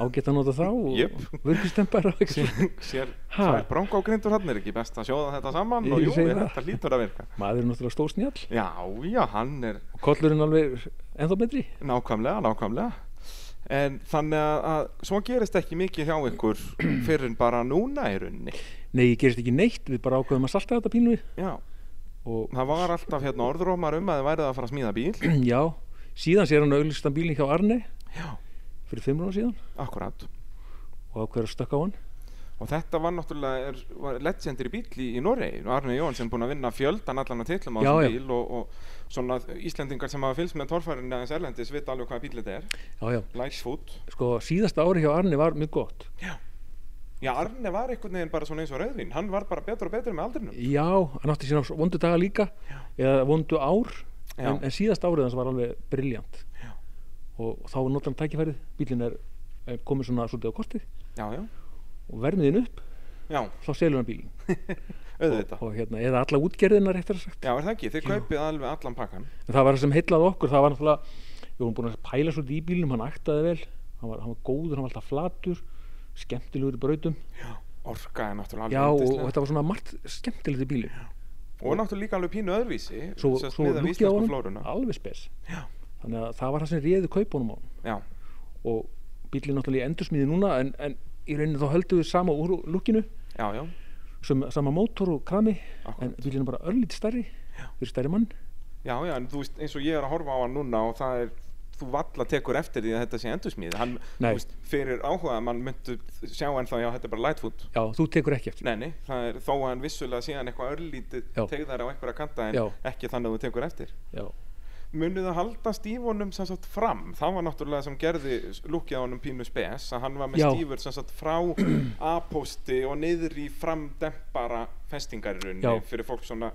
[SPEAKER 2] ágætt að nota þá og
[SPEAKER 1] Jöp.
[SPEAKER 2] vörgustempar og eitthvað svona.
[SPEAKER 1] sér,
[SPEAKER 2] Ha.
[SPEAKER 1] það er bróngógrindur hann, er ekki best að sjóða þetta saman
[SPEAKER 2] Ég
[SPEAKER 1] og jú,
[SPEAKER 2] segi
[SPEAKER 1] er,
[SPEAKER 2] það.
[SPEAKER 1] þetta hlýtur að virka.
[SPEAKER 2] maður er náttúrulega stór snjall
[SPEAKER 1] Já, já, hann er
[SPEAKER 2] og kollurinn alveg ennþá betri
[SPEAKER 1] Nákvæmlega, nákvæmlega En þannig að, að svo gerist ekki mikið hjá ykkur fyrir en bara núna í rauninni
[SPEAKER 2] nei, ég gerist ekki neitt, við bara ákveðum að salta þetta pínu við
[SPEAKER 1] Já,
[SPEAKER 2] og
[SPEAKER 1] það var alltaf hérna orðrómar um að þið værið að fara að smíða bíl
[SPEAKER 2] já, síðan sér hann auðlistan bílinn hjá Arne
[SPEAKER 1] Já,
[SPEAKER 2] fyrir fimm rána síðan
[SPEAKER 1] akkurat
[SPEAKER 2] og ákveður að stökka á hann
[SPEAKER 1] Og þetta var náttúrulega er, var legendir í bíl í, í Noregi Arne Jóhansson búinn að vinna fjöldan allan að titlum á
[SPEAKER 2] Já, já.
[SPEAKER 1] þessum bíl og, og svona Íslendingar sem hafa fylgst með torfærinni aðeins erlendis vita alveg hvað bíl þetta er
[SPEAKER 2] já, já,
[SPEAKER 1] Lightfoot
[SPEAKER 2] sko síðasta ári hjá Arne var mjög gott
[SPEAKER 1] Já, Arne var einhvern veginn bara svona eins og rauðvín Hann var bara betur og betur með aldrinum
[SPEAKER 2] já, hann átti sína vondu daga líka eða vondu ár
[SPEAKER 1] Já.
[SPEAKER 2] en, en síðast árið hans var alveg briljant
[SPEAKER 1] Já.
[SPEAKER 2] og, og þá er notan tækifærið bílinn er, er komið svona svolítið á kortið
[SPEAKER 1] Já, já,
[SPEAKER 2] og vermiðin upp,
[SPEAKER 1] já,
[SPEAKER 2] þá selur hann bílinn
[SPEAKER 1] auðvitað
[SPEAKER 2] og hérna, eða alla útgerðina réttar sagt
[SPEAKER 1] Já, er það ekki? Þið kaupið alveg allan pakkan
[SPEAKER 2] en það var það sem heillaði okkur, það var náttúrulega við vorum búin að pæla svolítið í bílnum, hann aktaði vel hann var, hann var góður, hann var alltaf flatur skemmtilegur í brautum
[SPEAKER 1] Já. orka er náttúrulega alveg
[SPEAKER 2] já og, og
[SPEAKER 1] yndisleg.
[SPEAKER 2] þetta var svona margt skemmtilegt í bílum
[SPEAKER 1] og náttúrulega líka alveg pínu öðruvísi
[SPEAKER 2] svo,
[SPEAKER 1] sem sagt,
[SPEAKER 2] svo
[SPEAKER 1] miðað við
[SPEAKER 2] lúkja á
[SPEAKER 1] íslensku
[SPEAKER 2] hann
[SPEAKER 1] flóruna.
[SPEAKER 2] alveg spes
[SPEAKER 1] Já.
[SPEAKER 2] þannig að það var það sem réði kaupunum á hann
[SPEAKER 1] já,
[SPEAKER 2] og bílinn náttúrulega í endursmíði núna en, en í rauninni þá höldum við sama úr lukkinu
[SPEAKER 1] já, já,
[SPEAKER 2] sem, sama mótor og krami en
[SPEAKER 1] akkurat.
[SPEAKER 2] bílinn er bara örlít stærri fyrir stærri mann
[SPEAKER 1] já, já, en þú veist eins og ég er að horfa á hann núna og það er þú valla tekur eftir því að þetta sé endursmíð hann, þú
[SPEAKER 2] Nei.
[SPEAKER 1] veist, fyrir áhuga mann myndu sjá ennþá, já, þetta er bara lightfoot
[SPEAKER 2] já þú tekur ekki eftir
[SPEAKER 1] nei, nei, það er þó að hann vissulega sé hann eitthvað örlítið
[SPEAKER 2] Já.
[SPEAKER 1] tegðar á einhverja kanta en
[SPEAKER 2] Já.
[SPEAKER 1] ekki þannig að þú tekur eftir
[SPEAKER 2] já.
[SPEAKER 1] munið að halda stífunum sem sagt fram það var náttúrulega sem gerði lukkið á honum pínu spes að hann var með
[SPEAKER 2] Já.
[SPEAKER 1] stífur sem sagt frá A-posti og niður í framdempara festingarunni
[SPEAKER 2] Já.
[SPEAKER 1] fyrir fólk svona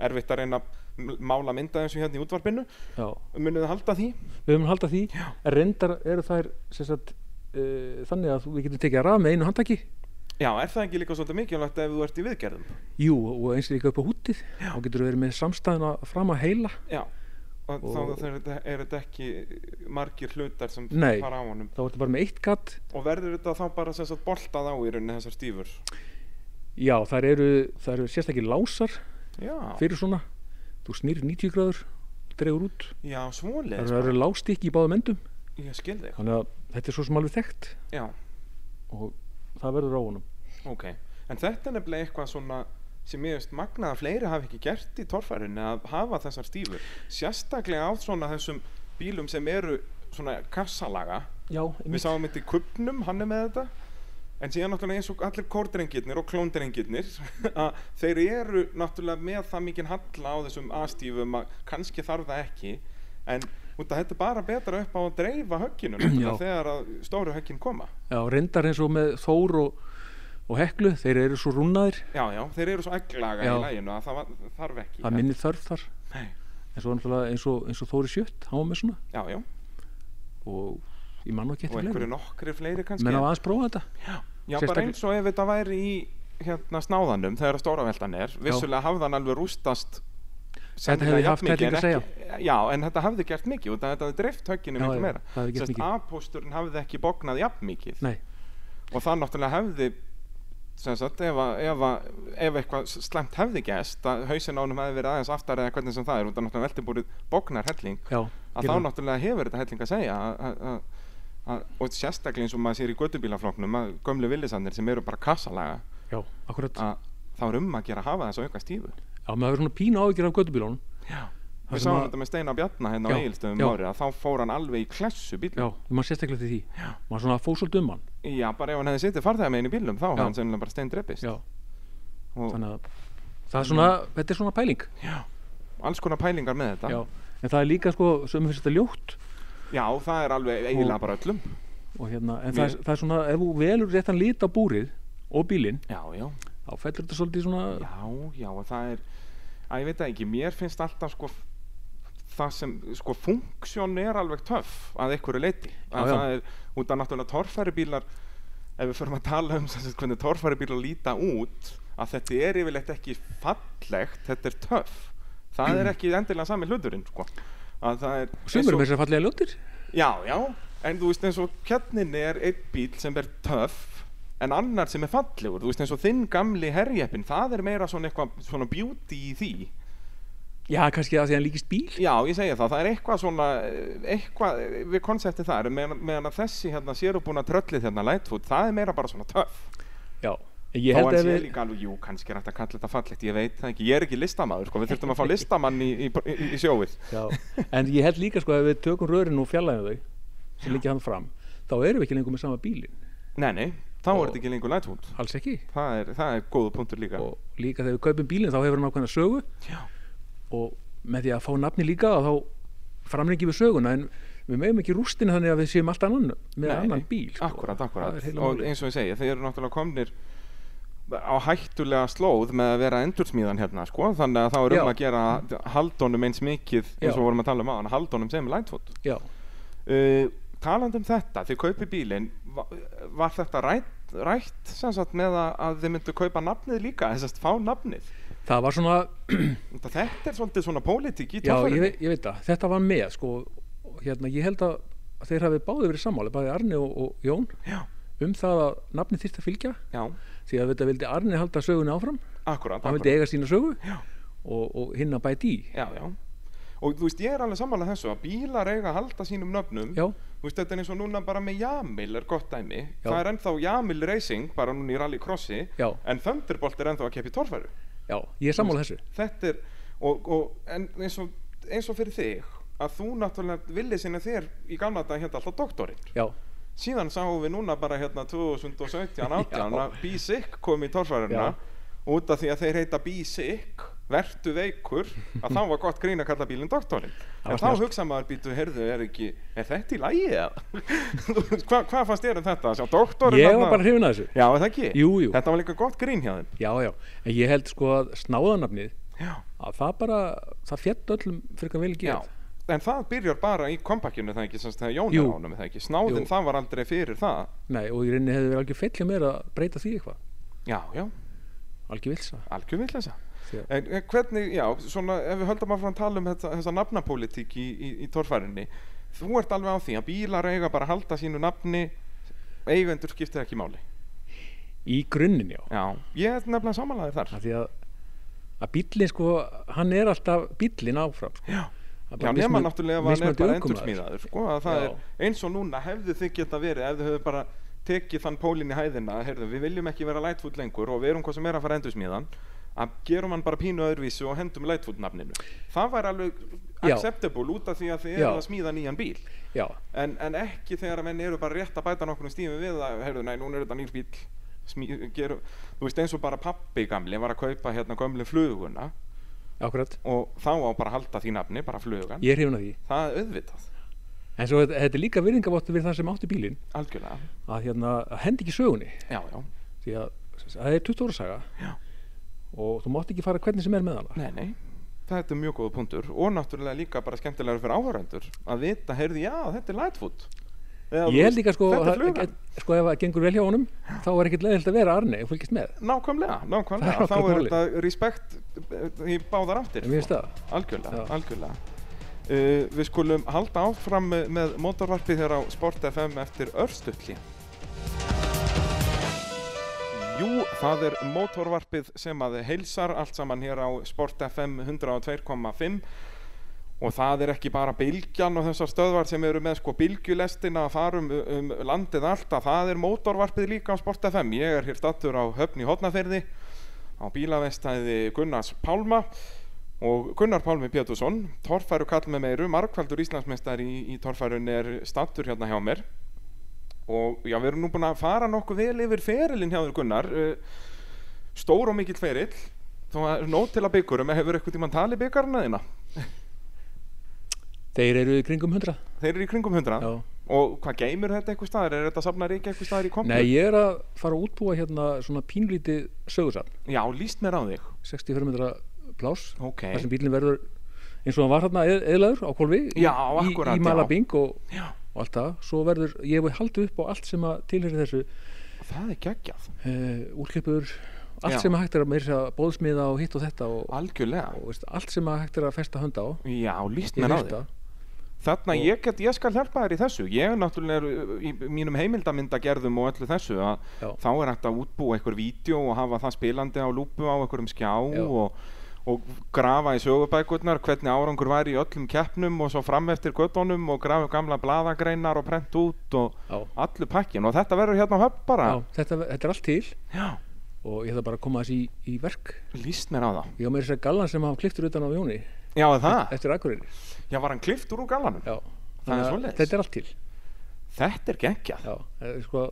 [SPEAKER 1] erfitt að reyna að m- mála mynda eins og hérna í útvarpinu
[SPEAKER 2] já
[SPEAKER 1] munið að halda því
[SPEAKER 2] við höfum halda því
[SPEAKER 1] Já.
[SPEAKER 2] en reyndar eru þær sem sagt, uh, þannig að þú- við getum tekið að raf með einu handtaki
[SPEAKER 1] já, er það ekki líka svolítið mikilvægt ef þú ert í viðgerðum
[SPEAKER 2] jú og eins líka upp á hútið þá getur þú verið með samstæðuna fram að heila
[SPEAKER 1] já, og,
[SPEAKER 2] Og-
[SPEAKER 1] þá er þetta, er þetta ekki margir hlutar sem
[SPEAKER 2] Nei.
[SPEAKER 1] fara á honum
[SPEAKER 2] þá ertu bara með eitt gatt
[SPEAKER 1] og verður þetta þá bara sem sagt boltað á í rauninni þessar stífur
[SPEAKER 2] já þær eru, þær eru sérstakir lásar
[SPEAKER 1] já,
[SPEAKER 2] fyrir svona þú snýr 90 gráður dregur út
[SPEAKER 1] já
[SPEAKER 2] það
[SPEAKER 1] svoleiðis
[SPEAKER 2] eru- það eru lástikki í báðum endum
[SPEAKER 1] bara. ég skil þig
[SPEAKER 2] þannig að þetta er svo sem alveg þekkt
[SPEAKER 1] já
[SPEAKER 2] og það verður á honum
[SPEAKER 1] Ok, en þetta er nefnilega eitthvað svona sem ég veist magnað að fleiri hafi ekki gert í torfærunni að hafa þessar stífur sérstaklega á svona þessum bílum sem eru svona kassalaga
[SPEAKER 2] já,
[SPEAKER 1] við sáum þetta í kubnum, hann er með þetta en síðan náttúrulega eins og allir kórdrengirnir og klóndrengirnir að þeir eru náttúrulega með það mikinn halla á þessum A-stífum að kannski þarf það ekki en út að þetta er bara betra upp á að dreifa högginu náttúrulega, þegar að stóru höggin koma
[SPEAKER 2] já, reyndar eins og með Þór og, og Heklu þeir eru svo rúnaðir
[SPEAKER 1] já, já, þeir eru svo egglaga
[SPEAKER 2] Já.
[SPEAKER 1] í læginu að það var, þarf ekki
[SPEAKER 2] það minni þörf þar
[SPEAKER 1] Nei.
[SPEAKER 2] eins og, náttúrulega eins og, eins og Þóri Sjött hann var með svona
[SPEAKER 1] Já, já,
[SPEAKER 2] og ég mann og
[SPEAKER 1] og
[SPEAKER 2] getur
[SPEAKER 1] einhverju
[SPEAKER 2] fleiri
[SPEAKER 1] nokkri fleiri kannski
[SPEAKER 2] menn á aðeins prófa þetta
[SPEAKER 1] Já, bara
[SPEAKER 2] sérstaklega-
[SPEAKER 1] eins og ef þetta væri í hérna snáðanum þegar að stóraveldan er vissulega hafði hann alveg rústast sennilega
[SPEAKER 2] hefði
[SPEAKER 1] jafn
[SPEAKER 2] haft
[SPEAKER 1] mikið,
[SPEAKER 2] helling
[SPEAKER 1] en
[SPEAKER 2] að
[SPEAKER 1] ekki- Já, en þetta hafði gert mikið og þetta hafði dreift högginu
[SPEAKER 2] Já,
[SPEAKER 1] miklu
[SPEAKER 2] já,
[SPEAKER 1] meira
[SPEAKER 2] það hafði gert
[SPEAKER 1] Sest,
[SPEAKER 2] mikið.
[SPEAKER 1] A-pósturinn hafði ekki bognað jafn mikið
[SPEAKER 2] nei,
[SPEAKER 1] og það náttúrulega hefði sem sagt, ef, að- ef, að- ef eitthvað slemt hefði gæst að hausin ánum hefði verið aðeins aftar eða hvernig sem það er og það náttúrulega veltibúrið bognar helling
[SPEAKER 2] já,
[SPEAKER 1] að þá náttúrulega hefur þetta helling að segja að- að- að- að- og sérstaklega eins og maður sér í gödubílafloknum að gömlu villisannir sem eru bara kassalaga
[SPEAKER 2] já, akkurat
[SPEAKER 1] að þá er um að gera að hafa þess að auka stífu
[SPEAKER 2] já, maður hefur svona pínu áhyggjur af göttubílónum
[SPEAKER 1] Já
[SPEAKER 2] Það
[SPEAKER 1] Við
[SPEAKER 2] sem
[SPEAKER 1] sáum
[SPEAKER 2] að-
[SPEAKER 1] þetta með Steina Bjarna hérna á
[SPEAKER 2] Já,
[SPEAKER 1] Egilstöðum
[SPEAKER 2] já.
[SPEAKER 1] árið að þá fór hann alveg í klessu
[SPEAKER 2] já,
[SPEAKER 1] bílum
[SPEAKER 2] maður sérstaklega eftir því
[SPEAKER 1] Já.
[SPEAKER 2] maður svona fór svolítið um hann
[SPEAKER 1] Já, bara ef hann hefði sittið farþega meginn í bílum þá hefði
[SPEAKER 2] Já.
[SPEAKER 1] hann sennilega bara steindreppist
[SPEAKER 2] já,
[SPEAKER 1] og
[SPEAKER 2] þannig að það er svona, þetta er svona pæling
[SPEAKER 1] alls konar pælingar með þetta
[SPEAKER 2] já, en það er líka sko, sem finnst þetta ljótt
[SPEAKER 1] Já, það er alveg eiginlega
[SPEAKER 2] Og-
[SPEAKER 1] bara öllum
[SPEAKER 2] og hérna,
[SPEAKER 1] Mér-
[SPEAKER 2] en það er, það er svona ef þú velur réttan lit á búrið og bílinn
[SPEAKER 1] Já, já
[SPEAKER 2] þá fellur þetta svolítið svona já,
[SPEAKER 1] Já, já, og það er að ég veit það ekki, mér finnst alltaf sko það sem, sko, funksjón er alveg töff að einhverju leiti að
[SPEAKER 2] Já, já.
[SPEAKER 1] það er, út af náttúrulega torfæribílar ef við förum að tala um sem sagt, hvernig torfæribílar líta út að þetta er yfirleitt ekki fallegt þetta er töff það er ekki endilega sami hluturinn, sko að það er eins
[SPEAKER 2] sumur með þess að fallega ljóttir
[SPEAKER 1] og- já, já, en þú veist eins og kjarninni er einn bíl sem er töff en annar sem er fallegur, þú veist eins og þinn gamli herjeppin, það er meira svona eitthvað svona beauty í því
[SPEAKER 2] já, kannski að því að hann líkist bíl
[SPEAKER 1] Já, ég segja það, það er eitthvað svona eh, eitthvað eh, við konseptið þar meðan, meðan að þessi hérna sérubúna tröllið hérna Lightfoot, það er meira bara svona töff
[SPEAKER 2] já, en
[SPEAKER 1] Þó
[SPEAKER 2] ég held
[SPEAKER 1] hann
[SPEAKER 2] að
[SPEAKER 1] sé
[SPEAKER 2] við
[SPEAKER 1] líka alveg, jú, kannski er hægt að kalla þetta fallegt ég veit það ekki, ég er ekki listamaður, sko, við þurftum að fá listamann í, í, í, í sjóið
[SPEAKER 2] já, en ég held líka sko að við tökum rörin og fjallæðum þau sem líkja hann fram þá erum við ekki lengur með sama bílinn
[SPEAKER 1] Nei, nei, þá er
[SPEAKER 2] Og-
[SPEAKER 1] þetta ekki lengur Lightfoot
[SPEAKER 2] alls ekki
[SPEAKER 1] það er, það er góða punktur líka
[SPEAKER 2] og líka þegar við kaupum bílinn þá hefur hann ákveðna sögu
[SPEAKER 1] Já,
[SPEAKER 2] og með því að fá nafni líka þá framlengi við söguna en við megum ekki rústin þannig að við séum allt annan með
[SPEAKER 1] Nei,
[SPEAKER 2] annan
[SPEAKER 1] nei,
[SPEAKER 2] bíl sko.
[SPEAKER 1] Akkurat,
[SPEAKER 2] Það er
[SPEAKER 1] akkurat,
[SPEAKER 2] heila
[SPEAKER 1] og
[SPEAKER 2] málið.
[SPEAKER 1] eins og ég segi þeir eru náttúrulega komnir á hættulega slóð með að vera endursmíðan hérna sko, þannig að þá er um
[SPEAKER 2] Já.
[SPEAKER 1] að gera að halda honum eins mikið eins
[SPEAKER 2] Já.
[SPEAKER 1] og vorum að tala um aðan, haldónum sem lightfoot
[SPEAKER 2] já,
[SPEAKER 1] uh, talandi um þetta, þið kaupi bílinn va- var þetta rætt, rætt sem sagt með að, að þið myndu kaupa nafnið líka, þess að fá nafnið
[SPEAKER 2] það var svona
[SPEAKER 1] þetta, þetta er svolítið svona pólitík í
[SPEAKER 2] já, ég,
[SPEAKER 1] tófærinu
[SPEAKER 2] veit- ég veit það, þetta var með sko, og hérna, ég held að þeir hafi báði verið sammáli, bæði Arni og, og Jón
[SPEAKER 1] Já.
[SPEAKER 2] um það að nafni þyrst að fylgja
[SPEAKER 1] já,
[SPEAKER 2] því að þetta vildi Arni halda söguna áfram
[SPEAKER 1] akkurat,
[SPEAKER 2] hann
[SPEAKER 1] akkurat.
[SPEAKER 2] vildi eiga sína sögu
[SPEAKER 1] Já.
[SPEAKER 2] og, og hinn að bæti í
[SPEAKER 1] já, já. og þú veist, ég er alveg sammála þessu að bílar eiga að halda sínum nöfnum
[SPEAKER 2] já,
[SPEAKER 1] þú veist, þetta er eins og núna bara með Jamil er gott dæmi,
[SPEAKER 2] Já.
[SPEAKER 1] það er ennþá Jamil Racing bara núna í rallycrossi
[SPEAKER 2] já,
[SPEAKER 1] en Thunderbolt er ennþá að keppa í torfæru
[SPEAKER 2] já, ég er sammála þessu
[SPEAKER 1] þetta er og, og, en eins, og, eins og fyrir þig að þú náttúrulega villið sinni þér í gamla dag hérna alltaf doktorinn
[SPEAKER 2] já,
[SPEAKER 1] síðan sáum við núna bara hérna 2017 18
[SPEAKER 2] Já.
[SPEAKER 1] að B-Sick kom í torfæruna
[SPEAKER 2] Já.
[SPEAKER 1] út af því að þeir heita B-Sick vertu veikur að þá var gott grín að kalla bílinn doktorinn
[SPEAKER 2] Það var
[SPEAKER 1] en þá
[SPEAKER 2] snjallt.
[SPEAKER 1] hugsa maður býtu, heyrðu, er ekki er þetta í lagi eða? Þú veist, Hva, hvað fannst þér um þetta? Sjá, doktorinn
[SPEAKER 2] ég
[SPEAKER 1] þarna-
[SPEAKER 2] var bara hrifin að þessu
[SPEAKER 1] Já, er það ekki?
[SPEAKER 2] Jú, jú.
[SPEAKER 1] Þetta var líka gott grín hjá þeim
[SPEAKER 2] já, já, en ég held sko að snáðanafnið
[SPEAKER 1] Já,
[SPEAKER 2] að það bara, það fjett öllum frekar vel
[SPEAKER 1] já
[SPEAKER 2] gett
[SPEAKER 1] En það byrjar bara í kompakjunni það ekki, sem sagt, þegar Jón
[SPEAKER 2] Jú.
[SPEAKER 1] er ánum það ekki, snáðin
[SPEAKER 2] Jú.
[SPEAKER 1] það var aldrei fyrir það
[SPEAKER 2] Nei, og í rauninni hefði verið algjör feill hjá mér að breyta því eitthvað
[SPEAKER 1] Já, já,
[SPEAKER 2] algjör vilsa
[SPEAKER 1] algjör villesa
[SPEAKER 2] því að,
[SPEAKER 1] En en hvernig, já, svona ef við höldum áfram að tala um þetta, þessa nafnapólitík í, í, í torfærinni þú ert alveg á því að bílar eiga bara að halda sínu nafni eigendur skiptir ekki máli
[SPEAKER 2] í grunninn já
[SPEAKER 1] Já, ég er nefnilega samanlæðið þar
[SPEAKER 2] af því að, að bíllinn sko hann er alltaf bíllinn áfram sko.
[SPEAKER 1] Já,
[SPEAKER 2] Það er
[SPEAKER 1] já
[SPEAKER 2] bara
[SPEAKER 1] nema
[SPEAKER 2] mismun-
[SPEAKER 1] náttúrulega var hann er
[SPEAKER 2] mismunandi
[SPEAKER 1] bara
[SPEAKER 2] ökumaður.
[SPEAKER 1] endursmíðaður sko, að það
[SPEAKER 2] Já.
[SPEAKER 1] er eins og núna hefðu þið geta verið ef þið hefðu bara tekið þann pólinn í hæðina heyrðu, við viljum ekki vera lightfoot lengur og við erum hvað sem er að fara endursmíðan að gerum hann bara pínu öðruvísu og hendum lightfoot nafninu það væri alveg
[SPEAKER 2] Já.
[SPEAKER 1] acceptable út af því að þið
[SPEAKER 2] Já.
[SPEAKER 1] eru að smíða nýjan bíl
[SPEAKER 2] já,
[SPEAKER 1] en, en ekki þegar að menn eru bara rétt að bæta nokkur stími við að, heyrðu, nei, núna er þetta nýr bíl smí, gerum, þú veist eins og bara pappi gamli var að kaupa hérna gömlu fluguna
[SPEAKER 2] akkurat
[SPEAKER 1] og þá á bara að halda því nafni, bara flugan
[SPEAKER 2] ég er hrifin að því
[SPEAKER 1] það er auðvitað,
[SPEAKER 2] en svo þetta, þetta er líka virðingavottu fyrir það sem átti bílinn
[SPEAKER 1] algjörlega
[SPEAKER 2] að hérna að hendi ekki sögunni
[SPEAKER 1] já, já,
[SPEAKER 2] því að að það er 20 ára saga
[SPEAKER 1] Já.
[SPEAKER 2] og þú mátt ekki fara hvernig sem er með hana
[SPEAKER 1] nei, nei þetta er mjög góða punktur og náttúrulega líka bara skemmtilegur fyrir áhöröndur að vita, heyrðu, já, þetta er Lightfoot Eða, þú
[SPEAKER 2] ég held
[SPEAKER 1] veist,
[SPEAKER 2] líka sko
[SPEAKER 1] þetta er
[SPEAKER 2] að-
[SPEAKER 1] flugan
[SPEAKER 2] að- sko ef það gengur vel hjá honum þá er ekkert leðilt að vera Arne og fylgist með
[SPEAKER 1] nákvæmlega,
[SPEAKER 2] Það er
[SPEAKER 1] nákvæmlega, þá
[SPEAKER 2] akkurat
[SPEAKER 1] er
[SPEAKER 2] málið.
[SPEAKER 1] þetta respekt eh, í báðar aftur
[SPEAKER 2] en mér finnst það
[SPEAKER 1] algjörlega,
[SPEAKER 2] Já.
[SPEAKER 1] algjörlega. Uh, við skulum halda áfram með- með mótorvarpið hér á Sport FM eftir örstutli Jú, það er mótorvarpið sem að heilsar allt saman hér á Sport FM 102.5 og það er ekki bara bylgjan og þessar stöðvar sem eru með sko bylgjulestina að fara um, um landið allt að það er mótorvarpið líka á Sport FM ég er hér stattur á höfn í Hotnaferði á bílavestæði Gunnars Pálma og Gunnar Pálmi Pétursson, torfæru kall með meiru, margfaldur Íslandsmeistar í, í torfærun er stattur hérna hjá mér og já, við erum nú búin að fara nokkuð vel yfir ferilinn hjá þér Gunnar uh, stór og mikill ferill þó að nót til að byggurum hefur eitthvað tímann talið byggarna þína
[SPEAKER 2] þeir eru í kringum 100
[SPEAKER 1] þeir eru í kringum 100
[SPEAKER 2] já.
[SPEAKER 1] og hvað geymur þetta eitthvað staðar, er þetta safnar ekki eitthvað staðar í komplu?
[SPEAKER 2] nei ég er að fara að útbúa hérna svona pínlítið sögursafn
[SPEAKER 1] Já, líst mér á þig
[SPEAKER 2] 64 metra pláss
[SPEAKER 1] Ok,
[SPEAKER 2] þar sem bílinn verður eins og hann var hérna eðlaður á kolvi
[SPEAKER 1] Já,
[SPEAKER 2] í,
[SPEAKER 1] akkurat,
[SPEAKER 2] í
[SPEAKER 1] já.
[SPEAKER 2] Malabing og,
[SPEAKER 1] já,
[SPEAKER 2] og allt það svo verður, ég hef haldið upp á allt sem að tilheyri þessu
[SPEAKER 1] það er geggjað
[SPEAKER 2] uh, úrklippur allt
[SPEAKER 1] Já.
[SPEAKER 2] sem að hægt er að meira að bóðsmiða og hitt og þetta og,
[SPEAKER 1] algjörlega,
[SPEAKER 2] og veist, allt sem að hægt er að festa hönda á
[SPEAKER 1] já, líst
[SPEAKER 2] ég
[SPEAKER 1] mér á
[SPEAKER 2] hef
[SPEAKER 1] þig
[SPEAKER 2] það,
[SPEAKER 1] Þarna
[SPEAKER 2] Og-
[SPEAKER 1] ég, get, ég skal hjálpa þér í þessu ég er náttúrulega er, uh, í mínum heimildamyndagerðum og öllu þessu að
[SPEAKER 2] Já.
[SPEAKER 1] þá er hægt að útbúa einhver vídeo og hafa það spilandi á lúpu á einhverjum skjá
[SPEAKER 2] Já.
[SPEAKER 1] og, og grafa í sögubækurnar hvernig árangur var í öllum keppnum og svo fram eftir göttunum og grafa upp gamla bladagreinar og prent út og
[SPEAKER 2] já,
[SPEAKER 1] allu pakkin og þetta verður hérna á höfn bara
[SPEAKER 2] já, þetta, þetta er allt til
[SPEAKER 1] Já,
[SPEAKER 2] og ég ætla bara að koma þess í, í verk
[SPEAKER 1] líst mér á það
[SPEAKER 2] ég á meira þess að gallan sem hafa kliftur utan á Jóni
[SPEAKER 1] Já, er það,
[SPEAKER 2] eftir Akureyri
[SPEAKER 1] já var hann klift úr úr galanum
[SPEAKER 2] já,
[SPEAKER 1] Það er
[SPEAKER 2] Þannig að
[SPEAKER 1] svoleiðis.
[SPEAKER 2] þetta er allt til
[SPEAKER 1] Þetta er geggjað
[SPEAKER 2] Já, eh, sko,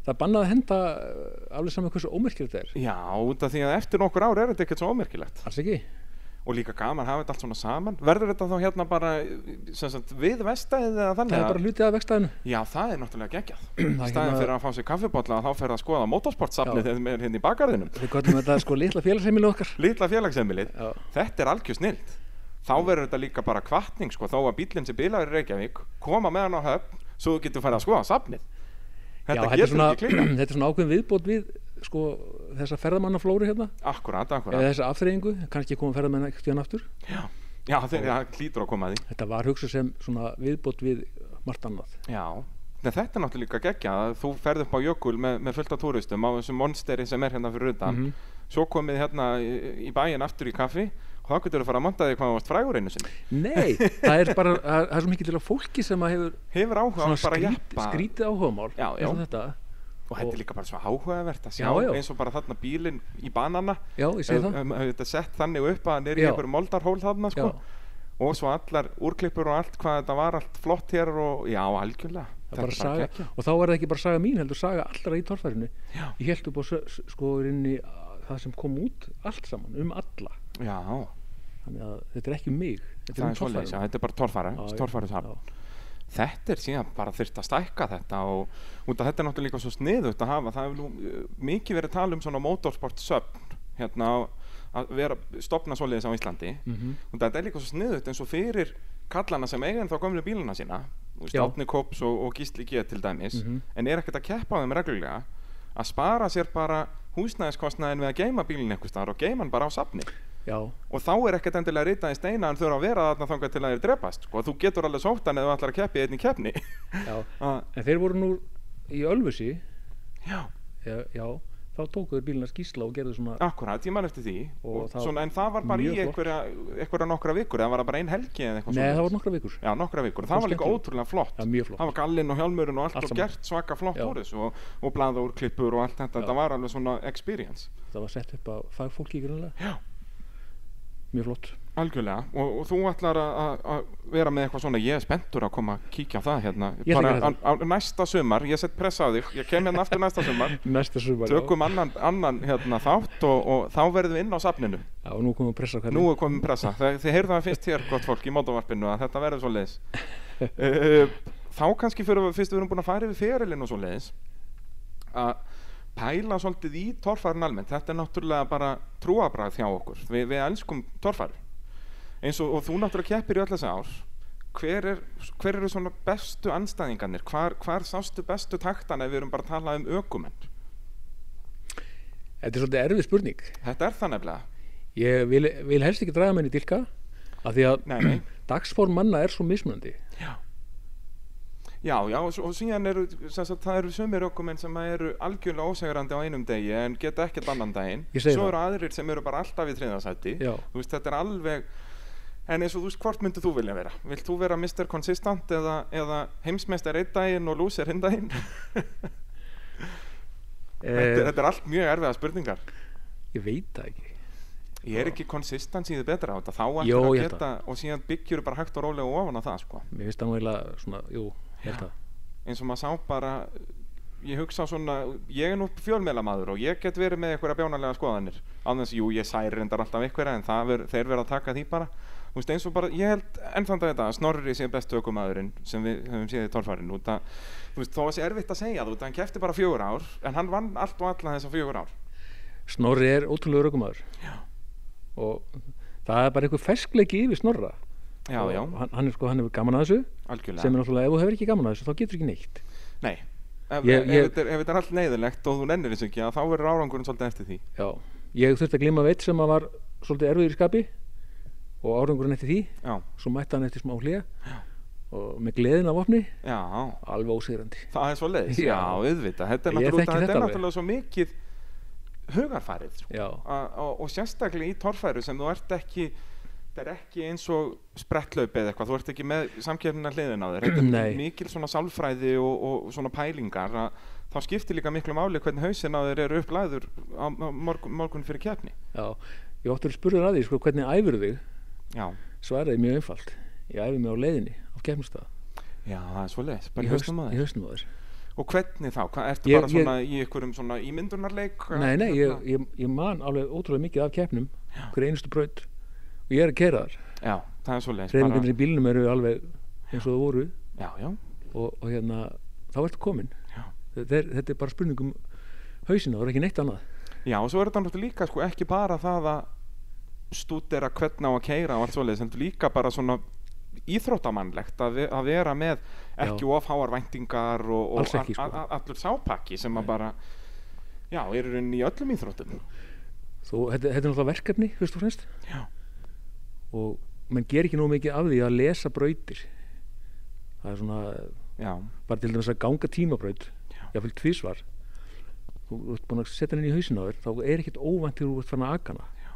[SPEAKER 2] það er bannað að henda eh, alveg saman hversu ómerkilegt það er.
[SPEAKER 1] Já, út af því að eftir nokkur ár er þetta ekkert svo ómerkilegt
[SPEAKER 2] Alls ekki?
[SPEAKER 1] og líka gaman að hafa þetta allt svona saman verður þetta þá hérna bara sem sagt, við vestæðið eða
[SPEAKER 2] Það
[SPEAKER 1] þannig
[SPEAKER 2] er bara hlutið af vegstæðinu.
[SPEAKER 1] já það er náttúrulega geggjað
[SPEAKER 2] Það
[SPEAKER 1] í
[SPEAKER 2] er
[SPEAKER 1] staðin
[SPEAKER 2] hérna-
[SPEAKER 1] fyrir að fá sér kaffibotla þá fer að skoða
[SPEAKER 2] Já.
[SPEAKER 1] motorsportsafnið þegar við erum hérna í bakgarðinum
[SPEAKER 2] Við gotum þetta sko litla félagsheimilu okkar.
[SPEAKER 1] litla félagsemmilið,
[SPEAKER 2] Já,
[SPEAKER 1] þetta er algjör snild þá verður þetta líka bara kvartning sko, þó að bílinn sem bilaður í Reykjavík koma með hann á höfn svo þú getur farið að skoða safnið
[SPEAKER 2] Já,
[SPEAKER 1] þetta
[SPEAKER 2] þetta, er
[SPEAKER 1] getur
[SPEAKER 2] svona,
[SPEAKER 1] ekki klíka
[SPEAKER 2] þetta er svona ákveðin viðbót við sko, þessa ferðamannaflóru hérna,
[SPEAKER 1] akkurat, akkurat
[SPEAKER 2] eða þessa afþreyingu, kannski koma ferðamenn ekkert hérna aftur.
[SPEAKER 1] já, þeir, það hlýtur að koma að því
[SPEAKER 2] Þetta var hugsa sem svona viðbót við margt annað.
[SPEAKER 1] Já, Nei, þetta er náttúrulega líka geggja þú ferð upp á jökul með, með fullt af túristum á þessu monsteri sem er hérna fyrir utan
[SPEAKER 2] Mhm.
[SPEAKER 1] svo komið hérna í, í bæin aftur í kaffi og þá getur þú fara að monta þig hvað þú varst frægur einu sinni
[SPEAKER 2] Nei, það er bara, það er- það er svo mikið til að fólki sem að hefur
[SPEAKER 1] hefur áhuga á bara
[SPEAKER 2] svona
[SPEAKER 1] að
[SPEAKER 2] skrít,
[SPEAKER 1] jeppa
[SPEAKER 2] skrítið áhugamál
[SPEAKER 1] Já,
[SPEAKER 2] eins og
[SPEAKER 1] já.
[SPEAKER 2] þetta.
[SPEAKER 1] og þetta er líka bara svo áhugavert að sjá
[SPEAKER 2] Já, já.
[SPEAKER 1] eins og bara þarna bílinn í banana
[SPEAKER 2] Já, ég segi
[SPEAKER 1] hefur
[SPEAKER 2] það.
[SPEAKER 1] þetta sett þannig upp að hann er í
[SPEAKER 2] Já.
[SPEAKER 1] einhverjum moldarhól þarna
[SPEAKER 2] Já,
[SPEAKER 1] sko. og svo allar úrklippur og allt hvað þetta var allt flott hér og já algjörlega
[SPEAKER 2] það er bara
[SPEAKER 1] bara
[SPEAKER 2] saga,
[SPEAKER 1] geggjað.
[SPEAKER 2] og þá er það ekki bara saga mín heldur, saga allra í torfærinu.
[SPEAKER 1] Já.
[SPEAKER 2] Ég held upp á s- s- sko inni að það sem kom út allt saman, um alla.
[SPEAKER 1] já,
[SPEAKER 2] Þannig að þetta er ekki um mig, þetta er
[SPEAKER 1] það
[SPEAKER 2] um
[SPEAKER 1] er svoleiðis, já,
[SPEAKER 2] torfærinu.
[SPEAKER 1] þetta er bara torfara,
[SPEAKER 2] Já, já.
[SPEAKER 1] torfara
[SPEAKER 2] Já.
[SPEAKER 1] þetta er síðan bara þurft að stækka þetta og út af þetta er náttúrulega líka svo sniðut að hafa, það hefur nú uh, mikið verið að tala um svona motorsport söfn hérna á- að vera, stopna svoleiðis á Íslandi
[SPEAKER 2] Mhm.
[SPEAKER 1] og þetta er líka svo sniðut eins og fyrir kallana sem eiga en þá gömlu bílana sína
[SPEAKER 2] Já.
[SPEAKER 1] stofni Kops og, og Gísli G til dæmis
[SPEAKER 2] Mhm.
[SPEAKER 1] en er ekkert að keppa á þeim reglulega að spara sér bara húsnæðiskostnaðin við að geima bílinn einhvers staðar og geima hann bara á safni
[SPEAKER 2] Já,
[SPEAKER 1] og þá er ekkert endilega ritað í steina en þau eru að vera þarna þangað til að þeir drepast sko. þú getur alveg sótt hann eða þú ætlar að keppa í einni keppni
[SPEAKER 2] já.
[SPEAKER 1] Ah,
[SPEAKER 2] En þeir voru nú í Ölfusi,
[SPEAKER 1] já,
[SPEAKER 2] já, já þá tókuður bílina skísla og gerðu svona
[SPEAKER 1] akkurat, ég man eftir því
[SPEAKER 2] Og
[SPEAKER 1] og
[SPEAKER 2] það-
[SPEAKER 1] svona, en það var bara í
[SPEAKER 2] mjög flott.
[SPEAKER 1] einhverja, einhverja nokkra vikur eða var það bara ein helgi eða eitthvað
[SPEAKER 2] Nei,
[SPEAKER 1] svoleiðis?
[SPEAKER 2] það var nokkra vikur
[SPEAKER 1] Já, nokkra vikur, það
[SPEAKER 2] Það var
[SPEAKER 1] var líka
[SPEAKER 2] skemmtilegt.
[SPEAKER 1] ótrúlega flott
[SPEAKER 2] Já, mjög flott.
[SPEAKER 1] Það var gallinn og hjálmurinn og allt,
[SPEAKER 2] Allt
[SPEAKER 1] og
[SPEAKER 2] saman.
[SPEAKER 1] gert svaka flott
[SPEAKER 2] Já.
[SPEAKER 1] úr þessu og, og blaða úr klippur og allt þetta,
[SPEAKER 2] Já.
[SPEAKER 1] þetta var alveg svona experience
[SPEAKER 2] Það var sett upp að fagfólki grunlega
[SPEAKER 1] Já.
[SPEAKER 2] Mjög flott
[SPEAKER 1] Algjörlega, og, og þú ætlar að- að að vera með eitthvað svona, ég er spenntur að koma að kíkja á það hérna
[SPEAKER 2] Ég ætla að gera
[SPEAKER 1] á, á, næsta sumar, ég set pressa á þig, ég kem hérna aftur næsta sumar
[SPEAKER 2] Næsta sumar
[SPEAKER 1] Tökum annan, annan hérna þátt og, og þá verðum við inn á safninu
[SPEAKER 2] Já, og nú komum við pressa á
[SPEAKER 1] Nú
[SPEAKER 2] hvernig
[SPEAKER 1] er komin pressa. Þa, þið heyrðu það fyrst hér, gott fólk, í mótavarpinu að þetta verður svo leiðis. Uh, þá kannski fyrir, við- fyrst við erum búin að fara yfir ferilinn og svo leiðis að pæla svolítið í torfærin almennt. Þetta er náttúrulega bara trúabræð hjá okkur. Vi, við elskum torfæri. Eins og, og þú náttúrulega keppir í öll þessi ár. Hver, er, hver eru svona bestu anstæðingarnir? Hvar, hvar sástu bestu taktana ef við erum bara að tala um ökumenn?
[SPEAKER 2] Þetta er svolítið erfið spurning
[SPEAKER 1] Þetta er það nefnilega.
[SPEAKER 2] Ég vil, vil helst ekki draga menni dilka af því að
[SPEAKER 1] Nei, nei.
[SPEAKER 2] dagsform manna er svo mismunandi
[SPEAKER 1] Já, já, og, s- og síðan eru, sem sagt, það eru sumir ökumenn sem eru algjörlega ósegrandi á einum degi en geta ekkert annan daginn.
[SPEAKER 2] Ég segi
[SPEAKER 1] Svo
[SPEAKER 2] það.
[SPEAKER 1] eru aðrir sem eru bara alltaf í þriðasætti.
[SPEAKER 2] Já.
[SPEAKER 1] Þú veist, þetta er alveg, en eins og þú veist, hvort myndir þú vilja vera? Vilt þú vera Mr. Consistent eða, eða heimsmeistar einn daginn og lúsir hinn daginn? þetta, er-
[SPEAKER 2] eh,
[SPEAKER 1] þetta er allt mjög erfiða spurningar.
[SPEAKER 2] Ég veit það ekki
[SPEAKER 1] Ég er ekki konsistans í þið betra á þetta, þá ættir
[SPEAKER 2] Jó,
[SPEAKER 1] að
[SPEAKER 2] ég held
[SPEAKER 1] geta og síðan byggjur bara hægt og rólega ofan á það, sko.
[SPEAKER 2] Mér finnst það nú eiginlega svona, jú, ég held það
[SPEAKER 1] eins og maður sá bara ég hugsa svona, ég er nú fjölmeilamaður og ég get verið með einhverja bjónalega skoðanir annars, jú, ég særi reyndar alltaf einhverja en það ver, þeir verða að taka því bara Þú veist, eins og bara, ég held ennþann dag þetta að Snorri sé bestu ökumaðurinn sem við höfum séð í torfærin út að, þú veist, þó að sé erfitt að segja þú veist, hann kefti bara fjögur ár en hann vann allt og alla þessa fjögur ár
[SPEAKER 2] Snorri er ótrúlega rökumadur
[SPEAKER 1] Já.
[SPEAKER 2] Og það er bara einhver ferskleiki yfir Snorra
[SPEAKER 1] Já,
[SPEAKER 2] Og
[SPEAKER 1] já,
[SPEAKER 2] hann, hann er sko, hann hefur gaman að þessu sem er
[SPEAKER 1] algjörlega
[SPEAKER 2] náttúrulega, ef þú hefur ekki gaman að þessu þá getur ekki neitt
[SPEAKER 1] Nei, ef,
[SPEAKER 2] Ég-
[SPEAKER 1] ef,
[SPEAKER 2] ég-
[SPEAKER 1] þetta er- ef þetta er allt neyðilegt og þú nennir þessu ekki að þá verður árangurinn svolítið eftir því
[SPEAKER 2] Já, ég þurfti að glima veit sem að var svolítið erfiður í skapi og árangurinn eftir því,
[SPEAKER 1] Já,
[SPEAKER 2] svo mætti hann eftir smá hliða og með gleðin af opni
[SPEAKER 1] já
[SPEAKER 2] alveg ósegrandi
[SPEAKER 1] Það er svo leiðis,
[SPEAKER 2] Já.
[SPEAKER 1] já, auðvitað Þetta er
[SPEAKER 2] Ég
[SPEAKER 1] náttúrulega,
[SPEAKER 2] þekki
[SPEAKER 1] þetta
[SPEAKER 2] þetta
[SPEAKER 1] er
[SPEAKER 2] alveg.
[SPEAKER 1] náttúrulega svo mikið hugarfarið sko.
[SPEAKER 2] Já,
[SPEAKER 1] A- og, og sérstaklega í torfæru sem þú ert ekki þetta er ekki eins og sprettlaup eða eitthvað, þú ert ekki með samkjörnina hliðin á þér þetta
[SPEAKER 2] Nei.
[SPEAKER 1] er mikil svona sálfræði og, og svona pælingar að þá skiptir líka miklu máli hvernig hausinn á þér eru upplæður á, á morgun, morgun fyrir keppni
[SPEAKER 2] já Ég óttur að spurður að því, sko, hvernig æfur þig
[SPEAKER 1] Já,
[SPEAKER 2] svaraði mjög einfalt Ég æfi mig á leiðinni, á kemnstað
[SPEAKER 1] já, það er svo leiðis, bara í hausnum á
[SPEAKER 2] Í
[SPEAKER 1] þér
[SPEAKER 2] hausnum á þér
[SPEAKER 1] Og hvernig þá, Hva, ertu
[SPEAKER 2] Ég-
[SPEAKER 1] bara svona í einhverjum svona ímyndunarleik
[SPEAKER 2] Nei, nei, ég,
[SPEAKER 1] Hérna?
[SPEAKER 2] ég, ég man alveg ótrúlega mikið af keppnum hver einustu braut og ég er að kera þar
[SPEAKER 1] Já, það er svo leiðis
[SPEAKER 2] Reyningarnir í bílnum eru alveg eins og það voru
[SPEAKER 1] Já, já,
[SPEAKER 2] og, og hérna, þá ertu komin
[SPEAKER 1] já
[SPEAKER 2] þetta er, þetta er bara spurningum hausina, það er ekki neitt annað
[SPEAKER 1] Já, og svo er þetta náttúrulega líka sko, ekki bara það að stúdera hvernig á að keira og allt svoleiðis, heldur líka bara svona íþróttamannlegt að, ve- að vera með ekki
[SPEAKER 2] Já.
[SPEAKER 1] ofháar væntingar og, og
[SPEAKER 2] Alls ekki, sko.
[SPEAKER 1] a- a- allur sápakki sem að bara já, eru inn í öllum íþróttum
[SPEAKER 2] Þú, þetta, þetta er náttúrulega verkefni, fyrst og fremst
[SPEAKER 1] Já,
[SPEAKER 2] og mann ger ekki nóg mikið af því að lesa brautir það er svona
[SPEAKER 1] já,
[SPEAKER 2] bara til dæmis að ganga tímabraut jáfnvel tvísvar þú þú ert búin að setja henni í hausin á þér þá er ekkert óvænt þegar þú ert fann að agana
[SPEAKER 1] Já.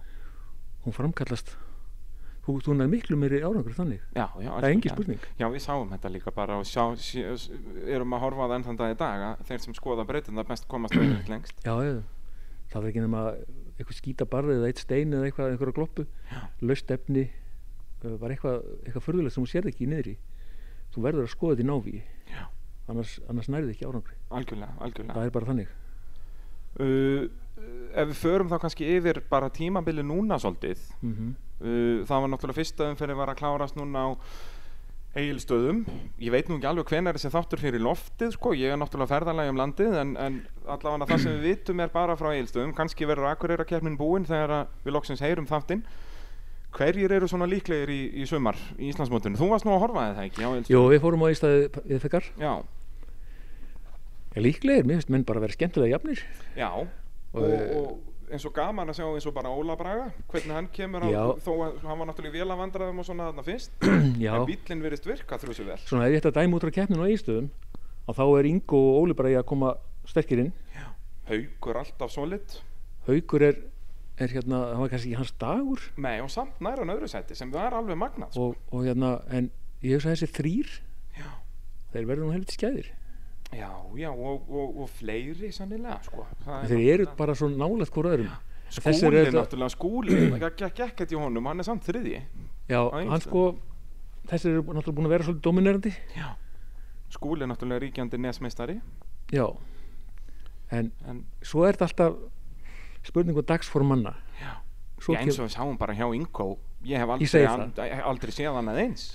[SPEAKER 2] hún framkallast þú, þú nær miklu meiri árangur þannig
[SPEAKER 1] já, já
[SPEAKER 2] það er engin spurning
[SPEAKER 1] Já, við sáum þetta líka bara og sjá, sjá, erum að horfa á það enn þann dag í dag að þeir sem skoða breytuna best komast auðvitað lengst.
[SPEAKER 2] já, já, það er ekki nema eitthvað skítabarði eða eitt stein eða eitthvað einhverja gloppu,
[SPEAKER 1] Já.
[SPEAKER 2] löst efni uh, bara eitthvað, eitthvað förðulegt sem þú sér ekki í niðri þú verður að skoða þetta í návíi
[SPEAKER 1] Já.
[SPEAKER 2] annars, annars nærði ekki árangri
[SPEAKER 1] Algjörlega, algjörlega.
[SPEAKER 2] það er bara þannig
[SPEAKER 1] Uh, ef við förum þá kannski yfir bara tímabili núna svolítið
[SPEAKER 2] mm
[SPEAKER 1] uh, það var náttúrulega fyrsta umferði var að klárast núna á eigilstöðum ég veit nú ekki alveg hvenær þessi þáttur fyrir loftið sko, ég er náttúrulega ferðalagi um landið en, en allavega það sem við vitum er bara frá eigilstöðum, kannski verður akkurera keppnin búin þegar að við loksins heyrum þáttinn hverjir eru svona líklegir í, í sumar í Íslandsmótinu, þú varst nú að horfa það ekki á eigilstöðum
[SPEAKER 2] Jó, við fórum á ístæði við fekar
[SPEAKER 1] já,
[SPEAKER 2] líklegir, mér finnst menn bara vera skemmtilega jafnir
[SPEAKER 1] já og, og eins og gaman að sjá eins og bara Óla Braga hvernig hann kemur á,
[SPEAKER 2] Já.
[SPEAKER 1] þó að hann var náttúrulega vel að vandraðum og svona þarna fyrst
[SPEAKER 2] já,
[SPEAKER 1] en bíllinn virðist virka þrjúsu vel
[SPEAKER 2] svona ef ég ætti að dæma út frá keppninu á eiginstöðum og þá er Ingo og Óli bara í að koma sterkir inn
[SPEAKER 1] haugur alltaf solid
[SPEAKER 2] Haukur er, er hérna, það var kannski ekki hans dagur
[SPEAKER 1] Nei, og samt nær hann öðru sæti sem var alveg magnað sko.
[SPEAKER 2] og, og hérna, en ég hugsa að þessi þrýr
[SPEAKER 1] Já.
[SPEAKER 2] þeir verður nú helviti skæðir
[SPEAKER 1] Já, já, og, og, og fleiri sannilega sko. Það er
[SPEAKER 2] þeir eru
[SPEAKER 1] náttúrulega-
[SPEAKER 2] bara svo nálægt hvora öðrum
[SPEAKER 1] Skúli
[SPEAKER 2] þessir eru þetta-
[SPEAKER 1] náttúrulega, skúli Það gekk- gekk ekkert í honum, hann er samt þriðji
[SPEAKER 2] já,
[SPEAKER 1] Á
[SPEAKER 2] hann sko þessir eru náttúrulega búin að vera svolítið dominerandi
[SPEAKER 1] Já Skúli er náttúrulega ríkjandi nesmeistari
[SPEAKER 2] já, en
[SPEAKER 1] En
[SPEAKER 2] svo er þetta alltaf spurning og dagsformanna
[SPEAKER 1] já,
[SPEAKER 2] svo
[SPEAKER 1] já, eins og við sáum bara hjá Ingo Ég hef
[SPEAKER 2] Ég
[SPEAKER 1] aldrei,
[SPEAKER 2] segi
[SPEAKER 1] an, eh, aldrei séð hann að eins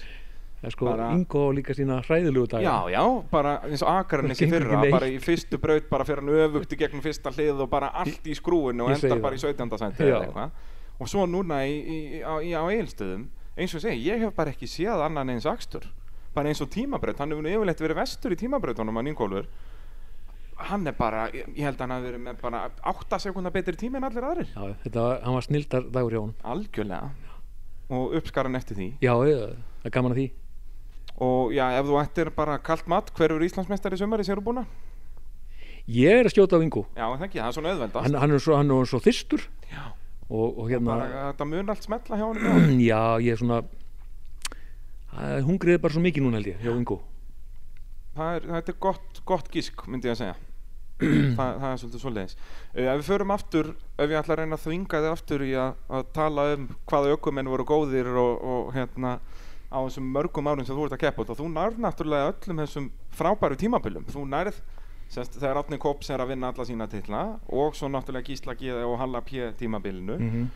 [SPEAKER 2] Það er sko,
[SPEAKER 1] Bara-
[SPEAKER 2] Ingo á líka sína hræðilegu daga
[SPEAKER 1] Já, já, bara eins og Akranes í
[SPEAKER 2] Það gengur
[SPEAKER 1] fyrra
[SPEAKER 2] ekki
[SPEAKER 1] Bara í fyrstu braut, bara fyrir hann öfugt í gegnum fyrsta hlið Og bara allt í skrúinu og
[SPEAKER 2] Ég segi
[SPEAKER 1] endar
[SPEAKER 2] það.
[SPEAKER 1] bara í 17. sæti
[SPEAKER 2] Já.
[SPEAKER 1] eða eitthvað. Og svo núna í, í, í, á, í, á eilstöðum Eins og ég segi, ég hef bara ekki séð annan eins akstur Bara eins og tímabraut Hann hefur nú yfirleitt verið vestur í tímabrautunum Hann Ingólfur Hann er bara, ég ég held að hann hafi verið með bara 8 sekundar betri tími en allir aðrir
[SPEAKER 2] Já, þetta var, hann var snildar dagur hjá hún
[SPEAKER 1] Algjörlega Og uppskaran eftir því
[SPEAKER 2] Já, ég- það er gaman að því
[SPEAKER 1] Og já, ef þú ættir bara kalt mat Hverfur Íslandsmeistari sumari sér búna?
[SPEAKER 2] Ég er að skjóta á Ingo
[SPEAKER 1] Já, það ekki, það er svona auðveldast
[SPEAKER 2] Hann, hann er svo, hann er svo þyrstur
[SPEAKER 1] Já,
[SPEAKER 2] og, og hérna,
[SPEAKER 1] bara þetta mun allt smetla hjá hann
[SPEAKER 2] já, ég er svona Æ, Hungrið er bara svo mikið núna held ég hjá Ingo
[SPEAKER 1] það er, þetta er gott, gott gísk myndi ég að segja Þa, það er svolítið svoleiðis uh, ef við förum aftur, ef ég ætla að reyna að þvinga þig aftur í að, að tala um hvaða ökumenn voru góðir og, og hérna á þessum mörgum árum sem þú ert að keppa út og þú nærð náttúrulega öllum þessum frábæru tímabilum þú nærð semst, þegar Átni Kops er að vinna alla sína titla og svo náttúrulega Gísla G og Halla P tímabilinu
[SPEAKER 2] -hmm.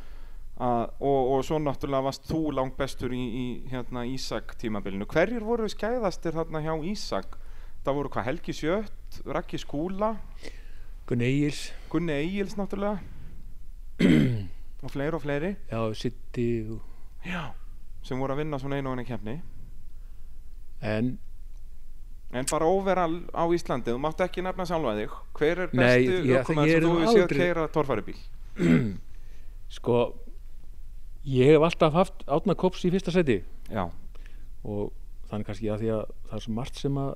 [SPEAKER 1] að, og, og svo náttúrulega varst þú langt bestur í, í hérna, Ísak tímabilinu hverjir voru skæðastir þarna hjá Ísak það voru hvað Helgi Sjött Raki Skúla,
[SPEAKER 2] Gunni Egils,
[SPEAKER 1] Gunni Egils náttúrulega og fleiri og fleiri
[SPEAKER 2] já, Sitti og...
[SPEAKER 1] já. sem voru að vinna svona einu og einu kefni
[SPEAKER 2] En,
[SPEAKER 1] en bara overall á Íslandi þú mátt ekki nefna sjálfa þig hver er
[SPEAKER 2] Nei,
[SPEAKER 1] bestu
[SPEAKER 2] ég-
[SPEAKER 1] ökumaður
[SPEAKER 2] ég er
[SPEAKER 1] sem þú
[SPEAKER 2] nú
[SPEAKER 1] hefur séð
[SPEAKER 2] aldrei-
[SPEAKER 1] keira torfæribíl
[SPEAKER 2] sko Ég hef alltaf haft Átna Kops í fyrsta seti
[SPEAKER 1] já,
[SPEAKER 2] og þannig kannski að því að það er svo margt sem að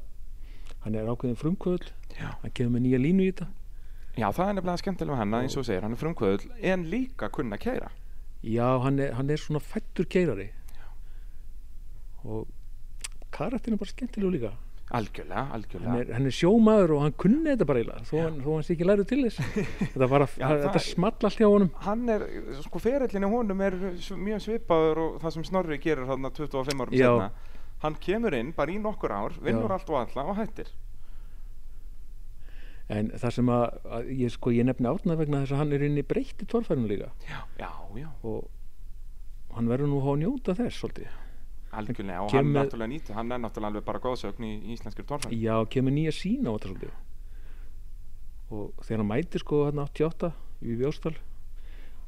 [SPEAKER 2] hann er ákveðin frumkvöld
[SPEAKER 1] já
[SPEAKER 2] hann kemur með nýja línu í þetta
[SPEAKER 1] Já, það er nefnilega skemmtilega hann eins og þú segir, hann er frumkvöðul en líka kunna keira
[SPEAKER 2] Já, hann er, hann er svona fættur keirari og karakterin er bara skemmtilegur líka
[SPEAKER 1] algjörlega,
[SPEAKER 2] hann
[SPEAKER 1] algjörlega
[SPEAKER 2] er, hann er sjómaður og hann kunni þetta bara eiginlega þó hann, þó hann sé ekki lærið til þess þetta, bara,
[SPEAKER 1] Já,
[SPEAKER 2] það,
[SPEAKER 1] það-
[SPEAKER 2] þetta small allt hjá honum
[SPEAKER 1] hann er, sko ferillinu honum er s- mjög svipaður og það sem Snorri gerir þarna 25 árum
[SPEAKER 2] Já.
[SPEAKER 1] setna hann kemur inn bara í nokkur ár vinnur
[SPEAKER 2] Já.
[SPEAKER 1] allt og alla og hættir
[SPEAKER 2] en það sem að, að ég, sko, ég nefni átnað vegna þess að hann er inn í breytti torfærinu líka
[SPEAKER 1] já, já, já,
[SPEAKER 2] og hann verður nú að fá að njóta þess svolítið.
[SPEAKER 1] algjörlega og hann
[SPEAKER 2] kemur-
[SPEAKER 1] náttúrulega nýttu, hann er náttúrulega alveg bara góðsögn í í íslenskri torfæri
[SPEAKER 2] já, kemur nýja sína á þetta svolítið og þegar hann mætir sko hann 88 í Vjóstal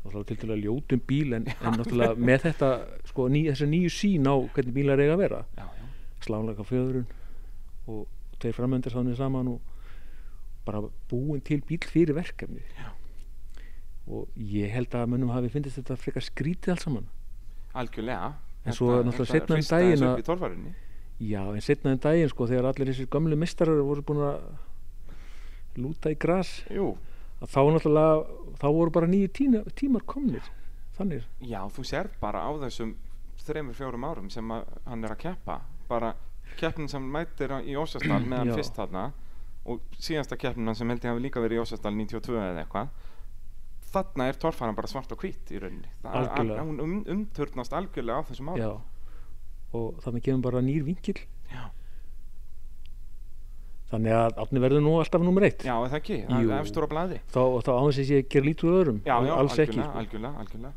[SPEAKER 2] og þá til til að ljótum bíl en, en náttúrulega með þetta sko ný, þessa nýju sín á hvernig bílar eiga að vera
[SPEAKER 1] já, já,
[SPEAKER 2] slánleika fjöðurinn og þeir framöndir sáðinni saman og bara búin til bíl fyrir verkefni
[SPEAKER 1] Já.
[SPEAKER 2] og ég held að mönnum hafi fyndist þetta frekar skrítið allt saman
[SPEAKER 1] algjörlega
[SPEAKER 2] En svo náttúrulega seinna um daginn að-
[SPEAKER 1] að
[SPEAKER 2] Já, en setna en daginn sko þegar allir þessir gamlu mistarar voru búin að lúta í gras
[SPEAKER 1] Jú,
[SPEAKER 2] að þá náttúrulega, þá voru bara nýju tína, tímar komnir, þannig
[SPEAKER 1] já, þú sér bara á þessum þreymur, fjórum árum sem að, hann er að keppa bara keppnin sem mætir á- í Ósastal meðan
[SPEAKER 2] Já.
[SPEAKER 1] fyrst þarna og síðasta keppnin sem held ég hafi líka verið í Ósastal 92 eða eitthvað þarna er torfæran bara svart og hvít í rauninni Það-
[SPEAKER 2] Algjörlega.
[SPEAKER 1] að- hún um, umturnast algjörlega á þessum árum
[SPEAKER 2] já, og þannig kemur bara nýr vinkill
[SPEAKER 1] Já.
[SPEAKER 2] þannig að átni verður nú alltaf nummer eitt
[SPEAKER 1] já er það ekki,
[SPEAKER 2] Jú.
[SPEAKER 1] það er efstur á blaði
[SPEAKER 2] þá, og þá áins þess að ég ger lítur öðrum
[SPEAKER 1] já, já,
[SPEAKER 2] alls ekki sko.
[SPEAKER 1] algjörlega, algjörlega, algjörlega.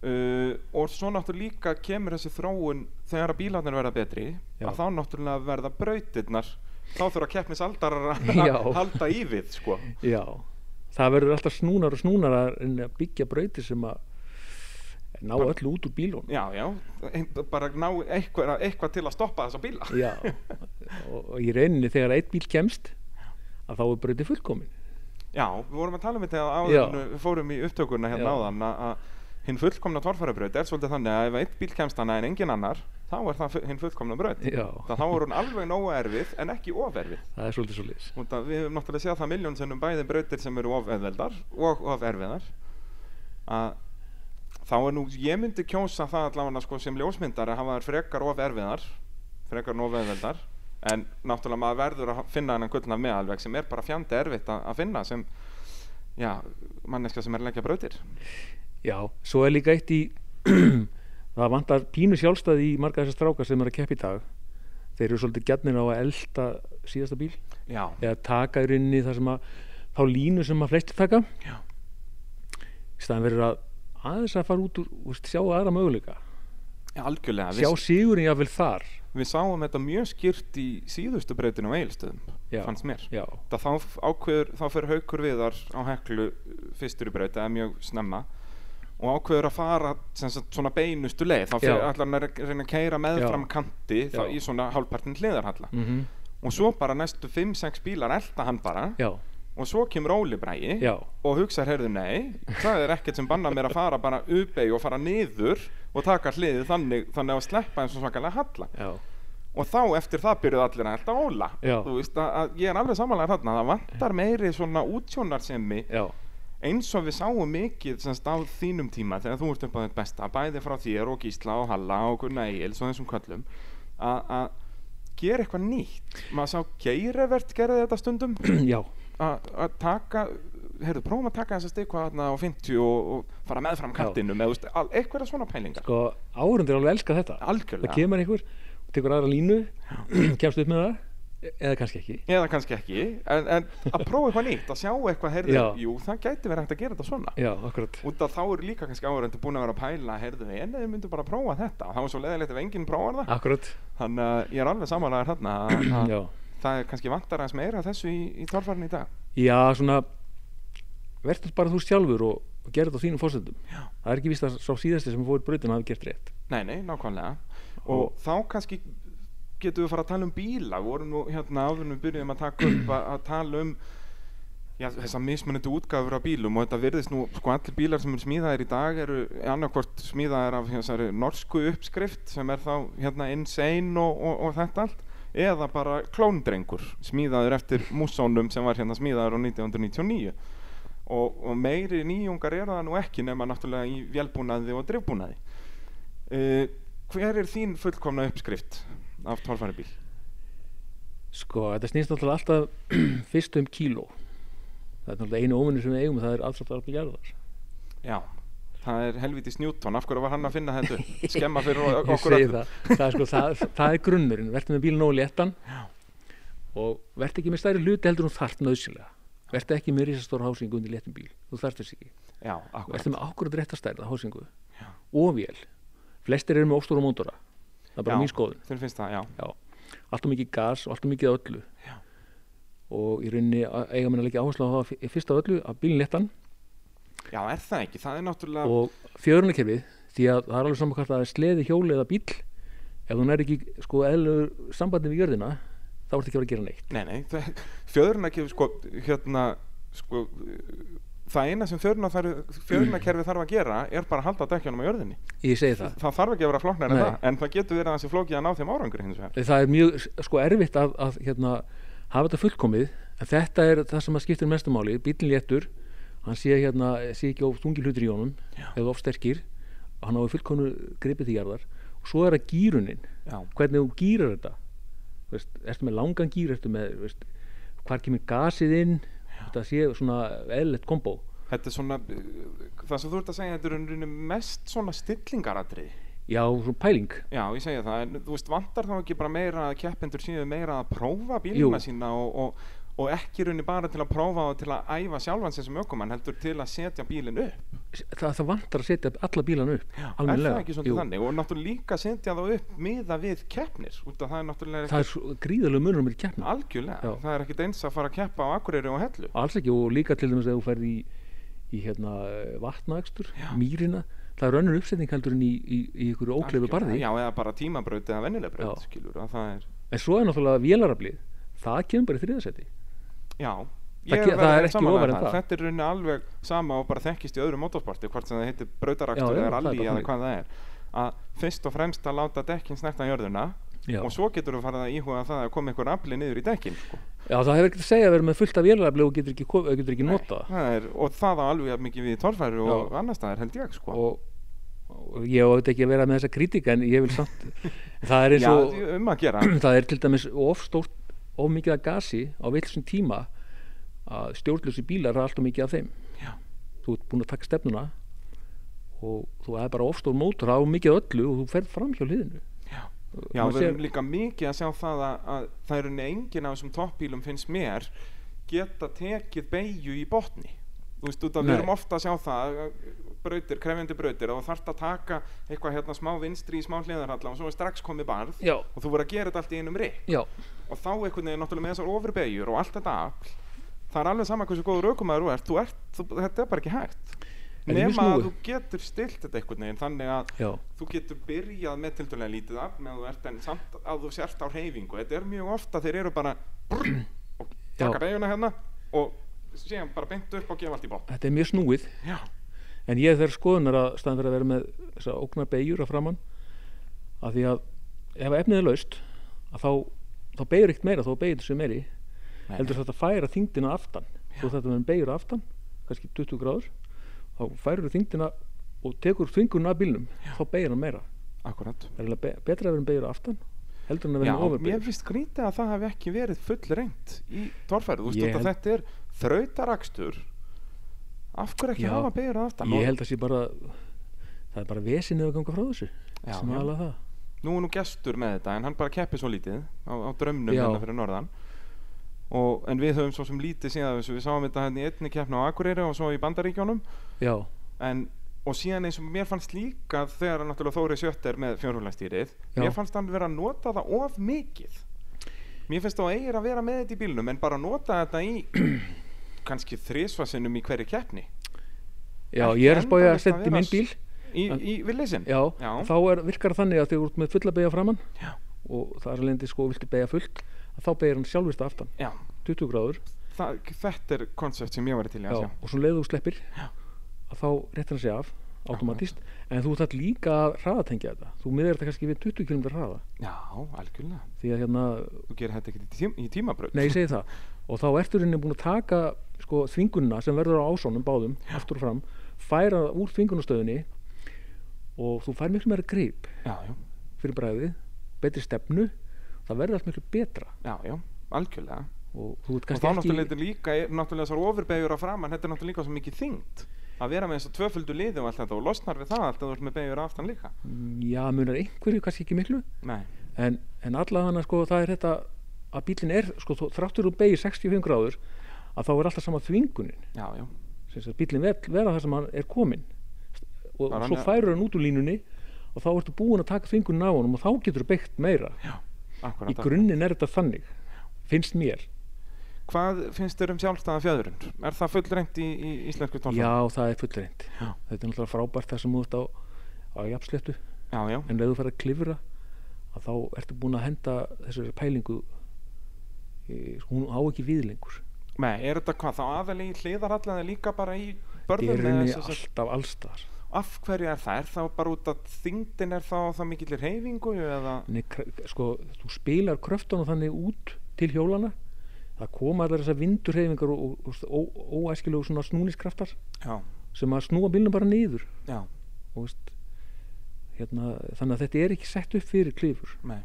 [SPEAKER 1] Uh, og svo náttúrulega líka kemur þessi þróun þegar að bílarnir verða betri
[SPEAKER 2] Já.
[SPEAKER 1] að þá náttúrulega verða brautirnar þá þurfa keppnis aldar
[SPEAKER 2] Já.
[SPEAKER 1] að halda í við sko.
[SPEAKER 2] sko. já, það verður alltaf snúnar og snúnar að reyna að byggja brautir sem að ná
[SPEAKER 1] Bara-
[SPEAKER 2] öllu út úr bílun
[SPEAKER 1] já, já, ein- bara ná eitthvað, eitthvað til að stoppa þessa bíla
[SPEAKER 2] já, og, og í rauninni þegar einn bíl kemst að þá er brauti fullkomin
[SPEAKER 1] já, við vorum að tala um þetta áður
[SPEAKER 2] Já.
[SPEAKER 1] en við fórum í upptökuna hérna
[SPEAKER 2] Já.
[SPEAKER 1] áðan að- að hinn fullkomna torfærabraut er svolítið þannig að ef einn bíl kemst hana en engin annar þá er það fu- hinn fullkomna braut
[SPEAKER 2] já,
[SPEAKER 1] þá þá er hún alveg nógu erfið en ekki of erfið
[SPEAKER 2] það er svolítið svolítið
[SPEAKER 1] Út að við höfum náttúrulega séð það miljón sinnum bæði brautir sem eru of eðveldar og of erfiðar að þá er nú, ég myndi kjósa það allavega sko, sem ljósmyndar að hafa þær frekar of erfiðar frekar en of eðveldar en náttúrulega maður verður að finna hennan gullna meðalveg sem er bara fjandi erfitt að, að finna sem já, manneska sem er að leggja brautir
[SPEAKER 2] Já, svo er líka eitt í það vantar pínu sjálfstæði í marga þessar strákar sem eru að keppa í dag þeir eru svolítið gjarnir á að elda síðasta bíl
[SPEAKER 1] já,
[SPEAKER 2] eða taka í rauninni það sem að þá línu sem að flestir taka
[SPEAKER 1] já,
[SPEAKER 2] í staðan verður að aðeins að fara út úr úst, sjá aðra möguleika
[SPEAKER 1] Já, algjörlega
[SPEAKER 2] sjá
[SPEAKER 1] við,
[SPEAKER 2] sigurinn jáfnvel þar
[SPEAKER 1] við sáum þetta mjög skýrt í síðustu brautinu á eilstöðum,
[SPEAKER 2] Já.
[SPEAKER 1] fannst mér
[SPEAKER 2] Já,
[SPEAKER 1] Það þá ákveður, þá fyrir haukur viðar á heklu uh, fyrstur í braut, eða mjög snemma og ákveður að fara sem sagt, svona beinustu leið, þá fyrir
[SPEAKER 2] Já.
[SPEAKER 1] allar hann að re- reyna að keira meðfram
[SPEAKER 2] Já.
[SPEAKER 1] kanti þá
[SPEAKER 2] Já.
[SPEAKER 1] í svona hálfpartin hliðarhalla
[SPEAKER 2] mm
[SPEAKER 1] og svo bara næstu 5-6 bílar elda hann bara
[SPEAKER 2] já,
[SPEAKER 1] og svo kemur Óli bræi
[SPEAKER 2] já
[SPEAKER 1] og hugsar, heyrðu, nei, það er ekkert sem banna mér að fara bara uppeig og fara niður og taka hliðið þannig, þannig að sleppa eins og svakalega halla
[SPEAKER 2] Já,
[SPEAKER 1] og þá eftir það byrjuðu allir að elda óla
[SPEAKER 2] Já.
[SPEAKER 1] þú veist að, að ég er alveg samanlega þarna það vantar meiri svona útsjónarsemi
[SPEAKER 2] já,
[SPEAKER 1] eins og við sáum mikið semst á þínum tíma þegar þú ert upp á þitt besta bæði frá þér og Gísla og Halla og Gunna Egils og þessum köllum að að gera eitthvað nýtt maður sá Geirevert gerði þetta stundum
[SPEAKER 2] já,
[SPEAKER 1] að að taka heyrðu, prófum að taka þessa stikva þarna á 50 og, og fara meðfram kattinum eða þú veist, al- eitthvað svona pælingar
[SPEAKER 2] sko árundir alveg elska þetta það
[SPEAKER 1] algjörlega,
[SPEAKER 2] kemur einhver, tekur aðra línu kemst upp með það e- eða kannski ekki
[SPEAKER 1] eða kannski ekki en, en að prófa eitthvað nýtt, að sjá eitthvað heyrðu,
[SPEAKER 2] Já.
[SPEAKER 1] jú, það gæti verið hægt að gera þetta svona
[SPEAKER 2] Já, akkurat
[SPEAKER 1] út af þá eru líka kannski áhverjandi búin að vera að pæla heyrðu, en þið myndu bara að prófa þetta og það var svo leðilegt ef enginn prófar það
[SPEAKER 2] Akkurat,
[SPEAKER 1] þannig að ég er alveg samanlegaður þarna að- að
[SPEAKER 2] já
[SPEAKER 1] það er kannski vantar aðeins meira af þessu í, í torfarni í dag
[SPEAKER 2] Já, svona verður bara þú sjálfur og, og gerir þetta á þínum fórsöndum
[SPEAKER 1] Já.
[SPEAKER 2] það er ekki víst að sá síðasti sem fór brautin hafi gert rétt
[SPEAKER 1] nei, nei, nákvæmlega og,
[SPEAKER 2] Og-
[SPEAKER 1] þá kannski getum við fara að tala um bíla við vorum nú hérna áður en við byrjuðum að taka upp að, að tala um Já, þessar mismunandi útgáfur af bílum og þetta virðist nú, sko allir bílar sem eru smíðaðir í dag eru annarkvort smíðaðir af hérna, þessari norsku uppskrift sem er þá hérna insane og, og, og þetta allt eða bara klóndrengur smíðaður eftir mússónum sem var hérna smíðaður á 1999 og, og meiri nýjungar eru það nú ekki nema náttúrulega í vélbúnaði og drifbúnaði uh, Hver er þín fullkomna uppskrift af tólfæri bíl?
[SPEAKER 2] Sko, þetta snýst náttúrulega alltaf fyrst um kíló Það er náttúrulega einu óvinni sem við eigum og það er alltaf alveg jarðar
[SPEAKER 1] Já, það er helvitis Newton, af hverju var hann að finna þetta upp? Skemma fyrir o-
[SPEAKER 2] Ég
[SPEAKER 1] okkur
[SPEAKER 2] segi það, það er, sko, það, það er grunnurinn Verður með bílinn nógu léttan og verður ekki með stærri hluti heldur en þú þarft nöðsynlega Verður ekki með risastóra hásingu undir léttum bíl þú þarft þess ekki
[SPEAKER 1] Já, akkurat.
[SPEAKER 2] Verður með ákvörð réttastærða hásingu og vél Flestir eru með óstóra mótora Það er
[SPEAKER 1] Já.
[SPEAKER 2] bara mín skoðun
[SPEAKER 1] Þeir finnst það, já.
[SPEAKER 2] já, allt og mikið gas og allt og mikið af öllu
[SPEAKER 1] Já.
[SPEAKER 2] og í rauninni að- eiga menn að leggja áherslu á það fy- fyrst af öllu að bílinn léttan
[SPEAKER 1] Já, er það ekki? Það er náttúrulega...
[SPEAKER 2] og fjörunarkerfið því að það er alveg saman hvort að það er sleði hjóli eða bíll ef þú nær ekki sko eðlur sambandi við jörðina þá ertu ekki að vera að gera neitt
[SPEAKER 1] Nei, nei, það... fjöðurinn ekki, sko, hérna, sko, það eina sem fjörunarkerfi þarf að gera er bara að halda dekkjunum á jörðinni
[SPEAKER 2] ég segi það
[SPEAKER 1] það þarf ekki að vera flokknar en
[SPEAKER 2] Nei.
[SPEAKER 1] það en það getur verið að þessi flókið að ná þeim árangur hins vegar
[SPEAKER 2] það er mjög sko erfitt að, að hérna, hafa þetta fullkomið en þetta er það sem að skiptir mestumáli bílinn léttur, hann sé, hérna, sé ekki of þungi hlutir í honum
[SPEAKER 1] Já.
[SPEAKER 2] eða of sterkir og hann áður fullkomnu gripið til jarðar og svo er það gýrunin
[SPEAKER 1] Já.
[SPEAKER 2] hvernig þú gýrar þetta Þú veist, ertu með langan gýr ertu með, þú veist, hvar kemur gasið inn þetta sé svona eðlert kombo
[SPEAKER 1] þetta er svona eh, það sem þú ert að segja þetta er rauninu mest svona stillingaratrið
[SPEAKER 2] já, svona pæling
[SPEAKER 1] Já, ég segja það, en þú veist, vantar þá ekki bara meira að keppendur síðu meira að prófa bíluna
[SPEAKER 2] Jú.
[SPEAKER 1] sína og, og, og ekki runni bara til að prófa og til að æfa sjálfan sér sem ökumann heldur til að setja bílinn upp.
[SPEAKER 2] það, það vantar að setja alla bílan upp
[SPEAKER 1] Er það
[SPEAKER 2] almennilega.
[SPEAKER 1] ekki svolítið
[SPEAKER 2] Jú.
[SPEAKER 1] þannig? Og náttúrulega líka setja þá upp miða við keppnir, út af það er náttúrulega
[SPEAKER 2] það
[SPEAKER 1] ekki
[SPEAKER 2] er svo gríðarlega munur um þetta keppna
[SPEAKER 1] algjörlega.
[SPEAKER 2] Já.
[SPEAKER 1] Það er ekkit eins að fara að keppa á Akureyri og Hellu.
[SPEAKER 2] alls ekki og líka til dæmis að þú ferð í, í hérna, vatnaækstur
[SPEAKER 1] Já.
[SPEAKER 2] mýrina, það er önnur uppsetning heldur en í, í, í ykkur ókleifu
[SPEAKER 1] Algjörlega.
[SPEAKER 2] barði
[SPEAKER 1] Já, eða bara tímabraut eða vennileg braut,
[SPEAKER 2] Já.
[SPEAKER 1] skilur, að það er...
[SPEAKER 2] en svo er náttúrulega vélarablið það kemur bara í þriðasetti
[SPEAKER 1] Já,
[SPEAKER 2] Það
[SPEAKER 1] ég
[SPEAKER 2] ge- það
[SPEAKER 1] verið
[SPEAKER 2] er
[SPEAKER 1] rétt
[SPEAKER 2] ekki
[SPEAKER 1] sammála
[SPEAKER 2] ofar en
[SPEAKER 1] þar.
[SPEAKER 2] það.
[SPEAKER 1] Þetta er rauninni alveg sama og bara þekkist í öðru motorsporti, hvort sem það heitir brautaraktur
[SPEAKER 2] Já, já,
[SPEAKER 1] eða
[SPEAKER 2] það er
[SPEAKER 1] rally
[SPEAKER 2] bara
[SPEAKER 1] eða
[SPEAKER 2] þannig.
[SPEAKER 1] hvað það er. Að fyrst og fremst að láta dekkin snerta jörðuna
[SPEAKER 2] Já.
[SPEAKER 1] og svo getur þú farið að íhuga það að koma einhver afli niður í dekkin. Sko.
[SPEAKER 2] já, það hefur ekkert að segja að vera með fullt af vélarablið og getur ekki, ko- eh, getur ekki nota það.
[SPEAKER 1] Það er, og það á alveg jafn mikið við í torfæru og
[SPEAKER 2] Já.
[SPEAKER 1] annar staðar held ég sko.
[SPEAKER 2] og, og ég á auðvitað ekki að vera með þessa kritika en ég vil samt það
[SPEAKER 1] Já,
[SPEAKER 2] er eins og
[SPEAKER 1] um að gera.
[SPEAKER 2] það er til dæmis of stórt of mikið af gasi á vilsum tíma að stjórnlösi bílar er alltaf mikið af þeim
[SPEAKER 1] Já.
[SPEAKER 2] þú ert búin að taka stefnuna og þú er bara ofstór mótor á mikið af öllu og þú ferð fram hjá hliðinu
[SPEAKER 1] Já,
[SPEAKER 2] Maður
[SPEAKER 1] við erum
[SPEAKER 2] sér-
[SPEAKER 1] líka mikið að sjá það að, að það eru enginn af þessum toppbílum finnst mér geta tekið beigju í botni. Þú veist, út að við
[SPEAKER 2] Nei.
[SPEAKER 1] erum ofta að sjá það, að brautir, krefjandi brautir og þarft að taka eitthvað hérna smá vinstri í smá hliðarhalla og svo er strax komið barð
[SPEAKER 2] Já.
[SPEAKER 1] og þú voru að gera þetta allt í einum rikk
[SPEAKER 2] já,
[SPEAKER 1] og þá einhvern veginn náttúrulega með þessar ofurbegjur og allt þetta afl það er alveg sama hversu góður aukumæður þú ert, þú ert þú, þetta er bara ekki hægt
[SPEAKER 2] En í
[SPEAKER 1] nema
[SPEAKER 2] misnói.
[SPEAKER 1] að þú getur stilt þetta einhvern veginn þannig að
[SPEAKER 2] já,
[SPEAKER 1] þú getur byrjað með tildulega lítið af meðan þú ert en samt að þú sért á reyfingu þetta er mjög ofta þeir eru bara brr, og taka
[SPEAKER 2] Já.
[SPEAKER 1] beiguna hérna og síðan bara beint upp og gefa allt í bótt
[SPEAKER 2] þetta er mjög snúið
[SPEAKER 1] já,
[SPEAKER 2] en ég þarf skoðunar að staðan fyrir að vera með þess að ógna beigjur að framann af því að ef efnið er laust að þá, þá beigur eitt meira þá beigur þessu meiri
[SPEAKER 1] Nei.
[SPEAKER 2] heldur þetta að færa þingdina aftan þú þetta með beigur aftan kannski 20 gráður þá færur þingdina og tekur þinguna af bílnum þá beigur hann meira
[SPEAKER 1] akkurat
[SPEAKER 2] það er eiginlega be betra að vera með beigur aftan heldur en
[SPEAKER 1] já,
[SPEAKER 2] að vera með
[SPEAKER 1] mér
[SPEAKER 2] ofurbeigur
[SPEAKER 1] finnst grítið að það hafi ekki verið full reynd í torfæru, þú veist
[SPEAKER 2] Ég
[SPEAKER 1] held...
[SPEAKER 2] held-
[SPEAKER 1] þetta er þrautarakstur af hverju ekki
[SPEAKER 2] Já.
[SPEAKER 1] hafa beigur aftan
[SPEAKER 2] ég held að sé bara það er bara vesinni að ganga frá þessu
[SPEAKER 1] Já,
[SPEAKER 2] sem
[SPEAKER 1] já.
[SPEAKER 2] er alveg það
[SPEAKER 1] nú er nú gestur með þetta en hann bara keppir svo lítið á, á drömnum
[SPEAKER 2] Já.
[SPEAKER 1] hérna fyrir norðan og, en við höfum svo sem lítið síðan þessu. við sáum þetta hérna í einni keppna á Akureyri og svo í Bandaríkjónum
[SPEAKER 2] já,
[SPEAKER 1] en, og síðan eins og mér fannst líka þegar hann náttúrulega Þóri Sjött er með fjórhjólastýrið
[SPEAKER 2] Já.
[SPEAKER 1] mér fannst hann vera að nota það of mikið mér finnst þá eigir að vera með þetta í bílnum en bara nota þetta í kannski þrisvarsinnum í hverju keppni
[SPEAKER 2] já
[SPEAKER 1] Ekki
[SPEAKER 2] ég er að spája að
[SPEAKER 1] endalaust að
[SPEAKER 2] setja í
[SPEAKER 1] vera
[SPEAKER 2] minn bíl
[SPEAKER 1] í,
[SPEAKER 2] En-
[SPEAKER 1] í villeysin
[SPEAKER 2] já,
[SPEAKER 1] Já.
[SPEAKER 2] þá er, virkar það þannig að þið ert með fulla beigja framann
[SPEAKER 1] Já.
[SPEAKER 2] og það er lendi sko viltu beigja fullt að þá beigir hann sjálfvist að aftan
[SPEAKER 1] Já,
[SPEAKER 2] 20 gráður
[SPEAKER 1] það, þetta er koncept sem ég var til í að
[SPEAKER 2] já,
[SPEAKER 1] sjá
[SPEAKER 2] og svo leiðu þú sleppir já. að þá réttir hann sig af automatist en þú þarf líka að hraðatengja þetta þú miður þetta kannski við 20 km hraða
[SPEAKER 1] Já, algjörlega
[SPEAKER 2] því að hérna,
[SPEAKER 1] þú gerir þetta ekkert í, tím, í tímabraut
[SPEAKER 2] nei ég segi það og þá ertu henni búin að taka sko þvingunna sem verður á ásónum báðum aftur og fram, færa það úr þvingunastöðunni og þú fær miklu meira grip
[SPEAKER 1] já, já,
[SPEAKER 2] fyrir bræðið, betri stefnu það verður allt miklu betra
[SPEAKER 1] já, já, algjörlega
[SPEAKER 2] og þú ert
[SPEAKER 1] og þá
[SPEAKER 2] kannski
[SPEAKER 1] náttúrulega
[SPEAKER 2] ekki
[SPEAKER 1] þetta líka er- náttúrulega þessar ofurbegjur að framann þetta er náttúrulega líka svo mikið þyngd að vera með þess að tvöföldu liði og allt þetta og losnar við það allt að þú ert með begjur aftan líka
[SPEAKER 2] Mm, já, munar einhverju, kannski ekki miklu
[SPEAKER 1] nei,
[SPEAKER 2] en, en allavega sko, það er þetta að bílinn er, sko, þó- þráttur úr beigir 65 gráður að þá er alltaf sama þvingunin
[SPEAKER 1] já, já,
[SPEAKER 2] sem sagt bílinn ver, verða þar sem hann er komin og
[SPEAKER 1] Bara hann
[SPEAKER 2] svo
[SPEAKER 1] er-
[SPEAKER 2] færur hann út úr línunni og þá ertu búin að taka þvingunin á honum og þá getur þú beigt meira
[SPEAKER 1] akkurat
[SPEAKER 2] í grunninn er þetta þannig finnst mér
[SPEAKER 1] hvað finnst þér um sjálfstæða fjöðurund? er það fullreint í, í íslensku tónfæri?
[SPEAKER 2] já, það er fullreint
[SPEAKER 1] Já.
[SPEAKER 2] þetta er náttúrulega frábært þar sem þú ert á, á jafnsléttu
[SPEAKER 1] já, já,
[SPEAKER 2] en ef þú fer að klifra að þá ertu bún að henda þessari pælingu e, hún á ekki við lengur
[SPEAKER 1] Nei, er þetta hvað? Þá aðalegi hliðarallan er líka bara í
[SPEAKER 2] Í
[SPEAKER 1] börðum
[SPEAKER 2] rauninni
[SPEAKER 1] sem sagt,
[SPEAKER 2] alltaf allstar.
[SPEAKER 1] af hverju er það? Er það bara út að þyngdin er þá það mikillir reyfingu eða
[SPEAKER 2] Nei, kr- sko, þú spilar kröftunum þannig út til hjólana það koma allar þessar vindurhefingar og, og, og ó- óæskilegu svona snúniskraftar
[SPEAKER 1] Já,
[SPEAKER 2] sem að snúa bílnum bara niður
[SPEAKER 1] já,
[SPEAKER 2] og veist hérna, þannig að þetta er ekki sett upp fyrir klifur
[SPEAKER 1] nei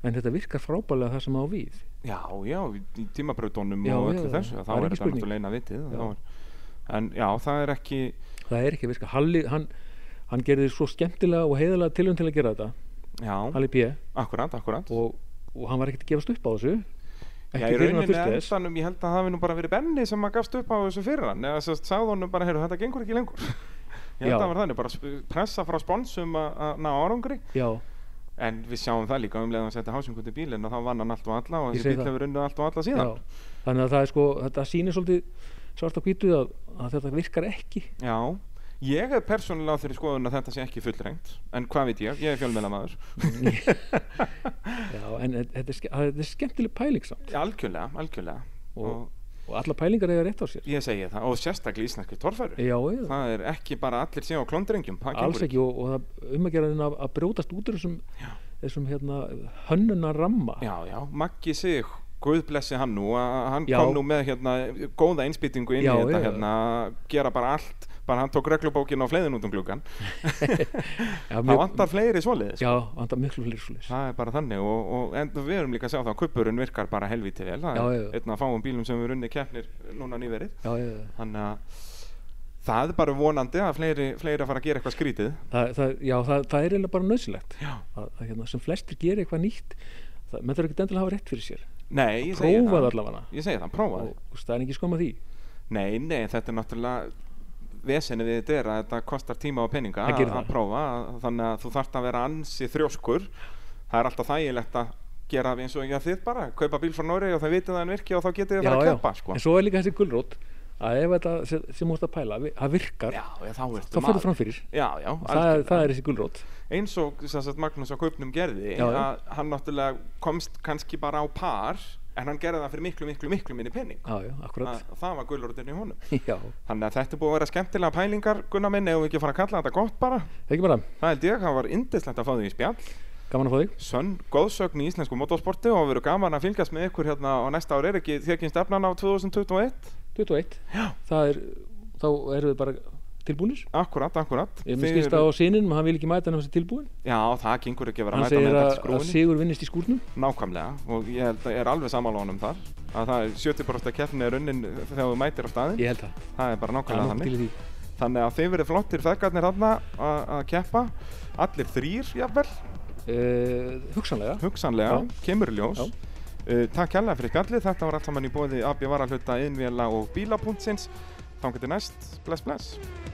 [SPEAKER 2] en þetta virkar frábælega það sem á við
[SPEAKER 1] Já, já, í tímabrautónum
[SPEAKER 2] Já,
[SPEAKER 1] og
[SPEAKER 2] já,
[SPEAKER 1] öllu
[SPEAKER 2] já,
[SPEAKER 1] þessu,
[SPEAKER 2] það
[SPEAKER 1] þá
[SPEAKER 2] er
[SPEAKER 1] er
[SPEAKER 2] ekki
[SPEAKER 1] þetta
[SPEAKER 2] spurning.
[SPEAKER 1] náttúrulega eina vitið
[SPEAKER 2] Já.
[SPEAKER 1] já. En já, það er ekki
[SPEAKER 2] það er ekki að virka Halli, hann, hann gerði svo skemmtilega og heiðalega tilum til að gera þetta
[SPEAKER 1] Já,
[SPEAKER 2] Halli P
[SPEAKER 1] akkurat, akkurat
[SPEAKER 2] og, og hann var ekkert að gefast upp á þessu
[SPEAKER 1] Já, í
[SPEAKER 2] ekki fyrir hann
[SPEAKER 1] rauninni
[SPEAKER 2] þurfti þess
[SPEAKER 1] endanum, ég held að það hafi nú bara verið Benni sem að gafst upp á þessu fyrir hann eða sérst sagði honum bara, heyrðu, þetta gengur ekki lengur Ég held
[SPEAKER 2] Já.
[SPEAKER 1] að það var þannig, bara sp- pressa frá sponsum að að ná árangri
[SPEAKER 2] já,
[SPEAKER 1] En við sjáum það líka um leiðan að setja hásingund í bílinn og þá vann hann allt og alla og
[SPEAKER 2] Ég
[SPEAKER 1] þessi
[SPEAKER 2] segi
[SPEAKER 1] bíl
[SPEAKER 2] það.
[SPEAKER 1] hefur unnið allt og alla
[SPEAKER 2] já,
[SPEAKER 1] síðan.
[SPEAKER 2] þannig að það er sko þetta sýnir svolítið svart á hvítu að, að þetta virkar ekki
[SPEAKER 1] Já. Ég hef persónulega á þeirri skoðun að þetta sé ekki fullrengt, en hvað veit ég, ég er fjölmeila maður.
[SPEAKER 2] já, en e- þetta er, ske- að- þetta er skemmtileg pæling samt
[SPEAKER 1] Algjörlega, algjörlega.
[SPEAKER 2] Og-
[SPEAKER 1] Og,
[SPEAKER 2] og alla pælingar eiga rétt á sér
[SPEAKER 1] ég segi það, og sérstaklega íslenski torfæru.
[SPEAKER 2] já, já,
[SPEAKER 1] Það er ekki bara allir séu á klondrengjum, það
[SPEAKER 2] alls
[SPEAKER 1] gengur
[SPEAKER 2] ekki og, og það um að gera þennan að, að brjótast út úr þessum, þessum hérna, hönnunar ramma
[SPEAKER 1] Já, já, Maggi sig, Guð blessi hann nú, að hann
[SPEAKER 2] Já.
[SPEAKER 1] kom nú með hérna góða einspýtingu inn
[SPEAKER 2] Já,
[SPEAKER 1] í þetta
[SPEAKER 2] já.
[SPEAKER 1] hérna, gera bara allt, bara hann tók reglubókin og fleiðin út um gluggan.
[SPEAKER 2] já,
[SPEAKER 1] Það vantar fleiri svoleiðis.
[SPEAKER 2] já, vantar miklu fleiri svolítið
[SPEAKER 1] Það er bara þannig og, og en við erum líka að sjá það að kuppurinn virkar bara helvítið vel það
[SPEAKER 2] Já,
[SPEAKER 1] er
[SPEAKER 2] já, já.
[SPEAKER 1] einn af fáum bílum sem við runni keppnir núna nýverið
[SPEAKER 2] já, já, já.
[SPEAKER 1] þannig að það er bara vonandi að fleiri, fleiri að fara að gera eitthvað skrítið
[SPEAKER 2] Það, það, já, það, það er eiginlega bara nöðsilegt
[SPEAKER 1] Já.
[SPEAKER 2] að, að hérna, sem flestir gera eitthvað nýtt það, menn þarf ekki endilega að hafa rétt fyrir sér
[SPEAKER 1] Nei, ég segi
[SPEAKER 2] prófa það
[SPEAKER 1] það
[SPEAKER 2] allavega
[SPEAKER 1] Ég segi það, prófa
[SPEAKER 2] og
[SPEAKER 1] það
[SPEAKER 2] þú veist, það er ekki skoma því
[SPEAKER 1] Nei, nei, þetta er náttúrulega vesenið við þetta er að þetta kostar tíma og peninga
[SPEAKER 2] Það
[SPEAKER 1] að,
[SPEAKER 2] gerir
[SPEAKER 1] að
[SPEAKER 2] það.
[SPEAKER 1] prófa þannig að þú þarft að vera ansi þrjóskur það er alltaf þægilegt að gera eins og ég þið bara, kaupa bíl frá Nóri og það vitið að hann virki og þá getið þið að fara að keppa sko.
[SPEAKER 2] en svo er líka þessi gulrót að ef þetta sem, sem múst að pæla vi- það virkar,
[SPEAKER 1] Já, já, þá ertu
[SPEAKER 2] þá
[SPEAKER 1] maður.
[SPEAKER 2] fyrir fram fyrir
[SPEAKER 1] Já, já,
[SPEAKER 2] það, er-
[SPEAKER 1] algjörlega.
[SPEAKER 2] það er þessi gulrót
[SPEAKER 1] eins og sem sagt, Magnús á kaupnum gerði
[SPEAKER 2] Já, já.
[SPEAKER 1] að hann náttúrulega komst kannski bara á par en hann gerði það fyrir miklu, miklu, miklu minni penning
[SPEAKER 2] já, já,
[SPEAKER 1] að
[SPEAKER 2] akkurat
[SPEAKER 1] það var gulrótin í honum
[SPEAKER 2] já,
[SPEAKER 1] þannig að þetta er búið að vera skemmtilega pælingar Gunnar minn, ef við ekki að fara að kalla þetta gott bara
[SPEAKER 2] það er ekki bara
[SPEAKER 1] það held ég, það var indislegt að fá því í spjall
[SPEAKER 2] gaman að fá þig
[SPEAKER 1] sönn góðsögn í íslensku motorsporti og verður gaman að fylgjast með ykkur hérna á næsta ár er ekki þekkin stefnan á 2021
[SPEAKER 2] 21, það er, þá erum við bara tilbúinir
[SPEAKER 1] akkurat, akkurat
[SPEAKER 2] ég
[SPEAKER 1] Þið
[SPEAKER 2] minn skilst á
[SPEAKER 1] eruð-
[SPEAKER 2] sinninum, hann vil ekki mæta hann þessi tilbúin
[SPEAKER 1] já, það gengur ekki að vera
[SPEAKER 2] hann
[SPEAKER 1] að mæta
[SPEAKER 2] segir
[SPEAKER 1] með
[SPEAKER 2] að,
[SPEAKER 1] þetta
[SPEAKER 2] að
[SPEAKER 1] skrúin
[SPEAKER 2] Sigur vinnist í skúrnum
[SPEAKER 1] Nákvæmlega og ég held að ég er alveg sammála honum þar að það er 70% keppni er unnin þegar þú mætir á staðinn
[SPEAKER 2] ég held það,
[SPEAKER 1] það er bara
[SPEAKER 2] það er
[SPEAKER 1] nákvæmlega
[SPEAKER 2] nokkuð til
[SPEAKER 1] þannig
[SPEAKER 2] í því
[SPEAKER 1] þannig að þeir verið flottir feðgarnir þarna að að keppa allir þrýr jafnvel
[SPEAKER 2] uh, hugsanlega
[SPEAKER 1] hugsanlega,
[SPEAKER 2] Já.
[SPEAKER 1] kemur í ljós
[SPEAKER 2] Já.
[SPEAKER 1] uh, Takk hérlega fyrir spjallið, þetta var allt saman í bóði AB Varahluta, Innvela og Bíla.sins Þá getur næst, bless bless